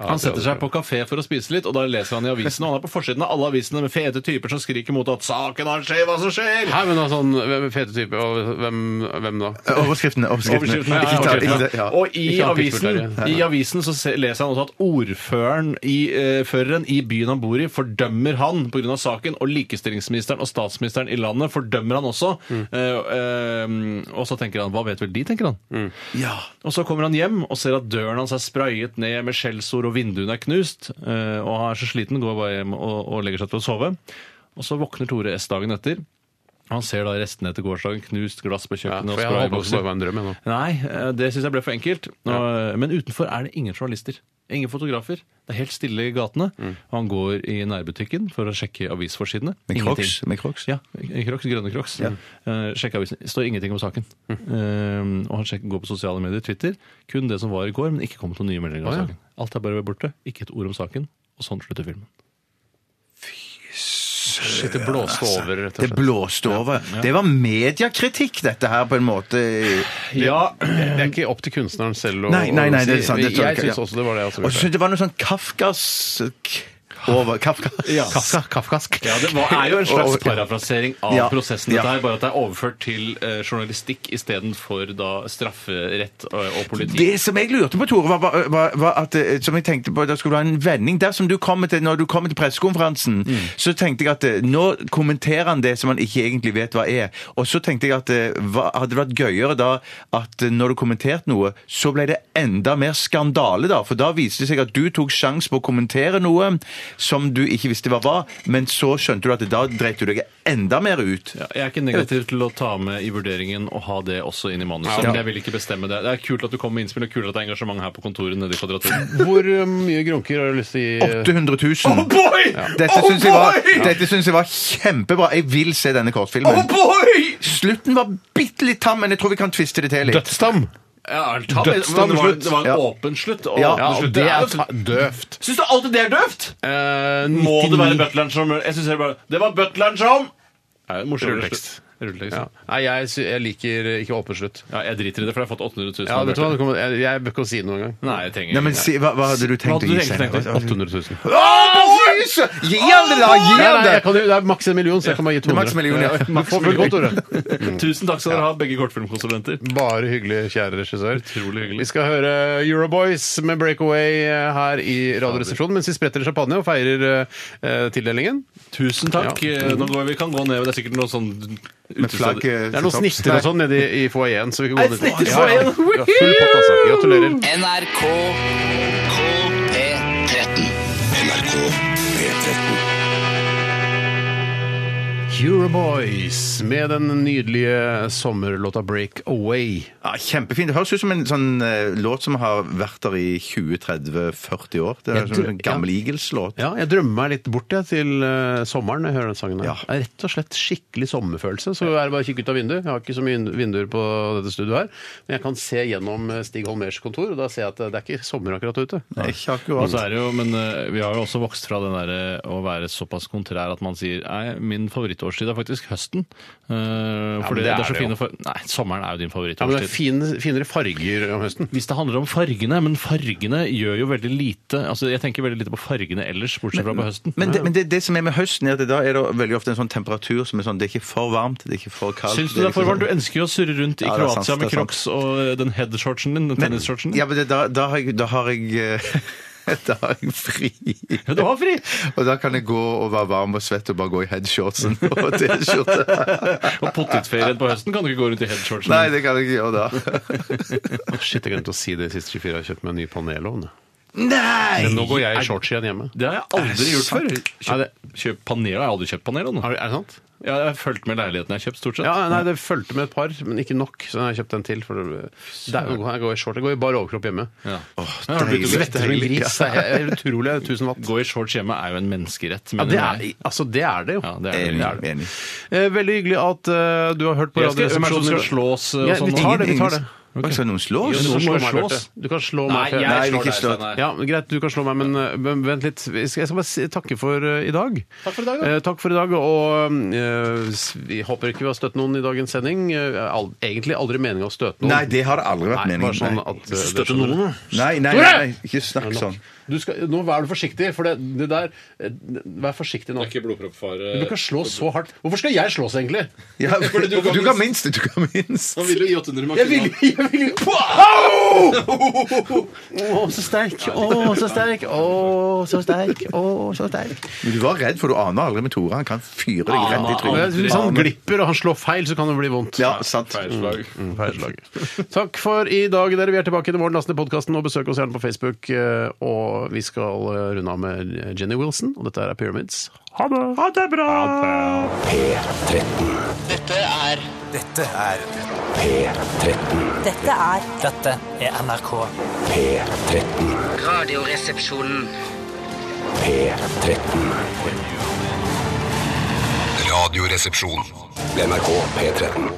S3: Han setter seg på kafé for å spise litt, og da leser han i avisene. Og han er på forsiden av alle avisene med fete typer som skriker mot at 'saken har skjedd, hva som skjer'!
S1: Hæ, men da sånn hvem er fete type, og hvem, hvem da?
S2: Eh, Overskriftene. overskriftene.
S3: Overskriftene, ja,
S2: Ikke ta-
S3: overskriftene.
S2: ikke ta- ja.
S3: Og i
S1: Ikke han
S3: avisen,
S1: Pittsburgh-er.
S3: i avisen så se- leser han også at ordføreren i, eh, føreren i byen han bor i fordømmer han pga. saken, og likestillingsministeren og statsministeren i landet fordømmer han også.
S2: Mm.
S3: Eh, eh, og så tenker han Hva vet vel de, tenker han.
S2: Ja.
S3: Og så kommer han hjem og ser at døren hans er sprayet ned med skjellsord, og vinduene er knust. eh, og han er så sliten, går bare hjem og, og legger seg til å sove. Og så våkner Tore S dagen etter. Han ser da restene etter gårsdagen, knust glass på
S1: Ja,
S3: kjøkkenet og
S1: for jeg håper det
S3: spraybokser.
S1: bare var en drøm. Jeg, nå.
S3: Nei, eh, det syns jeg ble for enkelt. Og, eh, Men utenfor er det ingen journalister. Ingen fotografer. Det er helt stille i gatene. Og han går i nærbutikken for å sjekke avisforsidene.
S2: Med
S3: Ingenting.
S2: crocs. Med crocs.
S3: Ja, crocs, grønne crocs. Eh, sjekke avisen. Det står ingenting om saken. Eh, og han sjekker, går på sosiale medier, Twitter. Kun det som var i går, men ikke kommet noen nye meldinger om
S1: Å, ja.
S3: saken. Alt er bare borte. Ikke et ord om saken. Og sånn slutter filmen.
S1: Shit, det blåste over, rett og
S2: Det
S1: slett.
S2: blåste over. Det var mediekritikk, dette her, på en måte.
S3: Ja,
S1: Det er ikke opp til kunstneren selv å
S2: Nei, nei, nei, det er sant. Det er sant,
S1: Jeg syns
S2: ja.
S1: også det var det. altså, jeg også
S2: Og
S1: ville
S2: så
S1: si.
S2: synes jeg det var noe sånn kafkask over Kafka.
S1: Kafka, kafkask.
S3: Ja, det var, er jo en slags
S2: Og-
S3: parafrasering av
S2: Ja,
S3: prosessen,
S2: ja.
S3: dette her, bare at det er overført til eh, journalistikk istedenfor strafferett og, og politi.
S2: Det som jeg lurte på, Tore, var, var, var, var at eh, som jeg tenkte på, det skulle være en vending. Dersom du kommer til, når du kommer til pressekonferansen, så tenkte jeg at eh, nå kommenterer han det som han ikke egentlig vet hva er. Og så tenkte jeg at eh, hva, hadde det vært gøyere da at eh, når du kommenterte noe, så ble det enda mer skandale da, for da viste det seg at du tok sjans på å kommentere noe som du ikke visste hva var, men så skjønte du at da dreit du deg enda mer ut.
S3: Ja, jeg er ikke negativ til å ta med i vurderingen og ha det også inn i manuset.
S2: Ja.
S3: men Jeg vil ikke bestemme det. Det er kult at du kommer med innspill, og kult at det er engasjement her på kontoret nede i Kvadraturen.
S1: Hvor eh, mye grunker har du lyst til å gi? eh,
S2: 800 000.
S7: Oh, boy! Oh,
S2: Dette syns jeg, var- dette synes jeg var kjempebra. Jeg vil se denne kortfilmen.
S7: Oh, boy!
S2: Slutten var bitte litt tam, men jeg tror vi kan tviste det til litt.
S1: Dødsdam!
S3: Ja, ærlig talt, men
S1: Dødsdam
S3: det var,
S1: slutt.
S3: det var en
S2: Ja.
S3: åpen slutt. Og
S2: Ja,
S3: åpen
S1: Ja, og
S3: slutt.
S1: det
S3: er
S1: er
S3: jo-
S1: ta- døvt.
S3: Syns du alltid det er døvt?
S1: Eh,
S3: Må det være
S1: 99
S3: butleren som Jeg synes jeg bare, Det var butleren som! Det er en morsom
S1: Rulletekst.
S3: slutt. Rulletekst.
S1: Ja.
S3: Ja.
S1: Nei, jeg, sy- jeg liker eh, ikke åpen slutt.
S3: jeg driter i det, for jeg har fått 800 000.
S1: Ja,
S3: av
S1: vet du hva,
S3: Butler.
S1: det kommer- jeg, jeg bør ikke si det noen gang.
S3: Nei, jeg trenger
S2: Nei, men
S3: ikke.
S2: si, hva, hva hadde du
S3: Hva
S2: tenkt
S3: hadde
S2: å
S3: du
S2: gi
S3: egentlig
S2: seg?
S3: tenkt å-
S1: 800 000.
S7: Ah,
S2: Gi han det, da!
S1: Nei,
S2: Gi han
S1: nei,
S2: det!
S1: jeg kan, jo- det er maks en million, så jeg kan bare gi 200.
S2: maks en million, ja.
S1: Du får vel godt, Tore.
S3: Mm. Tusen takk skal dere ha, begge kortfilmkonsulenter.
S1: Bare hyggelig, kjære regissør.
S3: Utrolig hyggelig.
S1: Vi skal høre Euroboys med Breakaway eh, her i Radioresepsjonen mens vi spretter champagne og feirer eh, tildelingen.
S3: Tusen takk.
S1: Ja.
S3: Eh, Nå går vi kan gå ned, det er sikkert noe sånn
S2: flagg,
S3: utested.
S2: eh,
S1: Det er noen snitter og sånn nede i, i foajeen. så vi kan gå
S3: Et
S1: ned-
S3: snitt i
S1: Ja, ja.
S3: foajeen.
S1: Ja, full pott, altså. Gratulerer.
S7: NRK P13.
S4: NRK P13.
S1: Cure Boys med den nydelige sommerlåta 'Break Away'.
S2: Ja, kjempefint. Det høres ut som en sånn eh, låt som har vært der i 20-30-40 år. Det
S1: Jeg
S2: er som
S1: tror-
S2: en gammel Eagles-låt.
S1: Ja, jeg drømmer meg litt bort jeg, til eh, sommeren når jeg hører den sangen. her.
S2: Ja.
S1: Det er Rett og slett skikkelig sommerfølelse. Så er det bare å kikke ut av vinduet. Jeg har ikke så mye vind- vinduer på dette studioet her, men jeg kan se gjennom eh, Stig Holmers kontor, og da ser jeg at eh, det er ikke sommer akkurat ute.
S2: Ikke
S3: Og
S2: akkurat.
S3: så er det jo, men eh, vi har jo også vokst fra den derre å være såpass kontrær at man sier nei, min favorittårstid er faktisk høsten. Eh, fordi
S1: det
S3: det, er
S1: er
S3: så
S1: det jo.
S3: fine for... Nei, sommeren er jo din
S1: Ja, men det er
S3: favorittårstid.
S1: fine, finere farger om høsten.
S3: Hvis det handler om fargene, men fargene gjør jo veldig lite Altså, jeg tenker veldig lite på fargene ellers, bortsett fra på høsten.
S2: Men, det, men det, det som er med høsten, er at da er det veldig ofte en sånn temperatur som er sånn Det er ikke for varmt, det er ikke for kaldt.
S3: Syns du det er for varmt? Du
S2: liksom sånn-
S3: ønsker jo å surre rundt i
S2: Ja, det er sant,
S3: Kroatia med
S2: det er sant.
S3: crocs og eh, den headshortsen din, den tennisshortsen.
S2: Ja, men det, da, da har jeg, da har jeg eh, da har jeg fri.
S3: Ja, Du har fri!
S2: Og da kan jeg gå og være varm og svett og bare gå i headshortsen og T-skjorte.
S3: Og potetferien på høsten kan du ikke gå rundt i headshortsen.
S2: Nei, det kan jeg ikke gjøre da.
S1: Shit, jeg glemte å si det i siste 24. Jeg har kjøpt meg en ny panelovn.
S2: Nei!
S1: Men nå går jeg i shorts igjen hjemme.
S3: Det har jeg aldri gjort før.
S1: Nei,
S3: Kjøp, kjøp panel. Jeg har aldri kjøpt panel. nå.
S1: Er det sant?
S3: Ja, jeg har fulgt med leiligheten jeg har kjøpt, stort sett.
S1: Ja, nei, Det fulgte med et par, men ikke nok. Så jeg har kjøpt en til. For det, det er, jo- jeg går i short. Jeg går i bar overkropp hjemme.
S3: Ja.
S1: Jeg har blitt
S2: deilig,
S1: svett som en
S2: deilig.
S1: gris. Det er helt utrolig. jeg er Tusen watt.
S3: Gå i shorts hjemme er jo en menneskerett,
S1: Ja,
S3: mener
S1: det
S3: jeg.
S1: er, altså, det er det jo.
S3: Ja, det er det.
S2: Enig, enig.
S1: Eh, Veldig hyggelig at eh, du har hørt på
S3: Jeg skal- hvem er det som
S1: Radioresepsjonen.
S3: skal slås, eh, og
S1: Ja,
S3: sånn?
S1: vi tar det. vi tar det.
S2: Oi, Skal noen
S1: Ja,
S3: Jo,
S2: slås?
S1: du kan
S3: noen må
S1: slå meg,
S3: slås.
S1: Bjarte. Du kan slå meg.
S3: Nei,
S1: Bjarte.
S2: Nei,
S3: jeg
S2: vi
S3: slår
S2: ikke
S3: deg,
S2: slår.
S3: Steinar.
S1: Ja, men Greit, du kan slå meg, men eh, men vent litt. Jeg skal jeg skal bare si, takke for eh, i dag.
S3: Takk for i dag, da.
S1: Eh, takk for i dag, og eh, s- vi håper ikke vi har støtt noen i dagens sending. Eh, al egentlig aldri meningen å støte noen.
S2: Nei, det har det aldri vært
S1: Nei, bare sånn
S2: meningen.
S1: at
S2: Nei.
S1: eh, dere
S3: Støtte
S1: skjønner det.
S3: noen, da.
S2: Nei, nei, nei, nei, ikke snakk sånn.
S1: Du skal, nå vær du forsiktig, for det, det der eh, Vær forsiktig nå. Du
S3: blodproppfare.
S1: kan ikke slå så hardt. Hvorfor skal jeg slås, egentlig?
S2: Ja,
S3: Fordi du
S2: du
S3: kan
S2: kan minst, du kan minst.
S3: Han ville jo gi 800
S1: Jeg vil, jeg vil jo Å, så sterk! Å, så sterk! Å, så sterk! Å, så sterk!
S2: Men du var redd, for du aner aldri med Tore. Han kan fyre deg rett i
S1: Men
S2: trynet.
S1: Hvis han glipper og han slår feil, så kan det bli vondt.
S2: Ja, sant.
S1: Mm, feilslag. Takk for i dag, dere. Vi er tilbake i morgen. Last ned podkasten og besøk oss gjerne på Facebook. eh, Og vi skal eh, runde av med Jenny Wilson, og dette er Pyramids. Ha det! Ha det bra!
S6: P13.
S7: Dette er
S6: P13.
S9: Dette er
S7: Dette er NRK.
S6: P13.
S10: Radioresepsjonen.
S6: P13.
S4: Radioresepsjon.
S6: NRK P13.